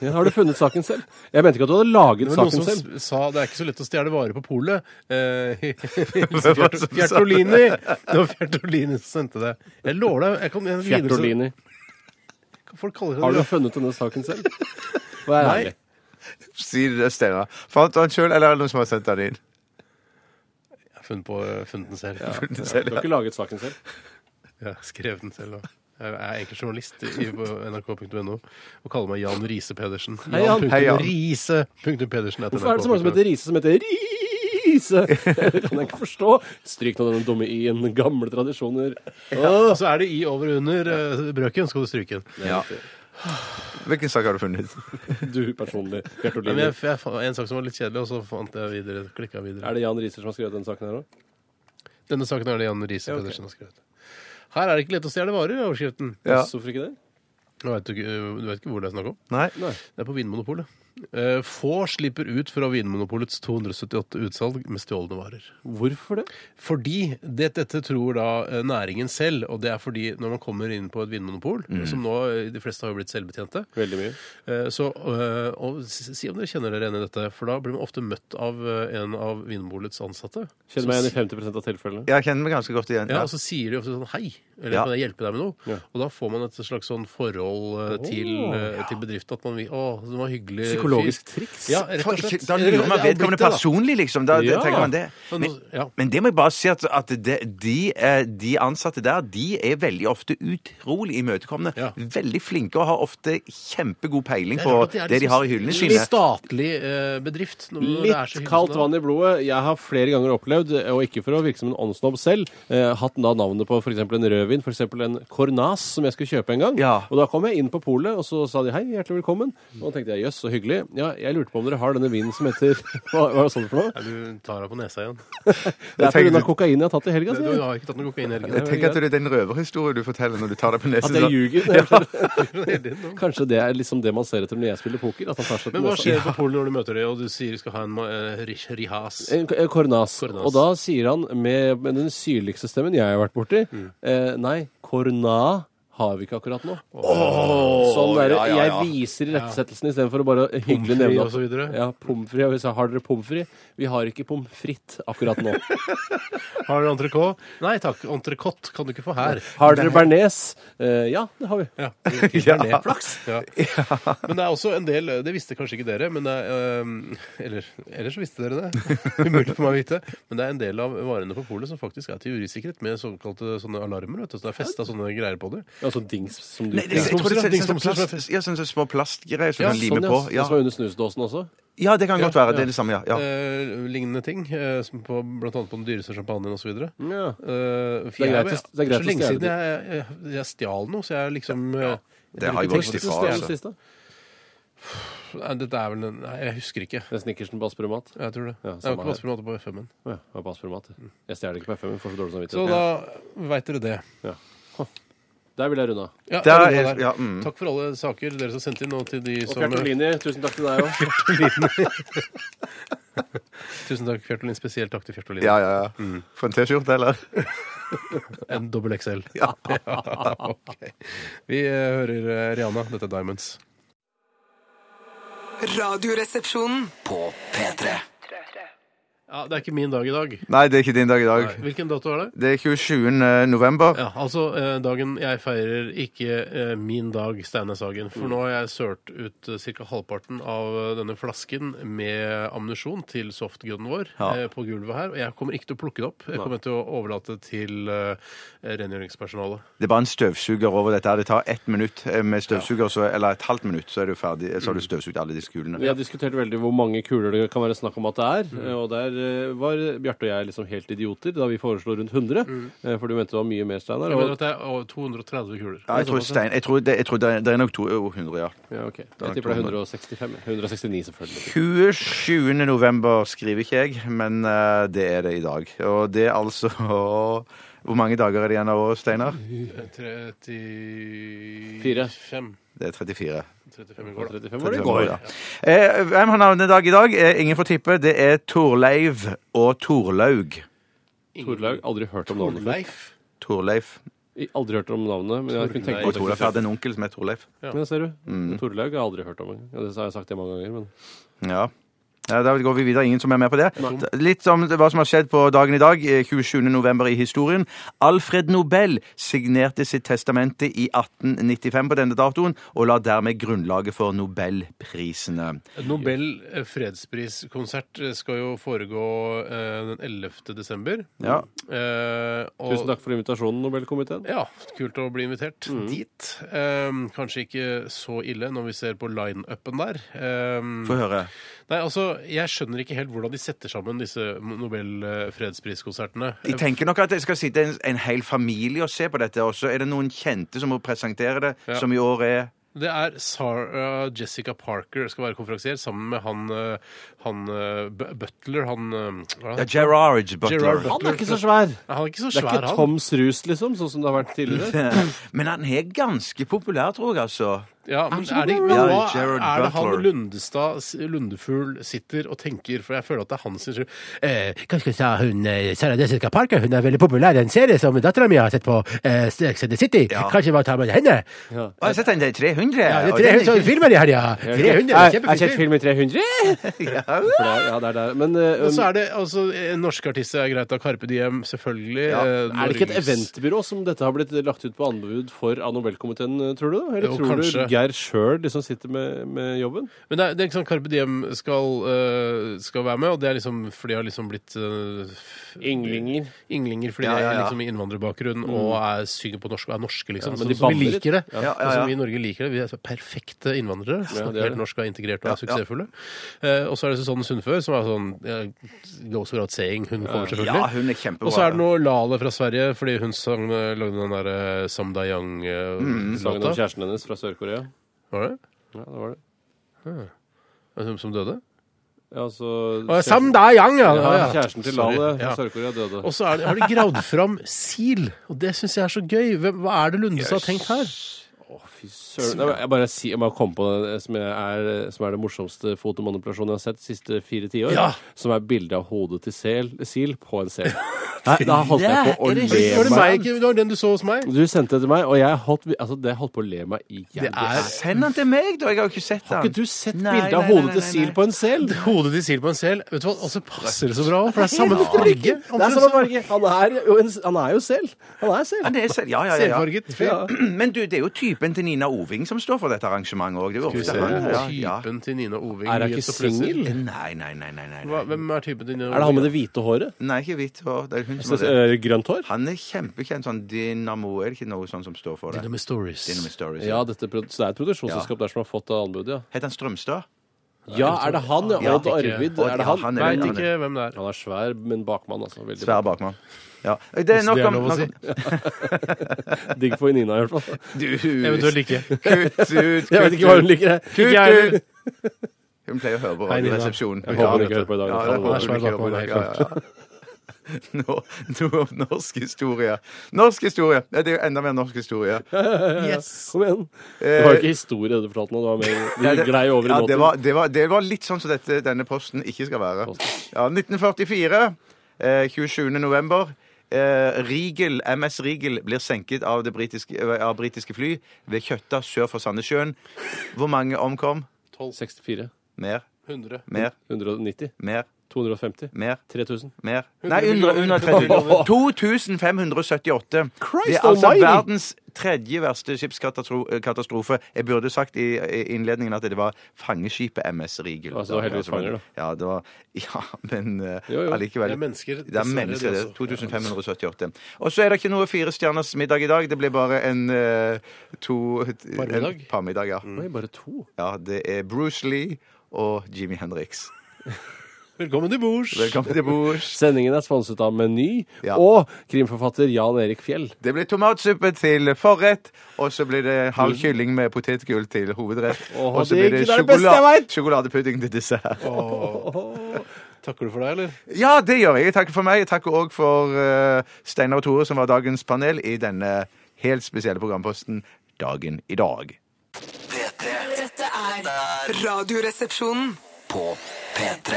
Speaker 4: Ja, har du funnet saken selv? Jeg mente ikke at du hadde laget
Speaker 3: Det var
Speaker 4: saken
Speaker 3: noen
Speaker 4: selv.
Speaker 3: som s- sa det er ikke så lett å stjele varer på polet.
Speaker 4: [laughs]
Speaker 3: Eh, [laughs]
Speaker 5: var det som sa det?
Speaker 3: Fjertolini! Det var Fjertolini som sendte det. Jeg lover deg. Jeg kan, jeg,
Speaker 4: Fjertolini.
Speaker 3: Folk kaller det
Speaker 4: Har du
Speaker 3: det.
Speaker 4: funnet denne saken selv? Vær
Speaker 3: Nei.
Speaker 4: ærlig.
Speaker 5: Si det, Steinar. Fant du han sjøl, eller er det noen som har sendt han inn?
Speaker 3: Jeg har funnet, på, eh, funnet den selv. Ja.
Speaker 5: Funnet
Speaker 4: Du
Speaker 5: selv,
Speaker 4: har
Speaker 5: ja.
Speaker 4: ikke laget saken selv.
Speaker 3: Jeg skrev den selv. Og. Jeg er egentlig journalist i, på nrk.no og kaller meg Jan Riise Pedersen.
Speaker 4: Hei, Jan.
Speaker 5: Hei, Jan.
Speaker 3: Riise punktum Pedersen
Speaker 4: Hvorfor er det så mange som heter Riise som heter Riise? [laughs] Det kan jeg ikke forstå. Stryk nå denne dumme i-en. Gamle tradisjoner.
Speaker 3: Og så er det i over og under eh, brøken, skal du stryke den.
Speaker 5: Hvilken sak har du funnet?
Speaker 4: Du personlig,
Speaker 3: Men jeg,
Speaker 4: Fjertolini.
Speaker 3: jeg, fant en sak som var litt kjedelig, og så fant jeg videre, klikka videre.
Speaker 4: Er det Jan Riiser som har skrevet denne saken her òg?
Speaker 3: Denne saken er det Jan Riise
Speaker 4: Ja, ok.
Speaker 3: Pedersen har skrevet. Her er det ikke lett å stjele varer, er overskriften.
Speaker 5: Ja.
Speaker 4: Hvorfor ikke det?
Speaker 3: Du vet, du, ikke- du vet ikke hvor det er snakk om.
Speaker 5: Nei?
Speaker 3: Det er på Vinmonopolet. Eh, Få slipper ut fra Vinmonopolets 278 utsalg med stjålne varer.
Speaker 4: Hvorfor det?
Speaker 3: Fordi det, dette tror da eh, næringen selv, og det er fordi når man kommer inn på et vinmonopol,
Speaker 5: Mm.
Speaker 3: som nå eh, de fleste har jo blitt selvbetjente,
Speaker 4: Veldig mye.
Speaker 3: eh, så eh, og s- si om dere kjenner dere igjen i dette, for da blir man ofte møtt av eh, en av Vinmonopolets ansatte.
Speaker 4: Kjenner meg igjen i 50 av tilfellene.
Speaker 5: Jeg kjenner meg ganske godt igjen.
Speaker 3: Ja,
Speaker 5: Ja.
Speaker 3: og så sier de ofte sånn hei, eller
Speaker 5: Ja.
Speaker 3: kan jeg hjelpe deg med noe?
Speaker 4: Ja.
Speaker 3: Og da får man et slags sånn forhold eh, til, eh, til bedriften at man vil Å, det var hyggelig. fyr».
Speaker 4: Psykologisk triks.
Speaker 3: Ja, rett
Speaker 5: For,
Speaker 3: og slett.
Speaker 5: da lurer man
Speaker 3: Det er blitt
Speaker 5: vedkommende
Speaker 3: det, da. Sånn-
Speaker 5: personlig, liksom. Da
Speaker 4: Ja.
Speaker 5: tenker man det.
Speaker 3: Men-
Speaker 5: Men,
Speaker 3: ja.
Speaker 5: men det må jeg bare si at, at det, de, eh, de ansatte der, de er veldig ofte utrolig imøtekommende.
Speaker 3: Ja.
Speaker 5: Veldig flinke og har ofte kjempegod peiling
Speaker 3: Det er
Speaker 5: på
Speaker 3: rart at
Speaker 5: det,
Speaker 3: er
Speaker 5: de
Speaker 3: liksom
Speaker 5: har i hyllene
Speaker 3: litt
Speaker 5: sine.
Speaker 3: statlig eh, bedrift. når det er så
Speaker 4: Mm. Litt
Speaker 3: hyggelig
Speaker 4: kaldt
Speaker 3: som
Speaker 4: vann
Speaker 3: det er.
Speaker 4: i blodet. Jeg har flere ganger opplevd, eh, og ikke for å virke som en åndssnobb selv, eh, hatt da navnet på f.eks. en rødvin, f.eks. en Cornas, som jeg skulle kjøpe en gang.
Speaker 5: Ja.
Speaker 4: Og da kom jeg inn på polet, og så sa de hei, hjertelig velkommen. Og da tenkte jeg jøss, så hyggelig. Ja, jeg lurte på om dere har denne vinen som heter [laughs] Hva hva var det sånn for noe?
Speaker 3: Du tar deg på nesa [laughs] igjen.
Speaker 4: Det er
Speaker 5: tenkte
Speaker 4: pga.
Speaker 5: du-
Speaker 4: kokain jeg har tatt i helga,
Speaker 3: Du
Speaker 4: sier jeg.
Speaker 3: har ikke tatt noe kokain i
Speaker 5: Jeg [laughs]
Speaker 3: helgen.
Speaker 5: tenker at det er den røverhistorien du forteller når du tar deg på
Speaker 4: At
Speaker 5: nesen.
Speaker 4: jeg
Speaker 5: sånn.
Speaker 4: ljuger.
Speaker 3: Men
Speaker 4: [laughs] Kanskje det er liksom det man ser etter når jeg spiller poker. At han tar seg til
Speaker 3: hva
Speaker 4: nesa.
Speaker 3: skjer på polet når du møter dem, og du sier du skal ha en uh, rihas?
Speaker 4: En
Speaker 5: Eh.
Speaker 4: Eh, k- en Kornas.
Speaker 3: Kornas.
Speaker 4: Og da sier han med, med den syrligste stemmen jeg har vært borti eh, Nei, korna har vi ikke akkurat nå. sånn der,
Speaker 5: ja, ja, ja.
Speaker 4: Jeg viser irettesettelsen istedenfor å bare
Speaker 3: Pommes
Speaker 4: hyggelig
Speaker 3: frites
Speaker 4: nevne
Speaker 3: og så videre.
Speaker 4: Ja, pommes frites. Og vi sa, Har dere pommes frites? Vi har ikke pommes frites akkurat
Speaker 5: [laughs]
Speaker 4: nå.
Speaker 3: Har dere entrecôte? Nei takk, entrecôte kan du ikke få her.
Speaker 4: Har dere bearnés? Eh, ja, det har vi.
Speaker 3: Ja.
Speaker 5: [laughs] Ja.
Speaker 3: Ja. Men det er også en del eh, Det visste kanskje ikke dere, men det er, øhm, [laughs] eller, eller så visste dere det. [laughs] Umulig for meg å vite. Men det er en del av varene på polet som faktisk er til usikkerhet med såkalte sånne alarmer. Vet du, så det er festa sånne greier på dem.
Speaker 4: Ja, sånn dings som du
Speaker 5: Nei, det, jeg tror det er sånn- sånn
Speaker 3: Dingsbomser,
Speaker 5: plast- ja, sånn sånn små plastgreier som
Speaker 4: Ja,
Speaker 5: man limer
Speaker 4: sånn, ja.
Speaker 5: på.
Speaker 4: Det som
Speaker 5: Ja.
Speaker 4: er under snusdåsen også.
Speaker 5: ja, det kan godt
Speaker 3: Ja,
Speaker 5: være.
Speaker 3: ja.
Speaker 5: Det er det samme, ja. ja.
Speaker 3: Eh, lignende ting, eh, som på, blant annet på den dyreste champagnen osv.
Speaker 4: Ja.
Speaker 3: Uh,
Speaker 4: Det er greit å- det er
Speaker 3: så
Speaker 4: greit å
Speaker 3: lenge
Speaker 4: stjele
Speaker 3: siden jeg, jeg, jeg stjal noe, så jeg liksom eh,
Speaker 5: Det har jeg
Speaker 3: bruker tekst-
Speaker 5: gått til far,
Speaker 4: Hva er
Speaker 5: altså.
Speaker 4: det siste?
Speaker 3: Nei, eh, Dette er vel en Nei, jeg husker ikke.
Speaker 4: Det er Snickersen på Aspromat.
Speaker 3: Jeg tror det. jeg
Speaker 4: Ja,
Speaker 3: har
Speaker 4: samme
Speaker 3: ikke
Speaker 4: her.
Speaker 3: vasket meg på FM-en.
Speaker 4: Å Ja, jeg har på Aspromat. Jeg stjeler ikke på FM, får så dårlig samvittighet.
Speaker 3: Så da veit dere det.
Speaker 4: Der vil jeg runde av.
Speaker 3: Ja,
Speaker 5: Der
Speaker 3: det var det
Speaker 5: er-
Speaker 3: der.
Speaker 5: ja, mm.
Speaker 3: Takk for alle saker dere som sendte inn, og til de
Speaker 4: Og
Speaker 3: som
Speaker 4: Fjertolini, tusen takk til deg òg. [laughs]
Speaker 3: Tusen takk, Fjertolin. Spesielt takk til Fjertolin.
Speaker 5: Ja, ja, ja. For en T-skjorte, eller? [laughs]
Speaker 3: En dobbel XL. [laughs] Ja. ok. Vi eh, hører eh, Rihanna. Dette er Diamonds.
Speaker 1: Radioresepsjonen.
Speaker 2: På P3.
Speaker 3: Ja, Det er ikke min dag i dag.
Speaker 5: Nei, det er ikke din dag i dag.
Speaker 3: Hvilken dato er det?
Speaker 5: Det er 27. november.
Speaker 3: Ja, altså eh, dagen jeg feirer ikke eh, min dag, Steinar Sagen.
Speaker 5: Mm.
Speaker 3: For nå har jeg sølt ut eh, ca. halvparten av eh, denne flasken med ammunisjon til softgunnen vår
Speaker 5: Ja.
Speaker 3: eh, på gulvet her. Og jeg kommer ikke til å plukke det opp. Jeg kommer til å overlate det til eh, rengjøringspersonalet.
Speaker 5: Det er bare en støvsuger over dette. her. Det tar ett minutt eh, med støvsuger, så, eller et halvt minutt, så er du ferdig. Så har du støvsugd alle disse kulene.
Speaker 4: Vi har diskutert veldig hvor mange kuler det kan være snakk om at det er. Og der eh, var Bjarte og jeg liksom helt idioter da vi foreslo rundt 100. eh, For du mente det var mye mer, Steinar.
Speaker 3: Jeg mener
Speaker 4: og-
Speaker 3: at det er over 230 kuler.
Speaker 5: Ja, jeg tror, Stein, jeg tror, det, jeg tror det, er, det er nok 200, ja.
Speaker 4: Ja, ok. Jeg tipper det er 165. 169, selvfølgelig.
Speaker 5: 27. november skriver ikke jeg, men eh, det er det i dag. Og det er altså [laughs] Hvor mange dager er det igjen av året, Steinar?
Speaker 3: Altså, 35
Speaker 5: Det er 34.
Speaker 3: 35 i går, da.
Speaker 4: 35 var det i
Speaker 5: Går,
Speaker 4: går.
Speaker 5: ja. sånn Eh, Hvem har navnedag i dag? Eh, Ingen får tippe. Det er Torleiv og Torlaug.
Speaker 4: Torlaug, aldri hørt om navnet før.
Speaker 3: Leif.
Speaker 5: Torleif.
Speaker 4: I- Aldri hørt om navnet, men jeg kunne tenke
Speaker 3: Torleif.
Speaker 4: meg
Speaker 5: Og Torleif hadde en onkel som het Torleif.
Speaker 4: Ja. Men ser du,
Speaker 5: Mm.
Speaker 4: Torlaug har jeg aldri hørt om. Ja, det har jeg sagt det mange ganger, men
Speaker 5: Ja. Ja, Da går vi videre. Ingen som er med på det. Litt om hva som har skjedd på dagen i dag. eh, 27. november i historien. Alfred Nobel signerte sitt testamente i 1895 på denne datoen, og la dermed grunnlaget for Nobelprisene.
Speaker 3: Nobel eh, fredspriskonsert eh, skal jo foregå eh, den 11. desember.
Speaker 5: Ja.
Speaker 3: Eh, og,
Speaker 4: Tusen takk Mm. for invitasjonen, Nobelkomiteen.
Speaker 3: Ja, kult å bli invitert dit. Eh, kanskje ikke så ille når vi ser på line-upen der. Eh,
Speaker 5: Få høre.
Speaker 3: Nei, altså, Jeg skjønner ikke helt hvordan de setter sammen disse Nobel eh, fredspriskonsertene.
Speaker 5: De tenker nok at det skal sitte en, en hel familie og se på dette, og så er det noen kjente som må presentere det,
Speaker 3: Ja.
Speaker 5: som i år er
Speaker 3: Det er Sarah Jessica Parker skal være konferansier sammen med han, eh, han eh, B- Butler Han, eh, hva er
Speaker 5: ja,
Speaker 3: det?
Speaker 5: Gerard Butler.
Speaker 3: Gerard Butler.
Speaker 4: Han er ikke så svær!
Speaker 3: han er ikke så
Speaker 4: Det er
Speaker 3: svær,
Speaker 4: ikke
Speaker 3: han.
Speaker 4: Toms rus, liksom, sånn som det har vært tidligere.
Speaker 5: [laughs] Men han er ganske populær, tror jeg, altså.
Speaker 3: Ja, men
Speaker 4: så
Speaker 3: er det,
Speaker 4: bra.
Speaker 3: men
Speaker 5: Ja,
Speaker 3: hva
Speaker 5: Gerard
Speaker 3: er det han
Speaker 5: Butler.
Speaker 3: Lundestad, s- Lundefugl, sitter og tenker? For jeg føler at det er hans skyld. Eh,
Speaker 7: Hva skal jeg si, hun, eh, Sarah Jessica Parker hun er veldig populær i en serie som dattera mi har sett på, eh, Sex and the City.
Speaker 5: Ja.
Speaker 7: Kanskje bare ta med henne?
Speaker 5: Å, jeg har sett den der 300.
Speaker 7: Ja, det er
Speaker 5: og
Speaker 7: tre
Speaker 5: den er-
Speaker 7: sånne filmer de har, ja.
Speaker 4: Ja,
Speaker 7: 300,
Speaker 4: Nei, Jeg har
Speaker 7: kjempefin
Speaker 4: sett
Speaker 7: film.
Speaker 4: film i
Speaker 3: [laughs]
Speaker 4: 300! For det er- Ja, det er der. Men eh,
Speaker 3: Og så er det altså eh, Norske artister er greit, da. Carpe Diem, selvfølgelig.
Speaker 5: Ja.
Speaker 3: eh,
Speaker 4: um, er det ikke et
Speaker 3: Norges-
Speaker 4: eventbyrå som dette har blitt lagt ut på anbud for av Nobelkomiteen, eh, tror du? da? Eller
Speaker 3: Jo,
Speaker 4: tror
Speaker 3: kanskje.
Speaker 4: du Geir sjøl liksom sitter med, med jobben?
Speaker 3: Men det er, det er ikke sånn Carpe Diem skal, eh, skal være med, og det er liksom for de har liksom blitt eh, f-
Speaker 4: Ynglinger.
Speaker 3: Ynglinger fordi
Speaker 5: Ja, ja,
Speaker 3: de er
Speaker 5: ja.
Speaker 3: liksom i innvandrerbakgrunn og er, synger på norsk og er norske, liksom.
Speaker 4: Ja,
Speaker 3: så
Speaker 4: men de
Speaker 3: som vi
Speaker 4: baller litt.
Speaker 3: liker det.
Speaker 5: Ja, ja,
Speaker 3: Og
Speaker 5: ja.
Speaker 3: som vi i Norge liker det. Vi er så perfekte innvandrere.
Speaker 4: Ja,
Speaker 3: snakker
Speaker 4: det er det.
Speaker 3: helt norsk og er integrert og er
Speaker 5: Ja, ja.
Speaker 3: suksessfulle. Eh, og så er det Susanne Sundfør, som er sånn eh, goes without saying. Hun kommer selvfølgelig.
Speaker 5: Ja, hun er kjempebra.
Speaker 3: Og så er det noe Lale fra Sverige, fordi hun sang, eh, lagde den derre Samda
Speaker 4: Sangen Mm, om
Speaker 3: Yang-låta.
Speaker 4: kjæresten hennes fra
Speaker 3: eh,
Speaker 4: Sør-Korea.
Speaker 3: Var det?
Speaker 4: Ja, det var det.
Speaker 3: Som, som døde?
Speaker 4: Ja, altså,
Speaker 3: Å,
Speaker 4: kjæresten-
Speaker 3: Samda Yang, ja!
Speaker 4: ja,
Speaker 3: ja, ja.
Speaker 4: Kjæresten til
Speaker 3: Sorry.
Speaker 4: Lale fra
Speaker 3: Ja.
Speaker 4: Sør-Korea døde.
Speaker 3: Og så er det, har de gravd fram sil, og det syns jeg er så gøy. Hvem, hva er det Lundestad har tenkt her?
Speaker 4: Fy søren. Nei, men Jeg bare si, jeg må komme på det som, jeg er, som er det morsomste fotomanipulasjonen jeg har sett de siste fire tiår.
Speaker 3: Ja.
Speaker 4: Som er bilde av hodet til sel, sil på en sel. [laughs] Nei, da holdt jeg på å
Speaker 3: Var
Speaker 4: le
Speaker 3: det meg
Speaker 4: meg.
Speaker 3: ikke? Det var den du så hos meg?
Speaker 4: Du sendte det til meg, og jeg holdt, altså, det holdt på å le meg i hjel.
Speaker 3: Det er
Speaker 5: Send den til meg, da! Jeg har jo ikke sett den.
Speaker 4: Har ikke du sett
Speaker 5: Nei,
Speaker 4: bilde av
Speaker 5: nei, nei,
Speaker 4: hodet til
Speaker 5: nei,
Speaker 4: sil
Speaker 5: nei.
Speaker 4: på en sel?
Speaker 3: hodet til sil på en sel. Vet du hva, Og så passer det så bra, for det er samme farge.
Speaker 4: Det er samme farge. Han er jo, en, han er jo sel. Han er sel.
Speaker 5: Ja, det er selv. Ja, ja, ja, ja.
Speaker 3: Selfarget.
Speaker 4: Ja.
Speaker 5: [clears throat] Men du, det er jo typen til Nina Oving som står for dette arrangementet òg.
Speaker 3: Skal vi se.
Speaker 5: Ja, ja. Eh,
Speaker 3: Typen til Nina Oving.
Speaker 4: Er han
Speaker 3: Jens og
Speaker 4: ikke
Speaker 3: Presser.
Speaker 4: singel?
Speaker 5: Nei, nei, nei, nei. nei.
Speaker 3: Hva- Hvem er typen til Nina Oving?
Speaker 4: Er det han med det hvite håret?
Speaker 5: Nei, ikke hvitt hår. Det er hun som
Speaker 4: Så,
Speaker 5: har det.
Speaker 4: eh, grønt hår?
Speaker 5: Han er kjempekjent sånn Dynamo, er det ikke noe sånn som står for det?
Speaker 3: Dynamo Stories.
Speaker 5: Dynamo Stories.
Speaker 4: Ja, dette, pro- så det er et produksjonsselskap der som har fått anbudet, ja.
Speaker 5: Heter han Strømstad?
Speaker 4: Ja, er det han? ja?
Speaker 5: Ja,
Speaker 4: Odd
Speaker 3: ikke-
Speaker 4: Arvid?
Speaker 5: Odd,
Speaker 4: Er det
Speaker 5: ja,
Speaker 4: han?
Speaker 5: han er-
Speaker 3: Veit ikke hvem det er.
Speaker 4: Han er svær, men bakmann, altså. Veldig
Speaker 5: Svær bakmann. Ja. Det er
Speaker 3: Hvis
Speaker 5: nok
Speaker 3: det er
Speaker 5: om
Speaker 3: lov å
Speaker 5: nok
Speaker 3: si.
Speaker 4: [laughs]
Speaker 5: om-
Speaker 4: Digg for Nina, i hvert fall.
Speaker 5: Du,
Speaker 3: Eventuelt ikke.
Speaker 5: Kutt ut,
Speaker 4: [laughs] Jeg vet
Speaker 5: kutt
Speaker 4: ikke hva hun
Speaker 5: ut.
Speaker 4: liker. jeg.
Speaker 5: Kutt
Speaker 3: jeg heller.
Speaker 5: ut! Hun pleier å høre på
Speaker 3: Hei, Nina.
Speaker 5: Radioresepsjonen.
Speaker 4: Jeg håper hun ikke
Speaker 5: Ja,
Speaker 4: hører på i dag. i
Speaker 5: Ja,
Speaker 4: hvert fall.
Speaker 5: det håper hun
Speaker 3: Nei,
Speaker 5: ikke hører på i
Speaker 3: svær
Speaker 5: dag. Ja, ja, ja. [laughs] Nå, nå om norsk historie. Norsk historie! Ja, det er jo enda mer norsk
Speaker 4: [laughs]
Speaker 5: historie. [laughs] Yes!
Speaker 4: Kom igjen. Det var jo ikke historie du fortalte nå. Det var
Speaker 5: Ja,
Speaker 4: mer
Speaker 5: det-
Speaker 4: du glei over i
Speaker 5: ja, det, var,
Speaker 4: nåtiden.
Speaker 5: det, var, det var litt sånn som dette, denne posten ikke skal være. Ja, 1944, eh, 27. november. Eh, Rigel, MS Rigel blir senket av det britiske, eh, av britiske fly ved Kjøtta sør for Sandnessjøen. Hvor mange omkom?
Speaker 4: 64.
Speaker 5: Mer,
Speaker 3: 100.
Speaker 5: mer,
Speaker 4: 190.
Speaker 5: mer,
Speaker 4: 250.
Speaker 5: mer.
Speaker 4: 3000.
Speaker 5: Mer. Nei, under, under 30 2578. det er altså
Speaker 4: almighty!
Speaker 5: verdens tredje verste skipskatastrofe. Jeg burde sagt i, i innledningen at det var fangeskipet MS Rigel.
Speaker 4: Altså, det var heldigvis fanger, da.
Speaker 5: Ja, det var, [laughs] ja men eh,
Speaker 4: Jo, jo.
Speaker 5: allikevel.
Speaker 3: Det er mennesker,
Speaker 5: Det er
Speaker 3: dessverre,
Speaker 5: mennesker,
Speaker 3: de
Speaker 5: det.
Speaker 3: også.
Speaker 5: 2578. Og så er det ikke noe Fire stjerners middag i dag. Det blir bare en eh, to
Speaker 3: Parmiddag?
Speaker 5: en Parmiddag, ja.
Speaker 4: Oi, bare to.
Speaker 5: ja. Det er Bruce Lee og Jimmy Hendrix.
Speaker 3: Velkommen til bords!
Speaker 5: Velkommen til bords.
Speaker 4: Sendingen er sponset av Meny
Speaker 5: Ja.
Speaker 4: og krimforfatter Jan Erik Fjell.
Speaker 5: Det blir tomatsuppe til forrett, og så blir det halv kylling med potetgull til hovedrett.
Speaker 4: Mm. Åh,
Speaker 5: og så
Speaker 4: det-
Speaker 5: blir det,
Speaker 4: det er det beste jeg
Speaker 5: sjokola-
Speaker 4: vet.
Speaker 5: sjokoladepudding til dessert.
Speaker 3: Takker du for deg, eller?
Speaker 5: Ja, det gjør jeg. Jeg takker for meg. Jeg takker òg for eh, Steinar og Tore, som var dagens panel i denne helt spesielle programposten Dagen i dag.
Speaker 2: P3
Speaker 1: Dette er Radioresepsjonen.
Speaker 2: på P3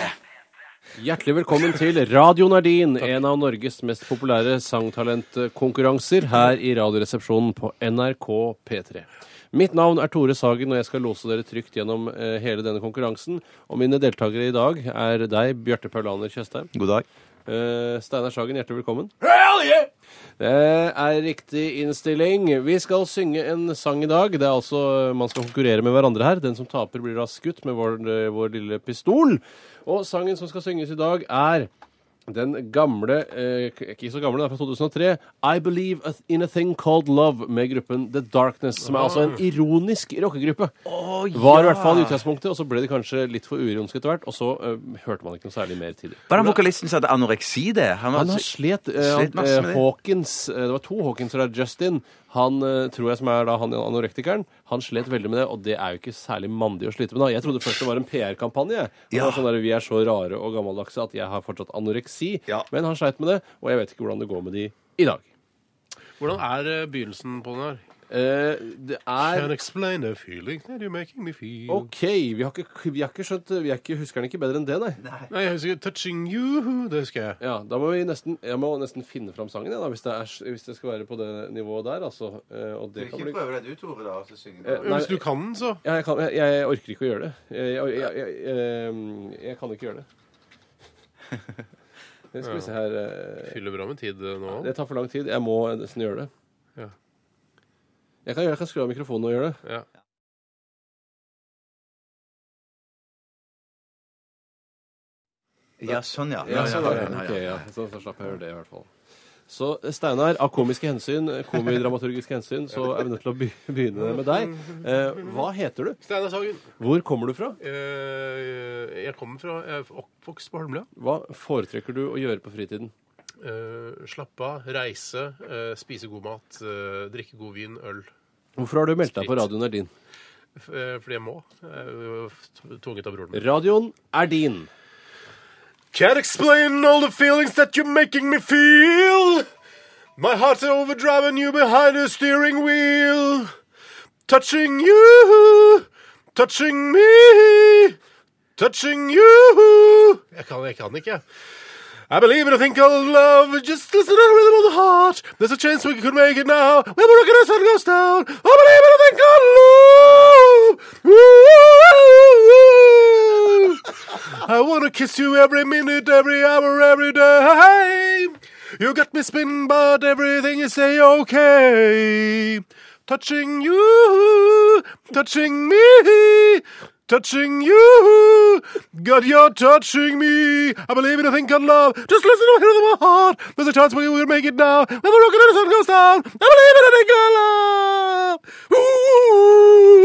Speaker 4: Hjertelig velkommen til Radio Nardin, en av Norges mest populære sangtalentkonkurranser her i Radioresepsjonen på NRK P3. Mitt navn er Tore Sagen, og jeg skal lose dere trygt gjennom eh, hele denne konkurransen. Og mine deltakere i dag er deg, Bjarte Paulaner Tjøstheim.
Speaker 5: God dag.
Speaker 4: Eh, Steinar Sagen, hjertelig velkommen. Det er riktig innstilling. Vi skal synge en sang i dag. Det er altså, Man skal konkurrere med hverandre her. Den som taper, blir da skutt med vår, eh, vår lille pistol. Og sangen som skal synges i dag, er den gamle, eh, ikke så gamle, den er fra 2003, I Believe in a Thing Called Love med gruppen The Darkness, som er altså en ironisk rockegruppe. Var i hvert fall i utgangspunktet, og så ble de kanskje litt for uironiske etter hvert, og så eh, hørte man ikke noe særlig mer til dem.
Speaker 5: Var det han vokalisten som hadde anoreksi, det? Han
Speaker 4: Han har slet, eh,
Speaker 5: Slet
Speaker 4: han,
Speaker 5: masse
Speaker 4: eh,
Speaker 5: med det.
Speaker 4: Hawkins eh, Det var to Hawkins der. Justin, han eh, tror jeg som er da han anorektikeren, han slet veldig med det, og det er jo ikke særlig mandig å slite med. da. Jeg trodde først det var en PR-kampanje. Ja. Sånn der, vi er så rare og gammeldagse at jeg har fortsatt anoreksi.
Speaker 5: Ja.
Speaker 4: Men han sleit med det, og jeg vet ikke hvordan det går med de i dag.
Speaker 3: Hvordan er eh, begynnelsen på den her?
Speaker 4: Eh, det er
Speaker 3: Can explain the feeling that you're making me feel.
Speaker 4: OK, vi har ikke, vi har ikke skjønt vi er ikke, Husker den ikke bedre enn det, nei.
Speaker 3: Nei, jeg husker Touching you, det husker jeg.
Speaker 4: Ja, da må vi nesten, Jeg må nesten finne fram sangen, jeg, da, hvis det, er, hvis det skal være på det nivået der. altså. Eh, og det kan bli...
Speaker 5: prøve deg du, Tore, da, og så synge
Speaker 4: Eh,
Speaker 3: Hvis du kan den, så.
Speaker 4: Ja, jeg, kan, jeg, jeg orker ikke å gjøre det. Jeg, jeg, jeg, jeg, jeg, jeg kan ikke gjøre det. Det skal vi se her eh,
Speaker 3: Fyller bra med tid eh, nå.
Speaker 4: Det tar for lang tid. Jeg må nesten gjøre det.
Speaker 3: Ja.
Speaker 4: Jeg kan, gjøre- jeg kan skru av mikrofonen og gjøre det.
Speaker 3: Ja.
Speaker 5: Ja, sånn, ja.
Speaker 4: Ja, sånn er det. Ok, ja. Så, så slapp jeg å gjøre det, i hvert fall. Så Steinar, av komiske hensyn, komidramaturgiske hensyn, så er vi nødt til å be- begynne med deg. Eh, hva heter du?
Speaker 3: Steinar Sagen,
Speaker 4: Hvor kommer du fra?
Speaker 3: eh, jeg kommer fra Jeg er oppvokst på Holmlia.
Speaker 4: Hva foretrekker du å gjøre på fritiden?
Speaker 3: Eh, slappe av, reise, eh, spise god mat, eh, drikke god vin, øl.
Speaker 4: Hvorfor har du meldt deg på radioen er din?
Speaker 3: F eh, fordi jeg må. Jeg er jo t- tvunget av broren min.
Speaker 4: Radioen er din.
Speaker 3: Can't explain all the feelings that you're making me feel. My heart's overdriving you behind the steering wheel. Touching you, touching me, touching you. Jeg kan, jeg kan ikke. I believe in a thing called love. Just listen to the rhythm of the heart. There's a chance we could make it now. When the rocket sun goes down. I believe in a thing called love. Ooh. I wanna kiss you every minute, every hour, every day. You got me spinning, but everything is a okay. Touching you, touching me, touching you. God, you're touching me. I believe in a thing called love. Just listen to the rhythm of my heart. There's a chance we will make it now. When the rocket and the sun goes down, I believe in a thing called love. Ooh.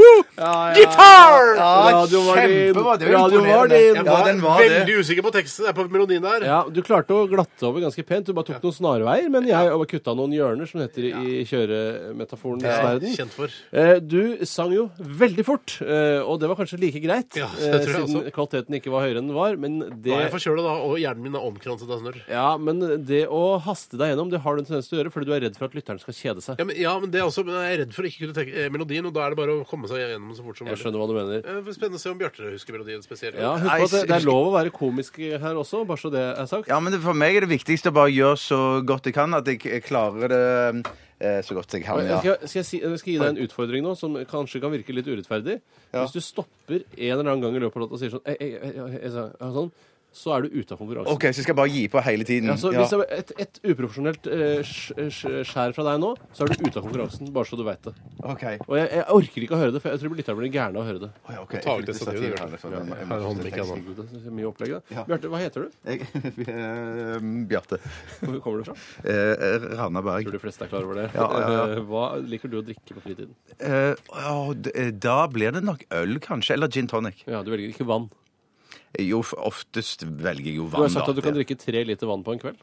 Speaker 3: Guitar!
Speaker 4: Radioen var din.
Speaker 5: kjempebra, det var
Speaker 4: Radioen var
Speaker 5: imponerende.
Speaker 4: din.
Speaker 5: Jeg var- Ja, den var det.
Speaker 3: veldig usikker på teksten der, på melodien der.
Speaker 4: Ja, Du klarte å glatte over ganske pent. Du bare tok noen snarveier, men jeg kutta noen hjørner, som det heter i kjøremetaforenes verden.
Speaker 3: Kjent for.
Speaker 4: Eh, Du sang jo veldig fort, eh, og det var kanskje like greit,
Speaker 3: Ja,
Speaker 4: eh,
Speaker 3: det tror jeg
Speaker 4: siden
Speaker 3: også.
Speaker 4: kvaliteten ikke var høyere enn den var. Men
Speaker 3: Nå er jeg
Speaker 4: det,
Speaker 3: forkjøla, da, og hjernen min er omkranset av snørr.
Speaker 4: ja, men det å haste deg gjennom, det har du en tendens til å gjøre fordi du er redd for at lytteren skal kjede seg.
Speaker 3: Ja, men, ja, men det er også, men jeg er redd for å ikke kunne tenke eh, melodien, og da er det bare å komme seg gjennom så fort som
Speaker 4: Jeg
Speaker 3: mulig.
Speaker 4: skjønner hva du mener.
Speaker 3: Eh, det blir Spennende å se om Bjarte husker melodien spesielt.
Speaker 4: Ja, husk på at det, det er lov å være komisk her også, bare så det er sagt.
Speaker 5: Ja, men det, for meg er det viktigste å bare gjøre så godt jeg kan, at jeg, jeg klarer det eh, så godt jeg kan.
Speaker 4: Men
Speaker 5: Ja.
Speaker 4: Jeg skal, skal, jeg si, jeg skal gi deg en utfordring nå som kanskje kan virke litt urettferdig. Hvis du stopper en eller annen gang i løpet av låta og sier sånn, «Ei, ei, ei, ei, ei», sånn så er du ute av konkurransen.
Speaker 5: OK, så skal jeg bare gi på hele tiden.
Speaker 4: Altså,
Speaker 5: Ja.
Speaker 4: hvis det er et, et uprofesjonelt eh, sj- sj- skjær fra deg nå, så er du ute av konkurransen. Bare så du veit det.
Speaker 5: OK.
Speaker 4: Og jeg, jeg orker ikke å høre det, for jeg tror lytterne blir gærne av å høre det.
Speaker 5: Å Ah, ja, ok, jeg
Speaker 3: Ta ut det
Speaker 5: flytter
Speaker 3: stativet,
Speaker 5: stativet
Speaker 3: du.
Speaker 5: her, for jeg må- jeg
Speaker 3: Her er
Speaker 5: må-
Speaker 3: håndbrekket, da.
Speaker 4: Herregud, det er mye opplegg, da. Bjarte, hva heter du?
Speaker 5: Jeg- eh, Bjarte.
Speaker 4: Hvor kommer du fra?
Speaker 5: Eh,
Speaker 4: Tror
Speaker 5: Randaberg.
Speaker 4: de fleste er klar over det.
Speaker 5: Ja, ja, ja.
Speaker 4: Eh, [laughs] Hva liker du å drikke på fritiden?
Speaker 5: Eh, å, d- eh, da blir det nok øl, kanskje. Eller gin tonic.
Speaker 4: Ja, Du velger ikke vann.
Speaker 5: Jo, f- oftest velger jeg jo
Speaker 4: Du
Speaker 5: vann,
Speaker 4: har sagt at du kan drikke tre liter vann på en kveld.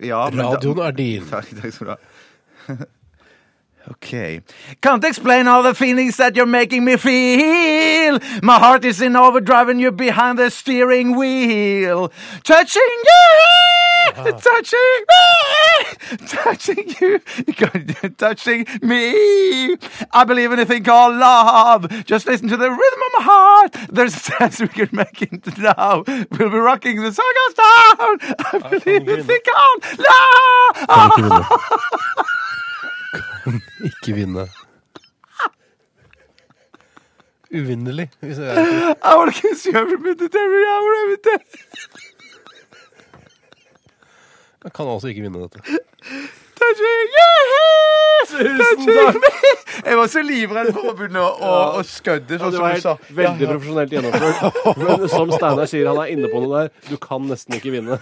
Speaker 5: Ja, men da-
Speaker 3: Radioen er din.
Speaker 5: [laughs] Takk, takk skal du ha. Okay. Can't explain all the feelings that you're making me feel. My heart is in overdrive and you're behind the steering wheel. Touching you, touching me, touching you, [laughs] touching me. I believe in a thing called love. Just listen to the rhythm of my heart. There's a sense we can make it now. We'll be rocking the song goes down. I believe in a thing called love.
Speaker 3: Kan ikke vinne. Kan ikke vinne. Uvinnerlig. Hvis jeg er
Speaker 5: I want to kiss you every minute, every hour, every day.
Speaker 3: Jeg kan altså ikke vinne dette.
Speaker 5: Touching you, touching
Speaker 4: takk.
Speaker 5: me. Jeg var så livredd for å begynne å, å, å skødde, sånn
Speaker 4: Det
Speaker 5: som
Speaker 4: var
Speaker 5: du sa.
Speaker 4: helt veldig profesjonelt gjennomført. Men som Steinar sier, han er inne på noe der. Du kan nesten ikke vinne.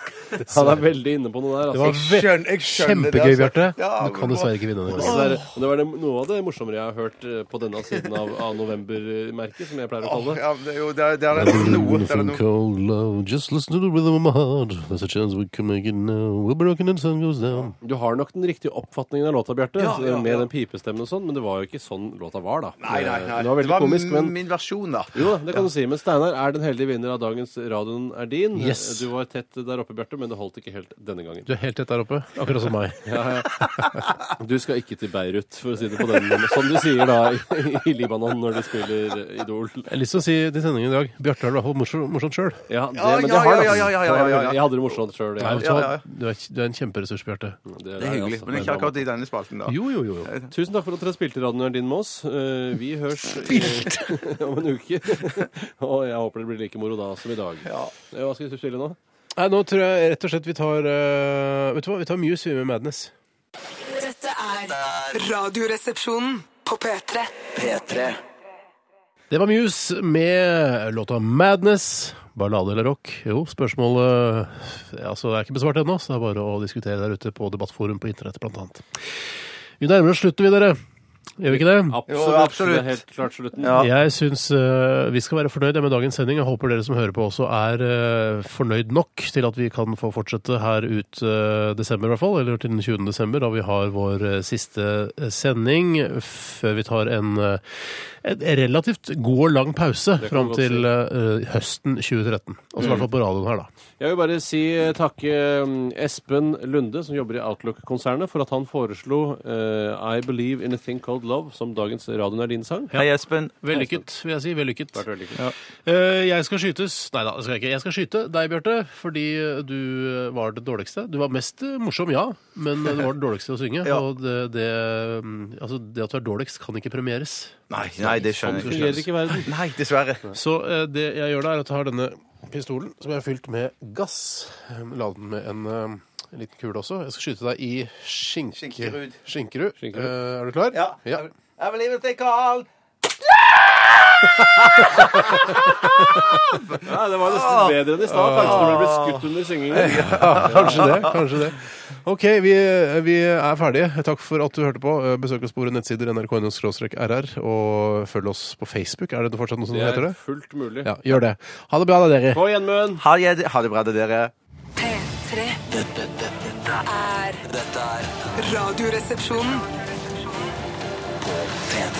Speaker 4: Han er veldig inne på noe der.
Speaker 3: Det var
Speaker 4: Altså.
Speaker 3: ve-
Speaker 5: skjønner- jeg skjønner det,
Speaker 3: Kjempegøy,
Speaker 5: altså.
Speaker 3: Bjarte.
Speaker 5: Ja,
Speaker 3: Du kan
Speaker 5: men-
Speaker 3: dessverre ikke vinne.
Speaker 4: Altså,
Speaker 3: Denne.
Speaker 4: det, er, det var det, noe av det morsommere jeg har hørt eh, på denne siden av, av novembermerket, som jeg pleier å kalle det.
Speaker 5: Ja, det er jo det er, det er noe. Det
Speaker 3: Sånn
Speaker 5: er noe.
Speaker 3: Cold love, just listen to the rhythm of my heart. There's a chance we can make it now. We're broken and sun goes down.
Speaker 4: Du har nok den riktige oppfatningen av låta, Bjarte, altså,
Speaker 5: Ja, ja,
Speaker 4: med
Speaker 5: ja.
Speaker 4: den pipestemmen og sånn, men det var jo ikke sånn låta var, da.
Speaker 5: Nei, nei, nei.
Speaker 4: Det var veldig komisk, men
Speaker 5: min versjon, da.
Speaker 4: jo da, det kan du si. Men Steinar er den heldige vinner av dagens Radioen er din.
Speaker 3: Yes.
Speaker 4: Du var tett der oppe, Bjarte, men det holdt ikke helt denne gangen.
Speaker 3: Du er helt tett der oppe. Akkurat som meg.
Speaker 4: Du skal ikke til Beirut, for å si det på den måten. Som de sier da i, i Libanon når de spiller Idol.
Speaker 3: Jeg har lyst til å si til sendingen i dag Bjarte har det i hvert fall morsom- morsomt sjøl.
Speaker 4: Ja, det,
Speaker 5: Ja,
Speaker 4: men det
Speaker 5: ja,
Speaker 4: har det.
Speaker 5: ja, ja, ja, ja, ja, ja.
Speaker 4: Jeg hadde det altså. morsomt sjøl.
Speaker 3: Nei, vet du
Speaker 5: Ja,
Speaker 3: hva?
Speaker 5: ja, ja.
Speaker 3: Altså, Du er du er en kjemperessurs, Bjarte.
Speaker 5: Det er hyggelig. Men ikke akkurat i denne spalten, da.
Speaker 3: Jo, jo, jo. jo.
Speaker 4: altså Tusen takk for at dere spilte radioen din med oss. Eh, Vi høres i, [laughs] om en uke.
Speaker 5: [laughs]
Speaker 4: Og jeg håper det blir like moro da som i dag. Eh, Hva skal vi spille nå?
Speaker 3: Nei, nå tror jeg rett og slett vi tar eh, Vet du hva, vi tar Muse vi, med Madness.
Speaker 1: Dette er Radioresepsjonen på P3.
Speaker 2: P3.
Speaker 3: Det var Muse med låta 'Madness'. Ballade eller rock? Jo, spørsmålet eh, altså, er ikke besvart ennå, så det er bare å diskutere der ute på debattforum på internett, blant annet. Vi nærmer oss slutten, vi, dere. Gjør vi ikke det?
Speaker 5: absolutt.
Speaker 4: Det er helt klart slutten.
Speaker 3: Jeg syns eh, vi skal være fornøyd med dagens sending. Jeg håper dere som hører på også er eh, fornøyd nok til at vi kan få fortsette her ut eh, desember, i hvert fall. Eller til den 20. desember, da vi har vår eh, siste eh, sending. Før vi tar en, eh, en relativt god og lang pause
Speaker 4: kan
Speaker 3: fram
Speaker 4: du godt
Speaker 3: til eh, høsten 2013. Altså i hvert fall på radioen her, da.
Speaker 4: Jeg vil bare si eh, takke mm, Espen Lunde, som jobber i Outlook-konsernet, for at han foreslo eh, I Believe in a Thing Called Love som dagens Radioen er din-sang.
Speaker 5: Hei, Espen.
Speaker 3: Vellykket, vil jeg si. Vellykket.
Speaker 4: Vært veldig kult.
Speaker 3: Eh, Jeg skal skytes. Nei da, det skal jeg ikke. Jeg skal skyte deg, Bjarte, fordi eh, du var det dårligste. Du var mest eh, morsom, ja, men eh, du var den dårligste å synge.
Speaker 5: [laughs] Ja.
Speaker 3: Og det, det, mm, altså, det at du er dårligst, kan ikke premieres.
Speaker 5: Nei, nei, det skjønner
Speaker 4: Sånn
Speaker 5: jeg
Speaker 4: fungerer ikke [laughs] verden.
Speaker 5: Nei, dessverre.
Speaker 3: Så eh, det jeg gjør da, er at jeg har denne pistolen, som jeg har fylt med gass. Lader den med en, eh, en liten kule også. Jeg skal skyte deg i skinke...
Speaker 5: Skinkerud.
Speaker 3: Skinkerud.
Speaker 4: Skinkerud.
Speaker 3: Eh, er du klar?
Speaker 5: Ja.
Speaker 3: ja.
Speaker 5: I believe it, they call.
Speaker 4: Nei, det var nesten bedre enn i stad. Kanskje når du ble skutt under syngingen.
Speaker 3: [laughs] Kanskje det. kanskje det. Ok, vi, vi er ferdige. Takk for at du hørte på. Eh, Besøk oss på våre nettsider nrk.no-rr, og følg oss på Facebook. Er det fortsatt noe som
Speaker 4: Det
Speaker 3: heter
Speaker 4: er
Speaker 3: det?
Speaker 4: fullt mulig.
Speaker 3: Ja, Gjør det. Ha det bra, da, dere.
Speaker 4: På gjenmøen!
Speaker 5: Ha det ha det bra, dere.
Speaker 1: P3
Speaker 2: Dette, dette, dette,
Speaker 1: er
Speaker 2: dette er
Speaker 1: Radioresepsjonen.
Speaker 2: P3.